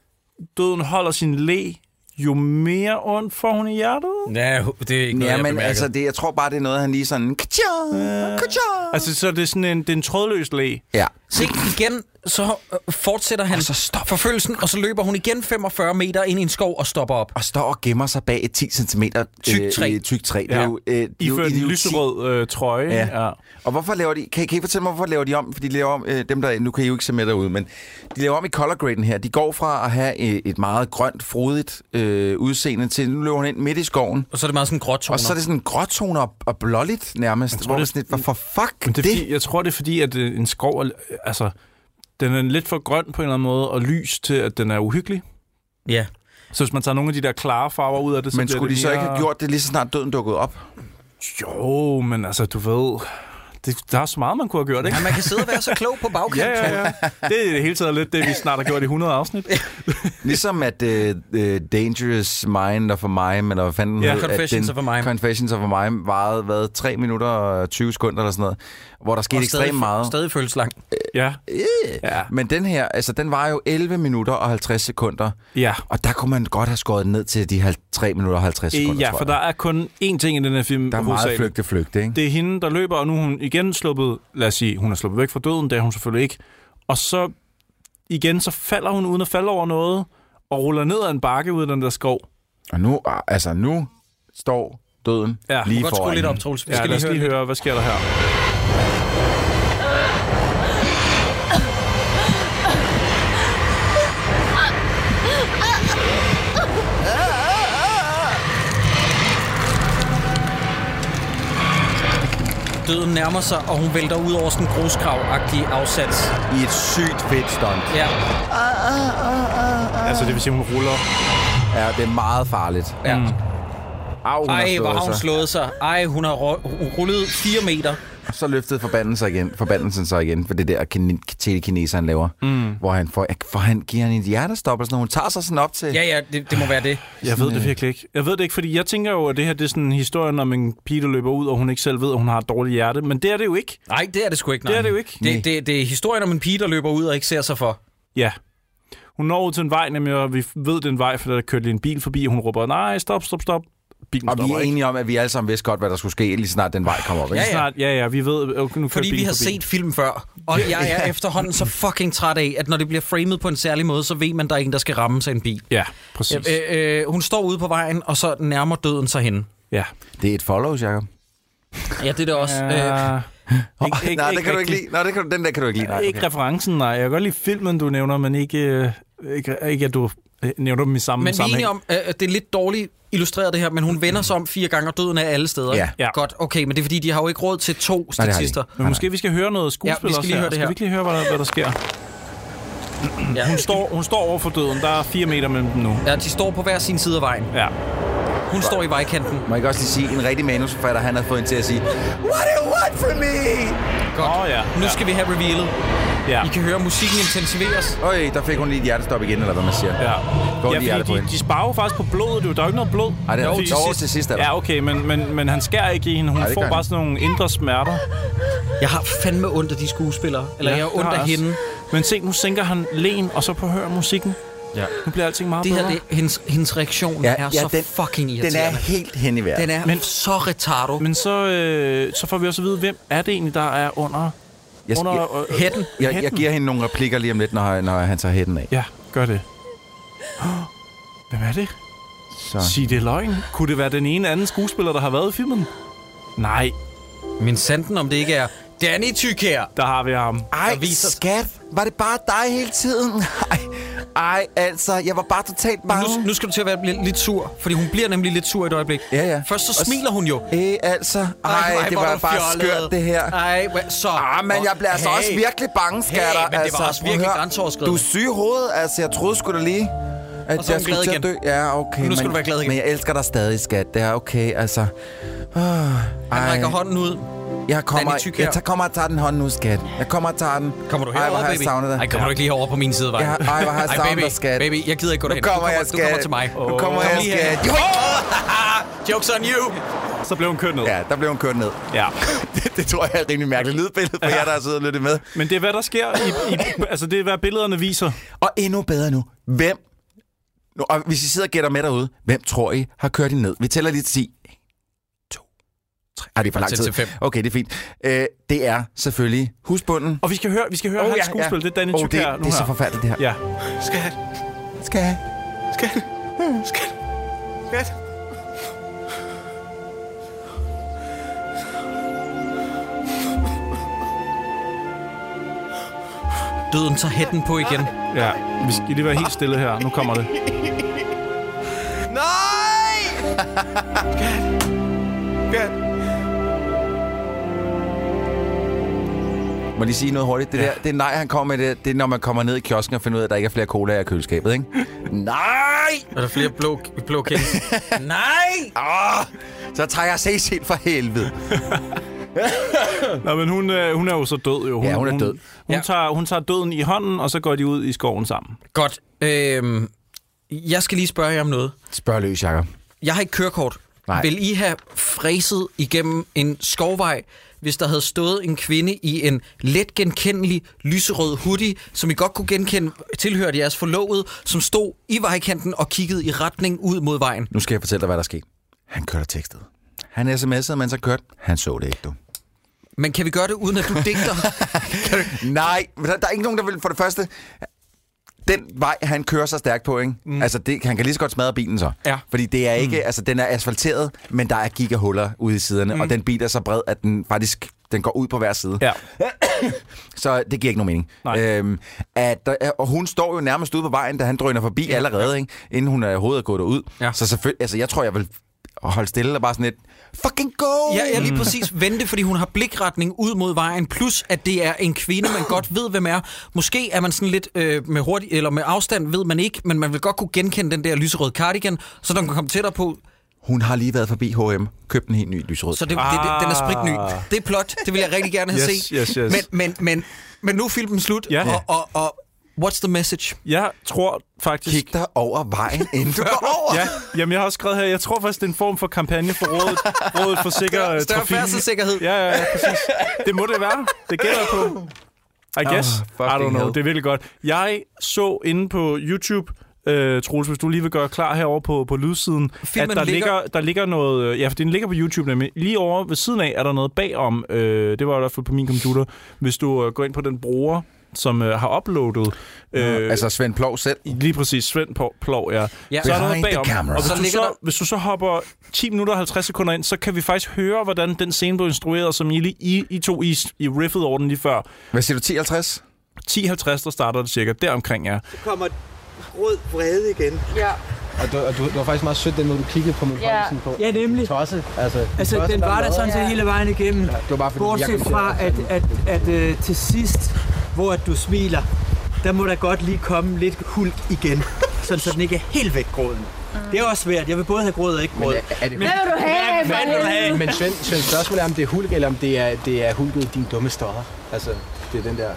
Speaker 2: døden holder sin læ, jo mere ondt får hun i hjertet.
Speaker 1: Ja, det er ikke noget,
Speaker 3: Ja,
Speaker 1: jeg
Speaker 3: men
Speaker 1: bemærkede.
Speaker 3: altså, det, jeg tror bare, det er noget, han lige sådan... Kachang, kachang.
Speaker 2: Altså, så er det er sådan en, det er en trådløs læ.
Speaker 3: Ja.
Speaker 1: Se, igen, så øh, fortsætter han så forfølgelsen, og så løber hun igen 45 meter ind i en skov og stopper op.
Speaker 3: Og står og gemmer sig bag et 10 cm
Speaker 1: Tykt træ.
Speaker 3: tyk træ. Det
Speaker 2: Ja.
Speaker 3: er jo, øh, det er
Speaker 2: I
Speaker 3: jo
Speaker 2: fører en
Speaker 3: idioti.
Speaker 2: lyserød øh, trøje.
Speaker 3: Ja.
Speaker 2: ja.
Speaker 3: Og hvorfor laver de... Kan, I- kan I fortælle mig, hvorfor laver de om? Fordi de laver om... Øh, dem, der... Nu kan I jo ikke se med derude, men de laver om i color graden her. De går fra at have øh, et meget grønt, frodigt øh, udseende til... Nu løber hun ind midt i skoven.
Speaker 1: Og så er det meget sådan gråtoner.
Speaker 3: Og så er det sådan gråtoner og, og blåligt nærmest. Tror, hvor
Speaker 2: det-
Speaker 3: man sådan lidt, hvorfor fuck
Speaker 2: Men
Speaker 3: det?
Speaker 2: det er fordi, jeg tror, det er fordi, at øh, en skov er, øh, altså, den er lidt for grøn på en eller anden måde, og lys til, at den er uhyggelig.
Speaker 1: Ja.
Speaker 2: Så hvis man tager nogle af de der klare farver ud af det, så
Speaker 3: Men
Speaker 2: bliver
Speaker 3: skulle
Speaker 2: det
Speaker 3: de så
Speaker 2: mere...
Speaker 3: ikke have gjort det lige så snart døden dukkede op?
Speaker 2: Jo, men altså, du ved... Det, der er så meget, man kunne have gjort, ikke?
Speaker 1: Ja, man kan sidde og være så klog på bagkant.
Speaker 2: Ja, ja, ja. Det er i det hele taget lidt det, vi snart har gjort i 100 afsnit.
Speaker 3: Ligesom at uh, uh, Dangerous Mind of a Mime, eller hvad fanden
Speaker 2: Ja,
Speaker 3: hed, at
Speaker 1: Confessions of a Mime.
Speaker 3: Confessions of a Mime varede, hvad, 3 minutter og 20 sekunder eller sådan noget, hvor der skete
Speaker 1: Og
Speaker 3: ekstremt meget.
Speaker 1: Stadig føles lang.
Speaker 2: Ja. Ja.
Speaker 3: Men den her, altså den var jo 11 minutter og 50 sekunder,
Speaker 2: Ja.
Speaker 3: og der kunne man godt have skåret den ned til de halv- 3 minutter og 50 sekunder,
Speaker 2: Ja,
Speaker 3: tror
Speaker 2: for
Speaker 3: jeg.
Speaker 2: der er kun én ting i den her film.
Speaker 3: der er meget
Speaker 2: hovedsageligt.
Speaker 3: flygte, flygte, ikke?
Speaker 2: Det er hende, der løber, og nu er hun igen sluppet, lad os sige, hun er sluppet væk fra døden, det er hun selvfølgelig ikke. Og så igen, så falder hun uden at falde over noget, og ruller ned ad en bakke ud af den der skov.
Speaker 3: Og nu, ah, altså nu står døden
Speaker 2: Ja,
Speaker 3: ja,
Speaker 2: du
Speaker 3: lige
Speaker 1: Du kan godt skrue
Speaker 3: foran.
Speaker 1: lidt op,
Speaker 3: hende.
Speaker 1: Troels. Vi
Speaker 2: Ja,
Speaker 1: skal lige
Speaker 2: lad os
Speaker 1: høre.
Speaker 2: lige
Speaker 1: lidt.
Speaker 2: høre, hvad sker der her?
Speaker 1: Døden nærmer sig, og hun vælter ud over sådan en grusgrav-agtig afsats.
Speaker 3: I et sygt fedt stunt.
Speaker 1: Ja.
Speaker 2: Altså, det vil sige, hun ruller.
Speaker 3: Ja, det er meget farligt.
Speaker 1: Ja. Mm.
Speaker 3: Au, hun
Speaker 1: Ej, hvor
Speaker 3: har slået
Speaker 1: har hun
Speaker 3: sig.
Speaker 1: slået sig. Ej, hun har ro- rullet 4 meter.
Speaker 3: Så løftede forbandelsen sig igen, forbandelsen sig igen for det der kin- telekineser, han laver. Mm. Hvor han, får, for han giver hende et hjertestop, og sådan noget. hun tager sig sådan op til...
Speaker 1: Ja, ja, det, det må være det.
Speaker 2: Jeg ved det virkelig ikke. Jeg ved det ikke, fordi jeg tænker jo, at det her det er sådan historien om en pige, der løber ud, og hun ikke selv ved, at hun har et dårligt hjerte. Men det er det jo ikke.
Speaker 1: Nej, det er det sgu ikke. Nej.
Speaker 2: Det er det jo ikke.
Speaker 1: Det, det, det er historien om en pige, der løber ud og ikke ser sig for.
Speaker 2: Ja. Hun når ud til en vej, nemlig, og vi ved den vej, for der kørte lige en bil forbi, og hun råber, nej, stop, stop, stop. Bilen
Speaker 3: Og vi
Speaker 2: stopper
Speaker 3: er
Speaker 2: ikke.
Speaker 3: enige om, at vi alle sammen vidste godt, hvad der skulle ske, lige snart den vej kommer op. Ikke?
Speaker 2: Ja, ja. Snart, ja, ja, vi ved, okay, nu kører
Speaker 1: Fordi vi
Speaker 2: bilen
Speaker 1: har
Speaker 2: forbi.
Speaker 1: set film før, og jeg er efterhånden så fucking træt af, at når det bliver framet på en særlig måde, så ved man, der er en, der skal ramme sig en bil.
Speaker 2: Ja, præcis.
Speaker 1: Øh, øh, hun står ude på vejen, og så nærmer døden sig hende.
Speaker 2: Ja.
Speaker 3: Det er et follows, Jacob.
Speaker 1: Ja, det er det også.
Speaker 2: Ja.
Speaker 1: Øh,
Speaker 2: Ikke- ikke-
Speaker 3: Nej, det
Speaker 2: ikke
Speaker 3: kan du ikke
Speaker 2: rigtig.
Speaker 3: lide. Nej, det kan du, den der kan du ikke lide. Nej,
Speaker 2: Ikke
Speaker 3: okay.
Speaker 2: referencen, nej. Jeg kan godt lide filmen, du nævner, men ikke, øh, ikke, ikke at du øh, nævner dem i samme
Speaker 1: men vi er
Speaker 2: sammenhæng.
Speaker 1: enige om, øh, at det er lidt dårligt illustreret det her, men hun vender sig om fire gange, og døden er alle steder.
Speaker 3: Ja.
Speaker 2: Ja.
Speaker 1: Godt, okay, men det er fordi, de har jo ikke råd til to
Speaker 3: har de
Speaker 1: statister.
Speaker 3: ikke.
Speaker 2: Men måske vi skal høre noget skuespil
Speaker 1: Ja, vi skal
Speaker 2: også
Speaker 1: lige
Speaker 2: her.
Speaker 1: høre det her.
Speaker 2: Skal vi ikke lige høre, hvad der, hvad der sker?
Speaker 1: Ja.
Speaker 2: Hun står, hun står over for døden. Der er fire meter mellem dem nu.
Speaker 1: Ja, de står på hver sin side af vejen.
Speaker 2: Ja.
Speaker 1: Hun står i vejkanten.
Speaker 3: Må jeg ikke også lige sige, en rigtig manusforfatter, han har fået en til at sige, What do you want from me?
Speaker 1: Godt.
Speaker 2: Åh, ja.
Speaker 1: Nu
Speaker 2: Ja.
Speaker 1: skal vi have revealet.
Speaker 2: Ja.
Speaker 1: I kan høre, musikken intensiveres.
Speaker 3: Øj, der fik hun lige et hjertestop igen, eller hvad man siger.
Speaker 2: Ja.
Speaker 3: Godt lige
Speaker 2: ja,
Speaker 3: hjertet på
Speaker 2: fordi de,
Speaker 3: hende.
Speaker 2: de sparer jo faktisk på blodet. Det er jo der er jo ikke noget blod.
Speaker 3: Ej, det er
Speaker 2: Jo,
Speaker 3: over til sidst. Til sidst er der.
Speaker 2: Ja, okay, men, men, men han skærer ikke i hende. Hun
Speaker 3: Nej,
Speaker 2: Ej,
Speaker 3: det
Speaker 2: får
Speaker 3: gør
Speaker 2: bare
Speaker 3: han.
Speaker 2: sådan nogle indre smerter.
Speaker 1: Jeg har fandme ondt af de skuespillere. Eller ja, jeg har
Speaker 2: det
Speaker 1: ondt
Speaker 2: har
Speaker 1: af
Speaker 2: jeg også.
Speaker 1: hende.
Speaker 2: Men se, nu sænker han len, og så på hør musikken.
Speaker 1: Ja.
Speaker 2: Nu bliver alting meget
Speaker 1: Det her,
Speaker 2: bedre.
Speaker 1: det, hendes, hendes reaktion ja, er ja, så den, fucking
Speaker 3: Den er
Speaker 1: irriterende.
Speaker 3: helt hen i vejret.
Speaker 1: Den er, den er men,
Speaker 2: Men-
Speaker 1: så retardo. Men,
Speaker 2: Men så, øh, så får vi også at vide, hvem er det egentlig, der er under...
Speaker 3: Jeg,
Speaker 2: under
Speaker 3: jeg,
Speaker 2: øh,
Speaker 1: Hætten.
Speaker 3: jeg, jeg
Speaker 2: hætten?
Speaker 3: giver hende nogle replikker lige om lidt, når, når han tager hætten af.
Speaker 2: Ja, gør det. Hvem er det?
Speaker 3: Så.
Speaker 2: Sig det er løgn. Kunne det være den ene anden skuespiller, der har været i filmen? Nej,
Speaker 1: Men sanden, om det ikke er E Danny Tykær.
Speaker 2: der har vi ham.
Speaker 3: Ej,
Speaker 1: der viser-
Speaker 3: skat, var det bare dig hele tiden? Ej, ej altså, jeg var bare totalt
Speaker 1: Nu, nu skal du til at være lidt, lidt sur, fordi hun bliver nemlig lidt sur i et øjeblik.
Speaker 3: Ja, ja.
Speaker 1: Først så
Speaker 3: Og s-
Speaker 1: smiler hun jo.
Speaker 3: Øh, altså, ej,
Speaker 1: hvor
Speaker 3: det
Speaker 1: er
Speaker 3: var
Speaker 1: du
Speaker 3: bare
Speaker 1: fjollet.
Speaker 3: skørt, det her.
Speaker 1: Ej, hvad- så...
Speaker 3: Ah, men jeg bliver altså
Speaker 1: Hey.
Speaker 3: også virkelig bange, skatter.
Speaker 1: men det var
Speaker 3: altså,
Speaker 1: også
Speaker 3: prøv at
Speaker 1: virkelig
Speaker 3: høre.
Speaker 1: grænseoverskridende.
Speaker 3: Du er syg i hovedet, altså, jeg troede sgu da lige,
Speaker 1: Og
Speaker 3: at
Speaker 1: så er
Speaker 3: jeg
Speaker 1: hun
Speaker 3: skulle
Speaker 1: glad
Speaker 3: til at
Speaker 1: igen.
Speaker 3: dø. Ja, okay.
Speaker 1: Nu skal
Speaker 3: men,
Speaker 1: du være glad igen.
Speaker 3: Men jeg elsker dig stadig, skat. Det er okay, altså. Uh,
Speaker 1: Han rækker hånden ud.
Speaker 3: Jeg kommer,
Speaker 1: Danny Tyk her.
Speaker 3: jeg tager, kommer og tager den hånd nu, skat. Jeg kommer og tager den.
Speaker 1: Kommer du
Speaker 3: Ej,
Speaker 1: herover,
Speaker 3: hvor har jeg
Speaker 1: baby?
Speaker 3: savnet dig.
Speaker 1: Ej, kommer du ikke lige herover på min side, vej?
Speaker 3: Ja, ej, hvor har jeg savnet
Speaker 1: baby,
Speaker 3: dig, skat.
Speaker 1: Baby, jeg gider ikke gå
Speaker 3: Nu
Speaker 1: derhen.
Speaker 3: kommer
Speaker 1: du
Speaker 3: jeg,
Speaker 1: kommer,
Speaker 3: skat.
Speaker 1: Du kommer til mig.
Speaker 3: Nu kommer jeg,
Speaker 1: lige
Speaker 3: skat.
Speaker 1: herhen. Jo, Jokes on you.
Speaker 2: Så blev hun kørt ned.
Speaker 3: Ja, der blev hun kørt ned.
Speaker 2: ja.
Speaker 3: det, det tror jeg er et rimelig mærkeligt lydbillede for jer, der har siddet og lyttet med.
Speaker 2: Men det er, hvad der sker. I, i, altså, det er, hvad billederne viser.
Speaker 3: Og endnu bedre nu. Hvem? Nu, og hvis I sidder og gætter med derude, hvem tror I har kørt hende ned? Vi tæller lige til 10. 1, 2, 3. Ej, det er for lang
Speaker 1: Tæl
Speaker 3: tid.
Speaker 1: til fem.
Speaker 3: Okay, det er fint. Øh, det er selvfølgelig husbunden.
Speaker 2: Og vi skal høre, vi skal høre oh, hans ja, skuespil. Ja. Det er Danny
Speaker 3: Åh,
Speaker 2: oh,
Speaker 3: det,
Speaker 2: Tykær nu
Speaker 3: det er så
Speaker 2: her.
Speaker 3: forfærdeligt, det her.
Speaker 2: Ja.
Speaker 10: Skat.
Speaker 3: Skal jeg?
Speaker 10: Skat. Skat. Skat.
Speaker 1: Døden tager hætten på igen.
Speaker 2: ja. Vi skal lige være helt stille her. Nu kommer det.
Speaker 3: Nej!
Speaker 10: Skat.
Speaker 3: Må jeg lige sige noget hurtigt. Det, ja. der, det er nej, han kommer med det, det er, når man kommer ned i kiosken og finder ud af, at der ikke er flere cola i køleskabet, ikke? nej!
Speaker 1: Er der flere blå, blå kæmper? Nej!
Speaker 3: Arh, Ah! så tager jeg CC'en for helvede.
Speaker 2: Nå, men hun, øh, hun er jo så død, jo. Hun,
Speaker 3: Ja, hun er død.
Speaker 2: Hun, hun,
Speaker 1: Ja.
Speaker 2: tager, hun tager døden i hånden, og så går de ud i skoven sammen.
Speaker 1: Godt. Øhm, jeg skal lige spørge jer om noget.
Speaker 3: Spørg løs, Jacob.
Speaker 1: Jeg har ikke kørekort.
Speaker 3: Nej.
Speaker 1: Vil I have fræset igennem en skovvej, hvis der havde stået en kvinde i en let genkendelig lyserød hoodie, som I godt kunne genkende, tilhørte jeres forlovede, som stod i vejkanten og kiggede i retning ud mod vejen?
Speaker 3: Nu skal jeg fortælle dig, hvad der skete. Han kørte og tekstede. Han sms'ede, mens han kørte. Han så det ikke, du.
Speaker 1: Men kan vi gøre det, uden at du digter?
Speaker 3: Nej, men der, der er ikke nogen, der vil for det første... Den vej, han kører så stærkt på, ikke? Mm. Altså, det, han kan lige så godt smadre bilen så.
Speaker 1: Ja.
Speaker 3: Fordi det er ikke... Mm. Altså, den er asfalteret, men der er gigahuller ude i siderne, mm. og den bil er så bred, at den faktisk den går ud på hver side.
Speaker 2: Ja.
Speaker 3: Så det giver ikke nogen mening.
Speaker 2: Nej.
Speaker 3: Øhm, at der, er- og hun står jo nærmest ude på vejen, da han drøner forbi ja. allerede, ikke? inden hun er overhovedet gået derud.
Speaker 1: Ja.
Speaker 3: Så selvfølgelig, altså jeg tror, jeg vil og holde stille og bare sådan lidt, fucking go!
Speaker 1: Ja, ja, lige
Speaker 2: Mm.
Speaker 1: præcis. Vente, fordi hun har blikretning ud mod vejen, plus at det er en kvinde, man godt ved, hvem er. Måske er man sådan lidt øh, med hurtig, eller med afstand, ved man ikke, men man vil godt kunne genkende den der lyserøde cardigan, så den kan komme tættere på.
Speaker 3: Hun har lige været forbi H&M, købt en helt ny lyserød.
Speaker 1: Så det, det, det, den er spritny. Det er plot, det vil jeg rigtig gerne have
Speaker 2: Ah. Yes,
Speaker 1: set.
Speaker 2: yes, yes.
Speaker 1: Men, men, men, men nu er filmen slut,
Speaker 2: Ja.
Speaker 1: og, og, og what's the message?
Speaker 2: Jeg tror faktisk...
Speaker 3: Kig dig over vejen, inden du går over.
Speaker 2: ja, jamen jeg har også skrevet her, jeg tror faktisk, det er en form for kampagne for Rådet, rådet for Sikker øh,
Speaker 1: Større
Speaker 2: Trafik.
Speaker 1: færdselssikkerhed.
Speaker 2: Ja, ja, ja, præcis. Det må det være. Det gælder jeg på. I guess. I
Speaker 3: Ah,
Speaker 2: don't
Speaker 3: fucking
Speaker 2: know.
Speaker 3: hell.
Speaker 2: Det er virkelig godt. Jeg så inde på YouTube, øh, Troels, hvis du lige vil gøre klar herover på, på lydsiden,
Speaker 1: Filmen
Speaker 2: at der
Speaker 1: ligger-
Speaker 2: ligger... der ligger noget... øh, Ja, for den ligger på YouTube nemlig. Lige over ved siden af er der noget bagom. Øh, det var i hvert fald på min computer. Hvis du øh, går ind på den bruger, som øh, har uploadet... Øh,
Speaker 3: Altså Svend Plov selv.
Speaker 2: Lige præcis, Svend Plov, Plov ja.
Speaker 1: Ja.
Speaker 2: ja. Så er der noget
Speaker 3: Behind the
Speaker 2: bagom.
Speaker 3: camera.
Speaker 2: Og
Speaker 1: Så
Speaker 2: hvis, du
Speaker 1: ligger
Speaker 2: så,
Speaker 1: der-
Speaker 2: hvis du så hopper 10 minutter og 50 sekunder ind, så kan vi faktisk høre, hvordan den scene blev instrueret, som I, lige- I, I to I, I riffede over den lige før.
Speaker 3: Hvad siger du, 10.50?
Speaker 2: 10.50, der starter det cirka. Deromkring, ja.
Speaker 11: kommer rød vrede igen.
Speaker 12: Ja.
Speaker 13: Og du, og du, du var faktisk meget sødt, den måde, du kiggede på min
Speaker 12: Ja.
Speaker 13: yeah. på. Ja, nemlig. Tosse. Altså,
Speaker 14: Altså, den var der sådan set hele vejen igennem. Ja, det
Speaker 13: var bare fordi, jeg
Speaker 14: bortset
Speaker 13: kom til
Speaker 14: fra,
Speaker 13: at-
Speaker 14: at, at, at øh, til sidst, hvor at du smiler, der må der godt lige komme lidt hul igen. Sådan, så den ikke er helt væk gråden. Det er også svært. Jeg vil både have gråd og ikke gråd. Men,
Speaker 13: er det-
Speaker 14: Men,
Speaker 12: Hvad vil du have,
Speaker 14: Hvad
Speaker 12: for
Speaker 14: vil du have?
Speaker 13: Men Svend, Svend spørgsmålet er, om det er hulk, eller om det er, det er hulket i din dumme stodder. Altså, det er den der...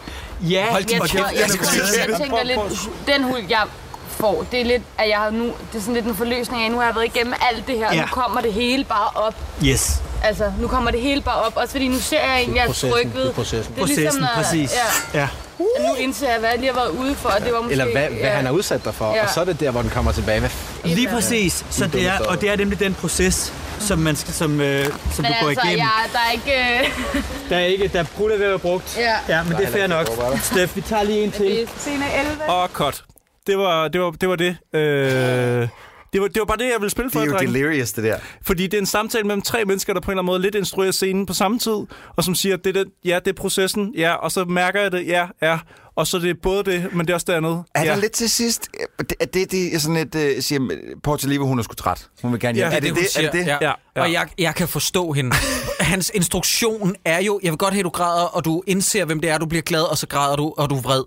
Speaker 14: Ja,
Speaker 13: Hold din
Speaker 12: Jeg,
Speaker 13: kæft,
Speaker 12: tror, jeg,
Speaker 13: Anne
Speaker 12: tror,
Speaker 13: Marie.
Speaker 12: jeg tænker lidt, den hul, jeg får, det er lidt, at jeg har nu, det er sådan lidt en forløsning af, nu har jeg været igennem alt det her,
Speaker 14: Ja.
Speaker 12: nu kommer det hele bare op.
Speaker 14: Yes.
Speaker 12: Altså, nu kommer det hele bare op, også fordi nu ser jeg egentlig, at jeg er
Speaker 13: processen,
Speaker 12: tryg ved.
Speaker 13: det er processen.
Speaker 14: Processen, præcis.
Speaker 12: Ja,
Speaker 14: Ja.
Speaker 12: at nu indser jeg, hvad jeg lige har været ude for, og det var måske...
Speaker 13: Eller hvad, hvad
Speaker 12: ja.
Speaker 13: han har udsat dig for,
Speaker 12: Ja.
Speaker 13: og så er det der, hvor den kommer tilbage. Hvad f-
Speaker 14: Lige præcis. Så det er, og det er nemlig den proces, som, man skal, som, øh,
Speaker 12: Men
Speaker 14: som du går
Speaker 12: altså,
Speaker 14: igennem.
Speaker 12: jeg, der er ikke... øh,
Speaker 14: Der er ikke, der er brudt ved at være brugt.
Speaker 12: Ja.
Speaker 14: ja men det er fair nok. Steff, vi tager lige en
Speaker 12: det
Speaker 14: til.
Speaker 12: er scene 11.
Speaker 2: Og cut. Det var det. Var, det, var det. Øh, det var, det var bare det, jeg ville spille for
Speaker 3: Det er
Speaker 2: jer,
Speaker 3: jo
Speaker 2: drenge.
Speaker 3: delirious, det der.
Speaker 2: Fordi det er en samtale mellem tre mennesker, der på en eller anden måde lidt instruerer scenen på samme tid, og som siger, det er den, ja, det er processen, ja, og så mærker jeg det, ja, ja, og så det er både det, men det er også det andet.
Speaker 3: Er
Speaker 2: ja.
Speaker 3: der lidt til sidst, øh, det- er det, det er sådan et, øh, siger, øh, Portalivo, hun er sgu træt. Hun vil gerne hjem.
Speaker 2: Ja,
Speaker 3: er det
Speaker 1: hun
Speaker 3: det? Er
Speaker 1: siger.
Speaker 3: det det?
Speaker 1: Ja. Ja.
Speaker 2: ja.
Speaker 1: Og jeg, jeg kan forstå hende. Hans instruktion er jo, jeg vil godt have, at du græder, og du indser, hvem det er, du bliver glad, og så græder du, og du er vred.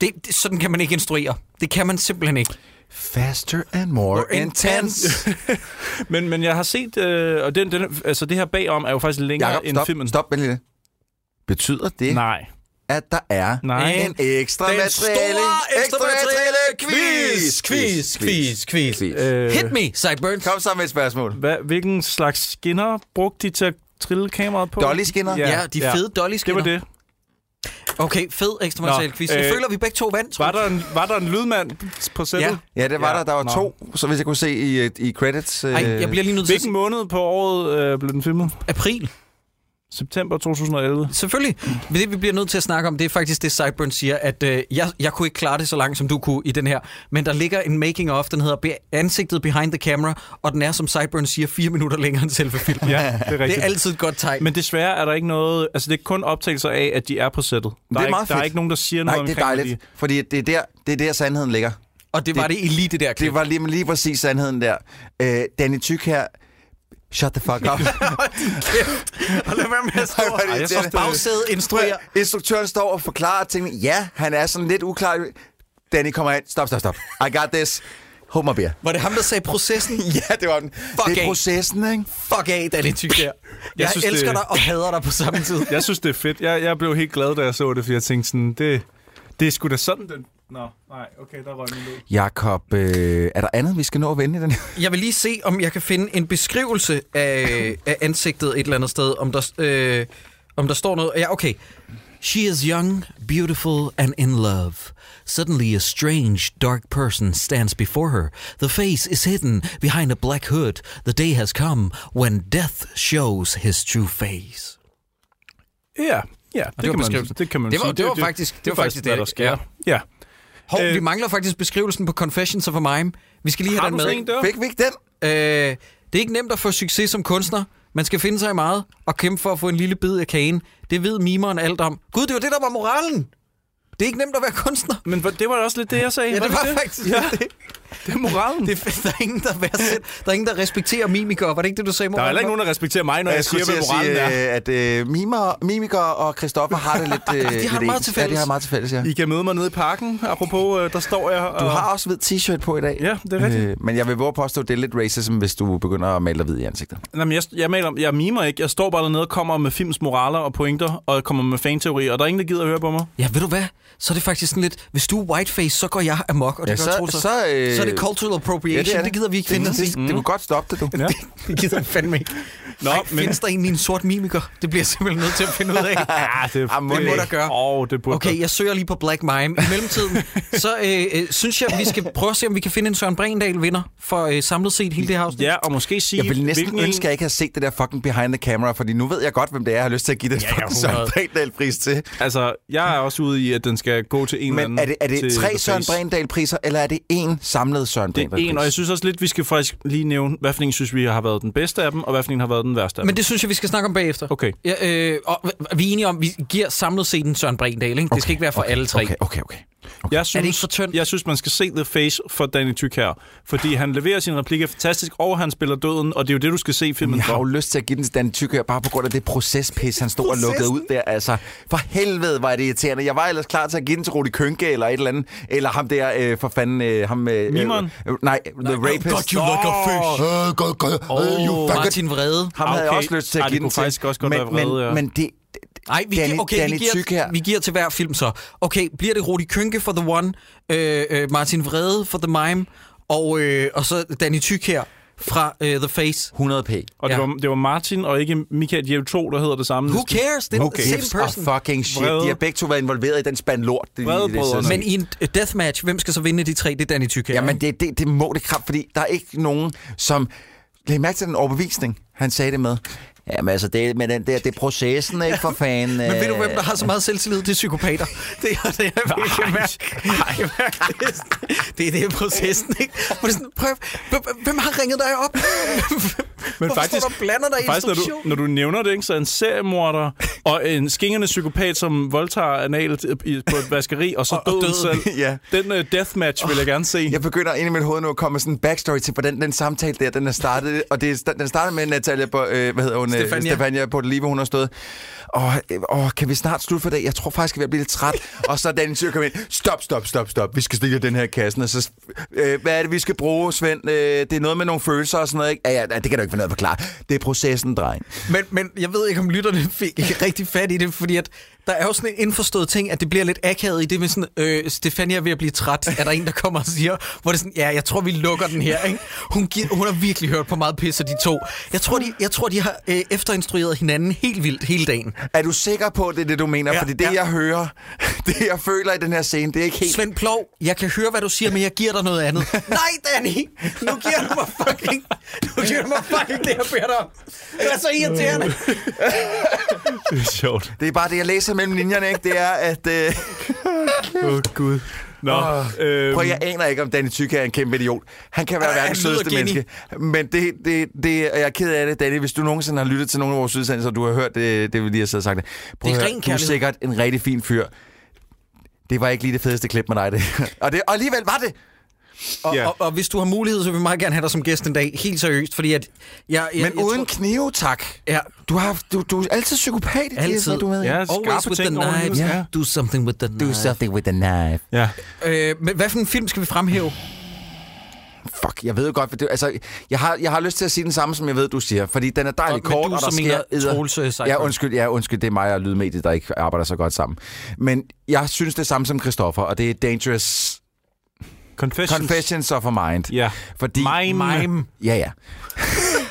Speaker 1: Det, det, sådan kan man ikke instruere. Det kan man simpelthen ikke.
Speaker 3: Faster and more intense.
Speaker 2: Men, men jeg har set, øh, og den, den, altså det her bagom er jo faktisk længere
Speaker 3: Jakob,
Speaker 2: end
Speaker 3: stop,
Speaker 2: filmen.
Speaker 3: stop, vent lige. Betyder det,
Speaker 2: Nej.
Speaker 3: at der er
Speaker 2: Nej.
Speaker 3: en ekstra
Speaker 1: Den
Speaker 3: materiale,
Speaker 1: store ekstra materiale
Speaker 3: quiz,
Speaker 1: quiz, quiz, quiz.
Speaker 2: Øh,
Speaker 1: Hit me, Sideburns.
Speaker 3: Kom så med et spørgsmål.
Speaker 2: Hvad, hvilken slags skinner brugte de til at trille kameraet på?
Speaker 3: Dolly-skinner?
Speaker 1: Ja, de fede
Speaker 2: Det
Speaker 1: dolly-skinner.
Speaker 2: var det.
Speaker 1: Okay, fed ekstra
Speaker 2: Nå,
Speaker 1: materiale quiz. Jeg
Speaker 2: øh,
Speaker 1: føler, vi begge to vandt.
Speaker 2: Var der en, var der en lydmand på sættet?
Speaker 1: Ja.
Speaker 3: Ja, det var
Speaker 2: Ja,
Speaker 3: der. Der var
Speaker 2: nå.
Speaker 3: to, så hvis jeg kunne se i, øh, i credits. Øh,
Speaker 1: Ej, jeg bliver lige nødt til at
Speaker 2: Hvilken
Speaker 1: sige
Speaker 2: måned på året øh, blev den filmet?
Speaker 1: april.
Speaker 2: September 2011.
Speaker 1: Selvfølgelig. Men det, vi bliver nødt til at snakke om, det er faktisk det, Sideburn siger, at øh, jeg, jeg kunne ikke klare det så langt, som du kunne i den her. Men der ligger en making of, den hedder Be- Ansigtet Behind the Camera, og den er, som Sideburn siger, fire minutter længere end selve filmen.
Speaker 2: Ja, det er rigtigt.
Speaker 1: Det er altid et godt tegn. Men
Speaker 2: Men desværre er der ikke noget... Altså, det er kun optagelser af, at de er på sættet. Der
Speaker 3: det er
Speaker 2: ikke,
Speaker 3: meget
Speaker 2: Der er
Speaker 3: fedt.
Speaker 2: ikke nogen, der siger
Speaker 3: Nej,
Speaker 2: noget
Speaker 3: det er
Speaker 2: omkring hvad
Speaker 3: dejligt, fordi det er der, det er der sandheden ligger.
Speaker 1: og det var det, i lige det der klip.
Speaker 3: Det var lige, lige præcis sandheden der. Øh, Danny Tyk her, shut the fuck up.
Speaker 1: Og lad være med at stå
Speaker 3: Ej, hvor er det
Speaker 1: og-
Speaker 3: irriterende.
Speaker 1: og bagsæde instruere.
Speaker 3: Instruktøren står og forklarer tingene. Ja, han er sådan lidt uklar. Danny kommer ind. Stop, stop, stop. I got this. Hold mig beer.
Speaker 1: Var det ham, der sagde processen?
Speaker 3: Ja, det var den.
Speaker 1: Fuck
Speaker 3: det er
Speaker 1: af.
Speaker 3: processen, ikke?
Speaker 1: Fuck af, Danny Tyk der. Jeg, jeg
Speaker 2: synes,
Speaker 1: synes, elsker
Speaker 2: det-
Speaker 1: dig og hader dig på samme tid.
Speaker 2: de- Jeg synes, det er fedt. Jeg, jeg blev helt glad, da jeg så det, fordi jeg tænkte sådan, det, det er sgu da sådan, den... Nå, nej, okay, der røg min lyd.
Speaker 3: Jakob, øh, er der andet, vi skal nå at vende i den her?
Speaker 1: Jeg vil lige se, om jeg kan finde en beskrivelse af, af ansigtet et eller andet sted, om der, øh, om der står noget. Ja, okay. She is young, beautiful and in love. Suddenly a strange, dark person stands before her. The face is hidden behind a black hood. The day has come when death shows his true face.
Speaker 2: Ja, ja, det,
Speaker 1: var
Speaker 2: kan man,
Speaker 1: beskrivelsen.
Speaker 2: det kan man
Speaker 1: Det var-
Speaker 2: sige.
Speaker 1: det var faktisk- det
Speaker 2: er
Speaker 1: var faktisk
Speaker 2: hvad
Speaker 1: det,
Speaker 2: der sker. Ja.
Speaker 1: Hov, øh,
Speaker 2: Øh.
Speaker 1: vi mangler faktisk beskrivelsen på Confessions of a Mime. Vi skal lige have
Speaker 2: Har
Speaker 1: den med.
Speaker 2: du sådan en der?
Speaker 3: Fik vi ikke den?
Speaker 1: Øh, det er ikke nemt at få succes som kunstner. Man skal finde sig i meget og kæmpe for at få en lille bid af kagen. Det ved mimeren alt om. Gud, det var det, der var moralen. Det er ikke nemt at være kunstner.
Speaker 2: Men hvor- det var da også lidt det, jeg sagde.
Speaker 1: Ja,
Speaker 2: Var
Speaker 1: det var faktisk ja. det.
Speaker 2: Det er moralen.
Speaker 1: det, er- der, er ingen, der, værdsæt, der er ingen, der respekterer mimikere. Var det ikke det, du sagde i
Speaker 2: Der er heller ikke
Speaker 1: morgen?
Speaker 2: nogen, der respekterer mig, når jeg, siger, hvad moralen
Speaker 3: sige,
Speaker 2: er.
Speaker 3: øh, at øh, mimer, mimikere og Christoffer har det lidt... Øh,
Speaker 2: De har
Speaker 3: lidt
Speaker 2: meget
Speaker 3: ens.
Speaker 2: til
Speaker 3: Ja, de
Speaker 2: fælles.
Speaker 3: har meget til fælles, ja.
Speaker 2: I kan møde mig nede i parken. Apropos, øh, der står jeg. Og...
Speaker 3: øh, Du har også hvid t-shirt på i dag.
Speaker 2: Ja, det er rigtigt.
Speaker 3: Øh, men jeg vil våge at påstå, at det er lidt racism, hvis du begynder at male dig hvid i ansigtet.
Speaker 2: Nej, men jeg, jeg, maler, jeg mimer ikke. Jeg står bare dernede og kommer med films moraler og pointer, og kommer med fanteorier, og der er ingen, der gider at høre på mig.
Speaker 1: Ja, ved du hvad? Så er det faktisk sådan lidt, hvis du er whiteface, så går jeg amok, og det
Speaker 2: Ja,
Speaker 1: ja, gør
Speaker 2: så-
Speaker 1: Troels også.
Speaker 2: så, øh,
Speaker 1: så er det cultural appropriation, ja, det, det gider vi ikke finde os i.
Speaker 3: Det, det, det kunne godt stoppe det, du.
Speaker 2: Mm. Ja.
Speaker 1: det gider vi fandme ikke.
Speaker 2: Nå,
Speaker 1: Ej,
Speaker 2: men-
Speaker 1: findes der egentlig en sort mimiker? Det bliver jeg simpelthen nødt til at finde ud af.
Speaker 2: Ja, det,
Speaker 1: Ah, må det må der gøre.
Speaker 2: Oh, det burde
Speaker 1: Okay, jeg søger lige på Black Mime. I mellemtiden, så øh, øh, synes jeg, vi skal prøve at se, om vi kan finde en Søren Brindal vinder for øh, samlet set hele det her afsnit.
Speaker 2: Ja, og måske sige...
Speaker 3: Jeg ville næsten
Speaker 1: hvilken
Speaker 3: ønske,
Speaker 1: en-
Speaker 3: at jeg ikke havde set det der fucking behind the camera, fordi nu ved jeg godt, hvem det er, jeg har lyst til at give den
Speaker 2: Ja, ja,
Speaker 3: ja, fucking Søren
Speaker 2: 100.
Speaker 3: Brindahl-pris til.
Speaker 2: Altså, jeg er også ude i, at den skal gå til en eller anden...
Speaker 3: Men er det, er det
Speaker 2: til
Speaker 3: tre
Speaker 2: The
Speaker 3: Søren
Speaker 2: Face.
Speaker 3: Brindahl-priser, eller er det én samlet Søren
Speaker 2: Det er en, og jeg
Speaker 3: Brindahl-pris?
Speaker 2: synes også lidt, vi skal faktisk lige nævne, hvad for en synes vi har været den bedste af dem, og hvad for en har været den værste af
Speaker 1: Men
Speaker 2: dem.
Speaker 1: det synes jeg, vi skal snakke om bagefter.
Speaker 2: Okay.
Speaker 1: Ja, øh, og h- vi er enige om, vi giver samlet set en Søren Brindal. Ikke? Det skal ikke være for alle tre.
Speaker 3: Okay, okay, okay.
Speaker 2: Okay. Jeg synes, er det ikke for tyndt? Jeg synes, man skal se The Face for Danny Tyk her, fordi han leverer sine replikker fantastisk, og han spiller døden, og det er jo det, du skal se filmen
Speaker 3: Jeg har jo
Speaker 2: for.
Speaker 3: lyst til at give den til Dan Tyk her, bare på grund af det procespis, han stod og lukkede ud der. Altså, for helvede var det irriterende. Jeg var ellers klar til at give den til Rudi Kønke eller et eller andet. Eller ham der, øh, for fanden, øh, ham... Øh,
Speaker 2: Mimeren?
Speaker 3: Øh, nej, The Rapist.
Speaker 1: Oh, God, you look a fish.
Speaker 3: Øh, God, God, øh, you fucking-
Speaker 1: Martin Vrede.
Speaker 3: Ham havde jeg
Speaker 2: Okay.
Speaker 3: også lyst til at
Speaker 2: Ej, det
Speaker 3: give den
Speaker 2: kunne
Speaker 3: til.
Speaker 2: faktisk også godt
Speaker 3: men,
Speaker 2: være Vrede,
Speaker 3: men,
Speaker 2: ja.
Speaker 3: men det...
Speaker 1: Nej, vi,
Speaker 3: Danny-
Speaker 1: giver, okay,
Speaker 3: Danny
Speaker 1: vi, giver,
Speaker 3: Tyk her.
Speaker 1: vi giver til hver film så. Okay, bliver det Rudi Kynke for The One, øh, øh, Martin Vrede for The Mime, og, øh, og så Danny Tyk her fra øh, The Face.
Speaker 3: 100p.
Speaker 2: Og det, var, det var Martin og ikke Michael Jev 2, der hedder det samme.
Speaker 1: Who cares? Det er
Speaker 2: Okay.
Speaker 1: okay. the
Speaker 3: Gips
Speaker 1: same person.
Speaker 3: og Ah, fucking shit.
Speaker 2: Vrede.
Speaker 3: De har begge to været involveret i den spand lort. Det, det, det,
Speaker 2: Vredebrødrene.
Speaker 3: det,
Speaker 1: Men i en øh, deathmatch, hvem skal så vinde de tre? Det er Danny Tyk her.
Speaker 3: Jamen, det, det, det må det kraft, fordi der er ikke nogen, som... Læg mærke til den overbevisning, han sagde det med. Jamen altså, det, men den der, det er processen, ikke for fanden.
Speaker 1: Men ved du, hvem der har så meget selvtillid? Det er psykopater. øh, Det er det, jeg virkelig mærker. Det er det er processen, ikke? Hvor det er sådan, prøv, hvem- hvem har ringet dig op?
Speaker 2: Men
Speaker 1: Hvorfor
Speaker 2: faktisk,
Speaker 1: står du og blander dig i
Speaker 2: faktisk når, du,
Speaker 1: instruktion?
Speaker 2: når du nævner det, ikke, så er en seriemorder og en skingende psykopat, som voldtager analt øh, i- på et vaskeri, og så
Speaker 3: og
Speaker 2: døden,
Speaker 3: døden,
Speaker 2: selv.
Speaker 3: ja.
Speaker 2: Den uh, deathmatch vil jeg gerne se.
Speaker 3: Jeg begynder ind i mit hoved nu at komme med sådan en backstory til, hvordan den samtale der, den er startet. Og det er, sta- den startede med Natalia, Bo- øh, hvad hedder hun? øh,
Speaker 1: Stefania.
Speaker 3: Stefania på det live, hun har stået. Og, øh, åh, kan vi snart slutte for dag? Jeg tror faktisk, jeg vil blive lidt træt. og så Daniel Tyr kom ind. Stop, stop, stop, stop. Vi skal stille den her kassen. Og så, øh, hvad er det, vi skal bruge, Svend? Øh, det er noget med nogle følelser og sådan noget, ikke? Ja, ja, det kan du ikke få noget at forklare. Det er processen, dreng.
Speaker 1: Men, men jeg ved ikke, om lytterne fik rigtig fat i det, fordi at der er jo sådan en indforstået ting, at det bliver lidt akavet i det med sådan, øh, Stefania er ved at blive træt, er der en, der kommer og siger, hvor det er sådan, ja, jeg tror, vi lukker den her, ikke? Hun, giver, hun har virkelig hørt på meget pisse, de to. Jeg tror, de, jeg tror, de har øh, efterinstrueret hinanden helt vildt hele dagen.
Speaker 3: Er du sikker på, at det er det, du mener? Ja,
Speaker 1: Ja,
Speaker 3: Fordi det, ja.
Speaker 1: ja.
Speaker 3: jeg hører, det, jeg føler i den her scene, det er ikke helt...
Speaker 1: Svend Plov, jeg kan høre, hvad du siger, men jeg giver dig noget andet. Nej, Danny! Nu giver du mig fucking, nu giver du mig fucking det, jeg beder dig om. Det er så irriterende.
Speaker 2: Det er sjovt.
Speaker 3: Det er bare det, jeg læser mellem linjerne, ikke? Det er, at... Øh,
Speaker 2: Åh, oh, Gud. Nå, øh,
Speaker 3: prøv, jeg aner ikke, om Danny Tyk er en kæmpe idiot. Han kan være
Speaker 1: øhm. Han
Speaker 3: verdens
Speaker 1: lyder
Speaker 3: sødeste
Speaker 1: geni.
Speaker 3: menneske. Men det, det, det, og jeg er ked af det, Danny. Hvis du nogensinde har lyttet til nogle af vores udsendelser, og du har hørt det, det vi lige har siddet og sagt. Det,
Speaker 1: Det er
Speaker 3: at høre,
Speaker 1: ren
Speaker 3: du er
Speaker 1: kærlighed.
Speaker 3: sikkert en rigtig fin fyr. Det var ikke lige det fedeste klip med dig, det. her. Og, det, og alligevel var det.
Speaker 1: Og,
Speaker 2: Ja.
Speaker 1: og, og hvis du har mulighed, så vil vi meget gerne have dig som gæst en dag. Helt seriøst, fordi at... Jeg, jeg,
Speaker 3: Men
Speaker 1: jeg
Speaker 3: uden
Speaker 1: Tror,
Speaker 3: knive, tak.
Speaker 1: ja,
Speaker 3: Du, har, haft- du, du er altid psykopat. i det,
Speaker 1: Altid.
Speaker 3: hvad Du ved.
Speaker 2: Ja,
Speaker 1: always
Speaker 2: skarpe
Speaker 1: with the
Speaker 2: ting over hele
Speaker 1: knife.
Speaker 2: tiden.
Speaker 1: Yeah. Do something with the knife.
Speaker 3: Do something with the knife.
Speaker 2: ja.
Speaker 1: Øh, men hvad for en film skal vi fremhæve?
Speaker 3: Fuck, jeg ved jo godt, for det, altså, jeg har, jeg har lyst til at sige den samme, som jeg ved, du siger, fordi den er dejlig
Speaker 1: Og- men
Speaker 3: kort,
Speaker 1: du
Speaker 3: og der
Speaker 1: som
Speaker 3: sker
Speaker 1: mener
Speaker 3: edder-
Speaker 1: Troels, øh, Seifer.
Speaker 3: ja, undskyld, ja, undskyld, det er mig og Lydmediet, der ikke arbejder så godt sammen. Men jeg synes det samme som Christoffer, og det er Dangerous
Speaker 2: Confessions.
Speaker 3: Confessions of a Mind.
Speaker 2: Ja.
Speaker 3: Fordi,
Speaker 2: Mime. Mime.
Speaker 3: Ja, ja.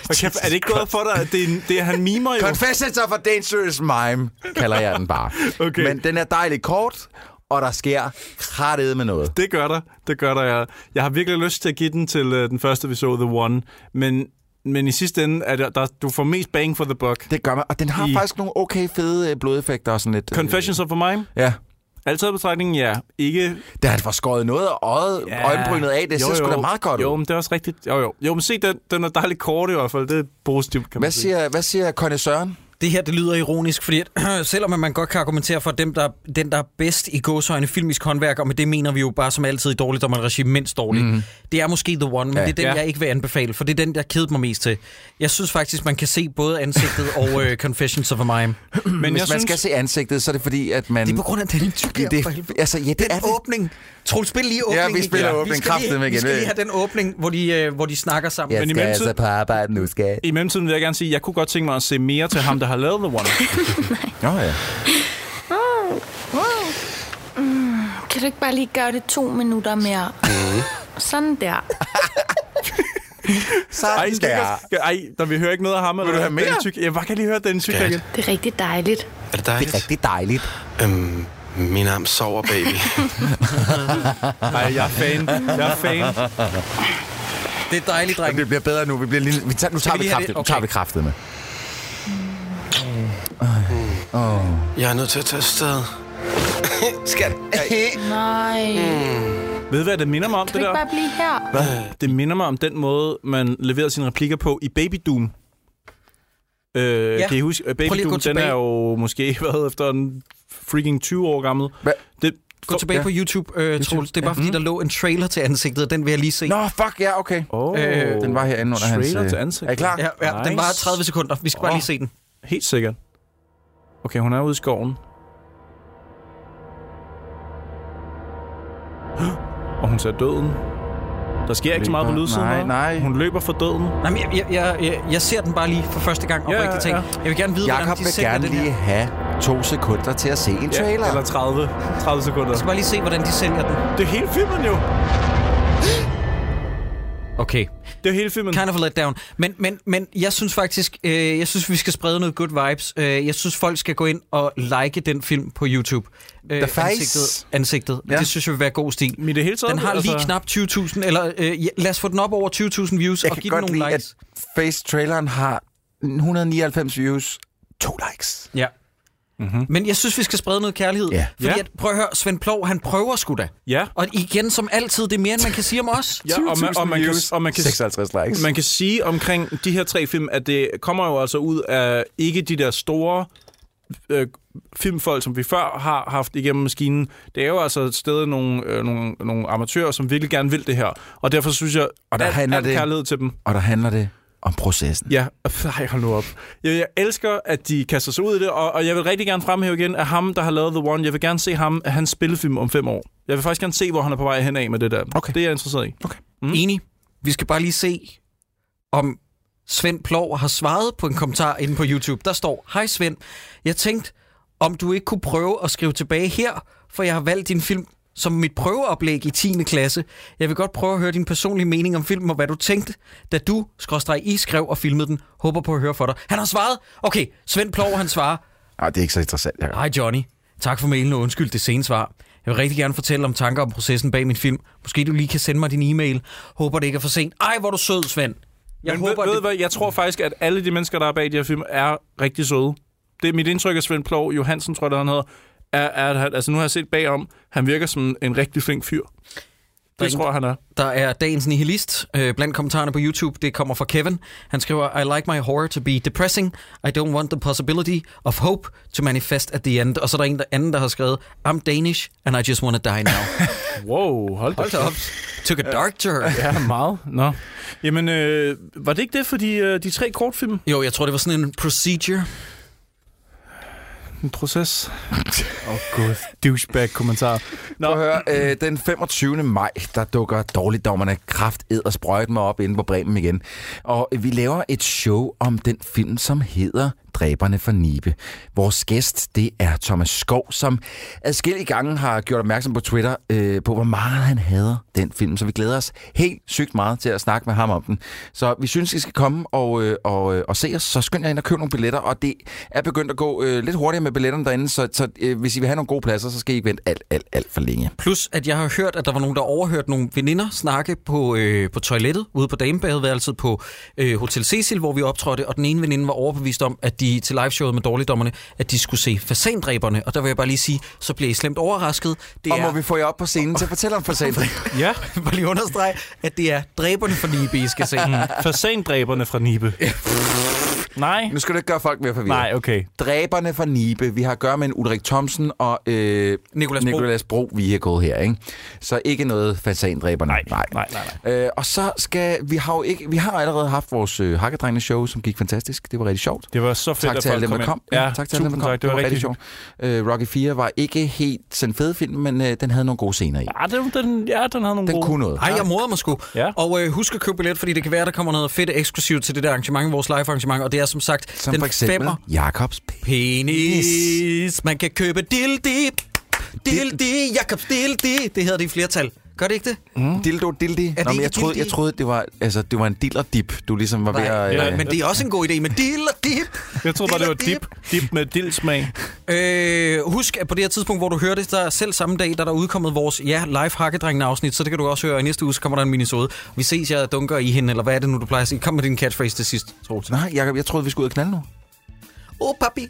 Speaker 2: Og kæft, er det ikke gået for dig, at det, er- det er, han mimer jo?
Speaker 3: Confessions of a Dangerous Mime, kalder jeg den bare.
Speaker 2: Okay.
Speaker 3: Men den er dejlig kort, og der sker krattet med noget.
Speaker 2: Det gør der. Det gør der. Jeg, jeg har virkelig lyst til at give den til uh, den første, vi så, The One. Men, men i sidste ende, er der, der, du får mest bang for the buck.
Speaker 3: Det gør man, og den har
Speaker 2: I-
Speaker 3: faktisk nogle okay fede øh, blodeffekter og sådan lidt. øh,
Speaker 2: Confessions of a Mime.
Speaker 3: Ja.
Speaker 2: Altid i betragtning, ja. Ikke
Speaker 3: Da han var skåret noget af øjet,
Speaker 2: Ja.
Speaker 3: øjenbrynet af, det ser sgu da meget godt ud.
Speaker 2: Jo, men det er også rigtigt. Jo, jo. Jo, men se, den, den er dejligt kort i hvert fald. Det er positivt, kan man
Speaker 3: Hvad
Speaker 2: sige.
Speaker 3: siger, hvad siger Conny Søren?
Speaker 1: det her det lyder ironisk, fordi at, selvom at man godt kan argumentere for, at dem, der, den, der er bedst i gåsøjne filmisk håndværk, og med det mener vi jo bare som altid i dårligt, om man regi mindst dårligt, mm.
Speaker 3: Mhm.
Speaker 1: det er måske The One, men
Speaker 3: Ja.
Speaker 1: det er den,
Speaker 3: Ja.
Speaker 1: jeg ikke vil anbefale, for det er den, der kedede mig mest til. Jeg synes faktisk, man kan se både ansigtet og øh, Confessions of a Mime.
Speaker 3: Men Hvis man synes... skal se ansigtet, så er det fordi, at man...
Speaker 1: Det er på grund af den tykke
Speaker 3: det,
Speaker 1: altså, ja, det den er åbning. Troels, spil lige åbningen.
Speaker 3: Ja, vi spiller
Speaker 1: igen.
Speaker 3: åbningen
Speaker 1: Vi skal lige-
Speaker 3: kraftedeme
Speaker 1: Vi
Speaker 3: igen.
Speaker 1: skal lige have den åbning, hvor de, øh, hvor de snakker sammen.
Speaker 2: Jeg Men i skal mellemtiden- altså
Speaker 1: på arbejde nu, skal
Speaker 2: I mellemtiden vil jeg gerne sige, at jeg kunne godt tænke mig at se mere til ham, der har lavet The One.
Speaker 3: Nå ja.
Speaker 8: Mm, kan du ikke bare lige gøre det to minutter mere? Sådan der.
Speaker 2: Ej, der. Ej, der vi hører ikke noget af ham. Vil eller du have mere? Tyk. Jeg bare kan lige høre den tyk
Speaker 10: Skat.
Speaker 2: igen.
Speaker 8: Det er rigtig dejligt.
Speaker 10: Er det dejligt? Det er rigtig dejligt. Øhm, min arm sover, baby.
Speaker 2: Ej, jeg er fan. Jeg er fan.
Speaker 1: Det er dejligt, dreng.
Speaker 3: Det bliver bedre nu. Vi bliver lige... vi tager, nu
Speaker 10: Skal
Speaker 3: tager
Speaker 10: vi
Speaker 3: vi,
Speaker 10: lige have det?
Speaker 3: kraftet. Nu tager
Speaker 10: Okay.
Speaker 3: vi kraftet med.
Speaker 10: Oh. Jeg er nødt til at tage afsted. Skat.
Speaker 8: Nej.
Speaker 2: Ved du, hvad det minder mig om,
Speaker 8: Kan du
Speaker 2: det
Speaker 8: ikke
Speaker 2: der?
Speaker 8: bare blive her?
Speaker 2: Hvad? Det minder mig om den måde, man leverede sine replikker på i Baby Doom. Øh,
Speaker 1: Ja.
Speaker 2: ja. Kan I huske? Øh,
Speaker 1: Prøv
Speaker 2: Baby
Speaker 1: lige at gå
Speaker 2: Doom, den
Speaker 1: tilbage.
Speaker 2: er jo måske været efter en freaking 20 år gammel.
Speaker 3: Hva?
Speaker 2: Det,
Speaker 1: Gå tilbage ja. på YouTube, øh, YouTube. Troels. Det er bare, fordi der lå en trailer til ansigtet, og den vil jeg lige se.
Speaker 3: Nå, fuck, ja, okay.
Speaker 2: Oh,
Speaker 1: Øh,
Speaker 3: Den var herinde under hans...
Speaker 2: Trailer
Speaker 3: øh,
Speaker 2: til ansigtet.
Speaker 3: Er I klar?
Speaker 1: Ja, ja nice. den var 30 sekunder. Vi skal oh. bare
Speaker 2: Åh.
Speaker 1: lige se den.
Speaker 2: Helt sikkert. Okay, hun er ude i skoven. Og hun ser døden. Der sker ikke så meget på
Speaker 1: Løber.
Speaker 2: lydsiden.
Speaker 1: Nej,
Speaker 2: hva'?
Speaker 1: nej.
Speaker 2: Hun løber for døden.
Speaker 1: Nej, men jeg, jeg, jeg, jeg ser den bare lige for første gang
Speaker 2: Ja,
Speaker 1: oprigtigt ting.
Speaker 2: ja.
Speaker 1: Jeg vil gerne vide,
Speaker 3: Jakob
Speaker 1: hvordan de
Speaker 3: vil
Speaker 1: sælger
Speaker 3: gerne
Speaker 1: den
Speaker 3: lige
Speaker 1: her.
Speaker 3: have to sekunder til at se en trailer.
Speaker 2: Ja, eller 30, 30 sekunder.
Speaker 1: Jeg skal bare lige se, hvordan de sælger den.
Speaker 2: Det er hele filmen jo.
Speaker 1: Okay.
Speaker 2: Det er hele filmen.
Speaker 1: Kind of a letdown. Men, men, men jeg synes faktisk, øh, jeg synes, vi skal sprede noget good vibes. Øh, jeg synes, folk skal gå ind og like den film på YouTube. Øh,
Speaker 3: The Face.
Speaker 1: Ansigtet. ansigtet. Ja. Det synes jeg vil være god stil.
Speaker 2: Men det hele taget,
Speaker 1: den har lige
Speaker 2: altså-
Speaker 1: knap 20.000, eller øh, ja, lad os få den op over 20.000 views
Speaker 3: Jeg
Speaker 1: og
Speaker 3: kan
Speaker 1: give den
Speaker 3: godt
Speaker 1: nogle
Speaker 3: lide,
Speaker 1: likes.
Speaker 3: at Face-traileren har 199 views, to likes.
Speaker 1: Ja. Mm-hmm. Men jeg synes, vi skal sprede noget kærlighed.
Speaker 3: Mhm. Ja.
Speaker 1: Fordi
Speaker 3: Ja.
Speaker 1: at, prøv at høre, Svend Plov, han prøver sgu da.
Speaker 2: Ja.
Speaker 1: Og igen, som altid, det er mere, end man kan sige om os.
Speaker 2: Ja, og man, og man kan, og man kan,
Speaker 3: 56 likes.
Speaker 2: Man kan sige omkring de her tre film, at det kommer jo altså ud af ikke de der store øh, filmfolk, som vi før har haft igennem maskinen. Det er jo altså et sted nogle, øh, nogle, nogle amatører, som virkelig gerne vil det her. Og derfor synes jeg,
Speaker 3: Og der
Speaker 2: alt,
Speaker 3: handler
Speaker 2: alt
Speaker 3: det-
Speaker 2: kærlighed til dem.
Speaker 3: Og der handler det om processen.
Speaker 2: Ja, ej, hold nu op. Jeg, jeg elsker, at de kaster sig ud i det, og, og jeg vil rigtig gerne fremhæve igen, at ham, der har lavet The One, jeg vil gerne se ham, hans spillefilm om fem år. Jeg vil faktisk gerne se, hvor han er på vej hen af med det der. Okay. Det er jeg interesseret i. Okay.
Speaker 1: Mm. Enig. Vi skal bare lige se, om Svend Plov har svaret på en kommentar inde på YouTube. Der står, Hej Svend, jeg tænkte, om du ikke kunne prøve at skrive tilbage her, for jeg har valgt din film som mit prøveoplæg i 10. klasse. Jeg vil godt prøve at høre din personlige mening om filmen, og hvad du tænkte, da du, skråstreg I, skrev og filmede den. Håber på at høre for dig. Han har svaret. Okay, Svend Plov, han svarer,
Speaker 3: Nej, Ah, det er ikke så interessant. Ja.
Speaker 1: Hej Johnny. Tak for mailen og undskyld det sene svar. Jeg vil rigtig gerne fortælle om tanker om processen bag min film. Måske du lige kan sende mig din e-mail. Håber det ikke er for sent. Ej, hvor er du sød, Svend. Jeg
Speaker 2: Jeg Men
Speaker 1: håber,
Speaker 2: håber, ved,
Speaker 1: det...
Speaker 2: ved, hvad, jeg tror faktisk, at alle de mennesker, der er bag de her film, er rigtig søde. Det er mit indtryk af Svend Plov, Johansen tror jeg, der han hedder, er, er, at han, altså nu har jeg set bagom, han virker som en rigtig flink fyr. Det
Speaker 1: Drink.
Speaker 2: tror jeg, han er.
Speaker 1: Der er dagens nihilist øh, blandt kommentarerne på YouTube. Det kommer fra Kevin. Han skriver, I like my horror to be depressing. I don't want the possibility of hope to manifest at the end. Og så er der en der anden, der har skrevet, I'm Danish and I just want to die now.
Speaker 2: Wow, hold da
Speaker 1: Hold da op. Took a dark turn.
Speaker 2: Ja, meget. Nå. Jamen, øh, var det ikke det for de, øh, de tre kortfilm?
Speaker 1: Jo, jeg tror, det var sådan en procedure.
Speaker 2: En proces. Åh oh, gud, douchebag-kommentar. Nå.
Speaker 3: Prøv at høre, øh, den 25. maj, der dukker dårligdommerne kraft ed og sprøjt mig op inde på Bremen igen. Og vi laver et show om den film, som hedder Dræberne for Nibe. Vores gæst, det er Thomas Skov, som adskillige gange har gjort opmærksom på Twitter øh, på, hvor meget han hader den film. Så vi glæder os helt sygt meget til at snakke med ham om den. Så vi synes, I skal komme og, øh, og, øh, og se os. Så skynd jer ind og køb nogle billetter. Og det er begyndt at gå øh, lidt hurtigere med billetterne derinde, så, så øh, hvis I vil have nogle gode pladser, så skal I ikke vente alt, alt, alt for længe.
Speaker 1: Plus, at jeg har hørt, at der var nogen, der overhørte nogle veninder snakke på, øh, på toilettet ude på damebadeværelset på øh, Hotel Cecil, hvor vi optrådte, og den ene veninde var overbevist om, at de til liveshowet med dårligdommerne, at de skulle se fasandræberne. Og der vil jeg bare lige sige, så bliver I slemt overrasket. Det
Speaker 3: og
Speaker 1: er,
Speaker 3: må vi få jer op på scenen til at fortælle om fasaner?
Speaker 2: Ja.
Speaker 1: bare lige understrege, at det er dræberne for Nibe, I skal se.
Speaker 2: Mm. Fasandræberne fra Nibe. Nej.
Speaker 3: Nu skal du ikke gøre folk mere forvirret.
Speaker 2: Nej, okay.
Speaker 3: Dræberne fra Nibe. Vi har at gøre med en Ulrik Thomsen og øh,
Speaker 1: Nicolas,
Speaker 3: Nicolas Bro. Bro vehicle her, ikke? Så ikke noget fasandræberne. Nej, nej,
Speaker 2: nej.
Speaker 3: nej. Øh, og så skal... Vi har jo ikke... Vi har allerede haft vores øh, hakkedrengene-show, som gik fantastisk. Det var rigtig sjovt.
Speaker 2: Det var så fedt,
Speaker 3: tak
Speaker 2: at
Speaker 3: til alle
Speaker 2: folk
Speaker 3: dem, der
Speaker 2: kom
Speaker 3: kom.
Speaker 2: ind.
Speaker 3: Ja,
Speaker 2: Ja,
Speaker 3: tak til alle dem, der
Speaker 2: tusind
Speaker 3: kom.
Speaker 2: tak. Det var rigtig
Speaker 3: sjovt. Øh, Rocky 4 var ikke helt sådan fed film, men øh, den havde nogle gode scener i.
Speaker 2: Ja, Ah, den, den, ja, den havde nogle
Speaker 3: Den
Speaker 2: gode...
Speaker 3: kunne noget.
Speaker 1: Ej, jeg morder mig sgu. Ja. Og øh, husk at købe billet, fordi det kan være, der kommer noget fedt eksklusivt til det der arrangement, vores live-arrangement, og det er som sagt
Speaker 3: Som
Speaker 1: den
Speaker 3: for eksempel
Speaker 1: femmer.
Speaker 3: Jakobs
Speaker 1: penis. Man kan købe dildi, dildi, Jakobs dildi. Det hedder det i flertal. Gør det ikke det?
Speaker 3: Mm. Dildo, dildi.
Speaker 1: Er
Speaker 3: Nå,
Speaker 1: det
Speaker 3: men
Speaker 1: ikke
Speaker 3: jeg troede,
Speaker 1: dildi?
Speaker 3: jeg troede, det var, altså, det var en dillerdip, du ligesom var ved at...
Speaker 1: Nej, men det er også en god idé med dill og dip.
Speaker 2: Jeg troede bare, det var dip. Dip med dildsmag.
Speaker 1: Øh, husk, at på det her tidspunkt, hvor du hører det, der selv samme dag, der er der udkommet vores ja, live hakkedrengene afsnit, så det kan du også høre, og i næste uge så kommer der en minisode. Vi ses, jeg dunker i hende, eller hvad er det nu, du plejer at sige? Kom med din catchphrase til sidst, Troels.
Speaker 3: Nej, Jacob, jeg troede, vi skulle ud og knalde nu.
Speaker 1: Åh, oh, papi.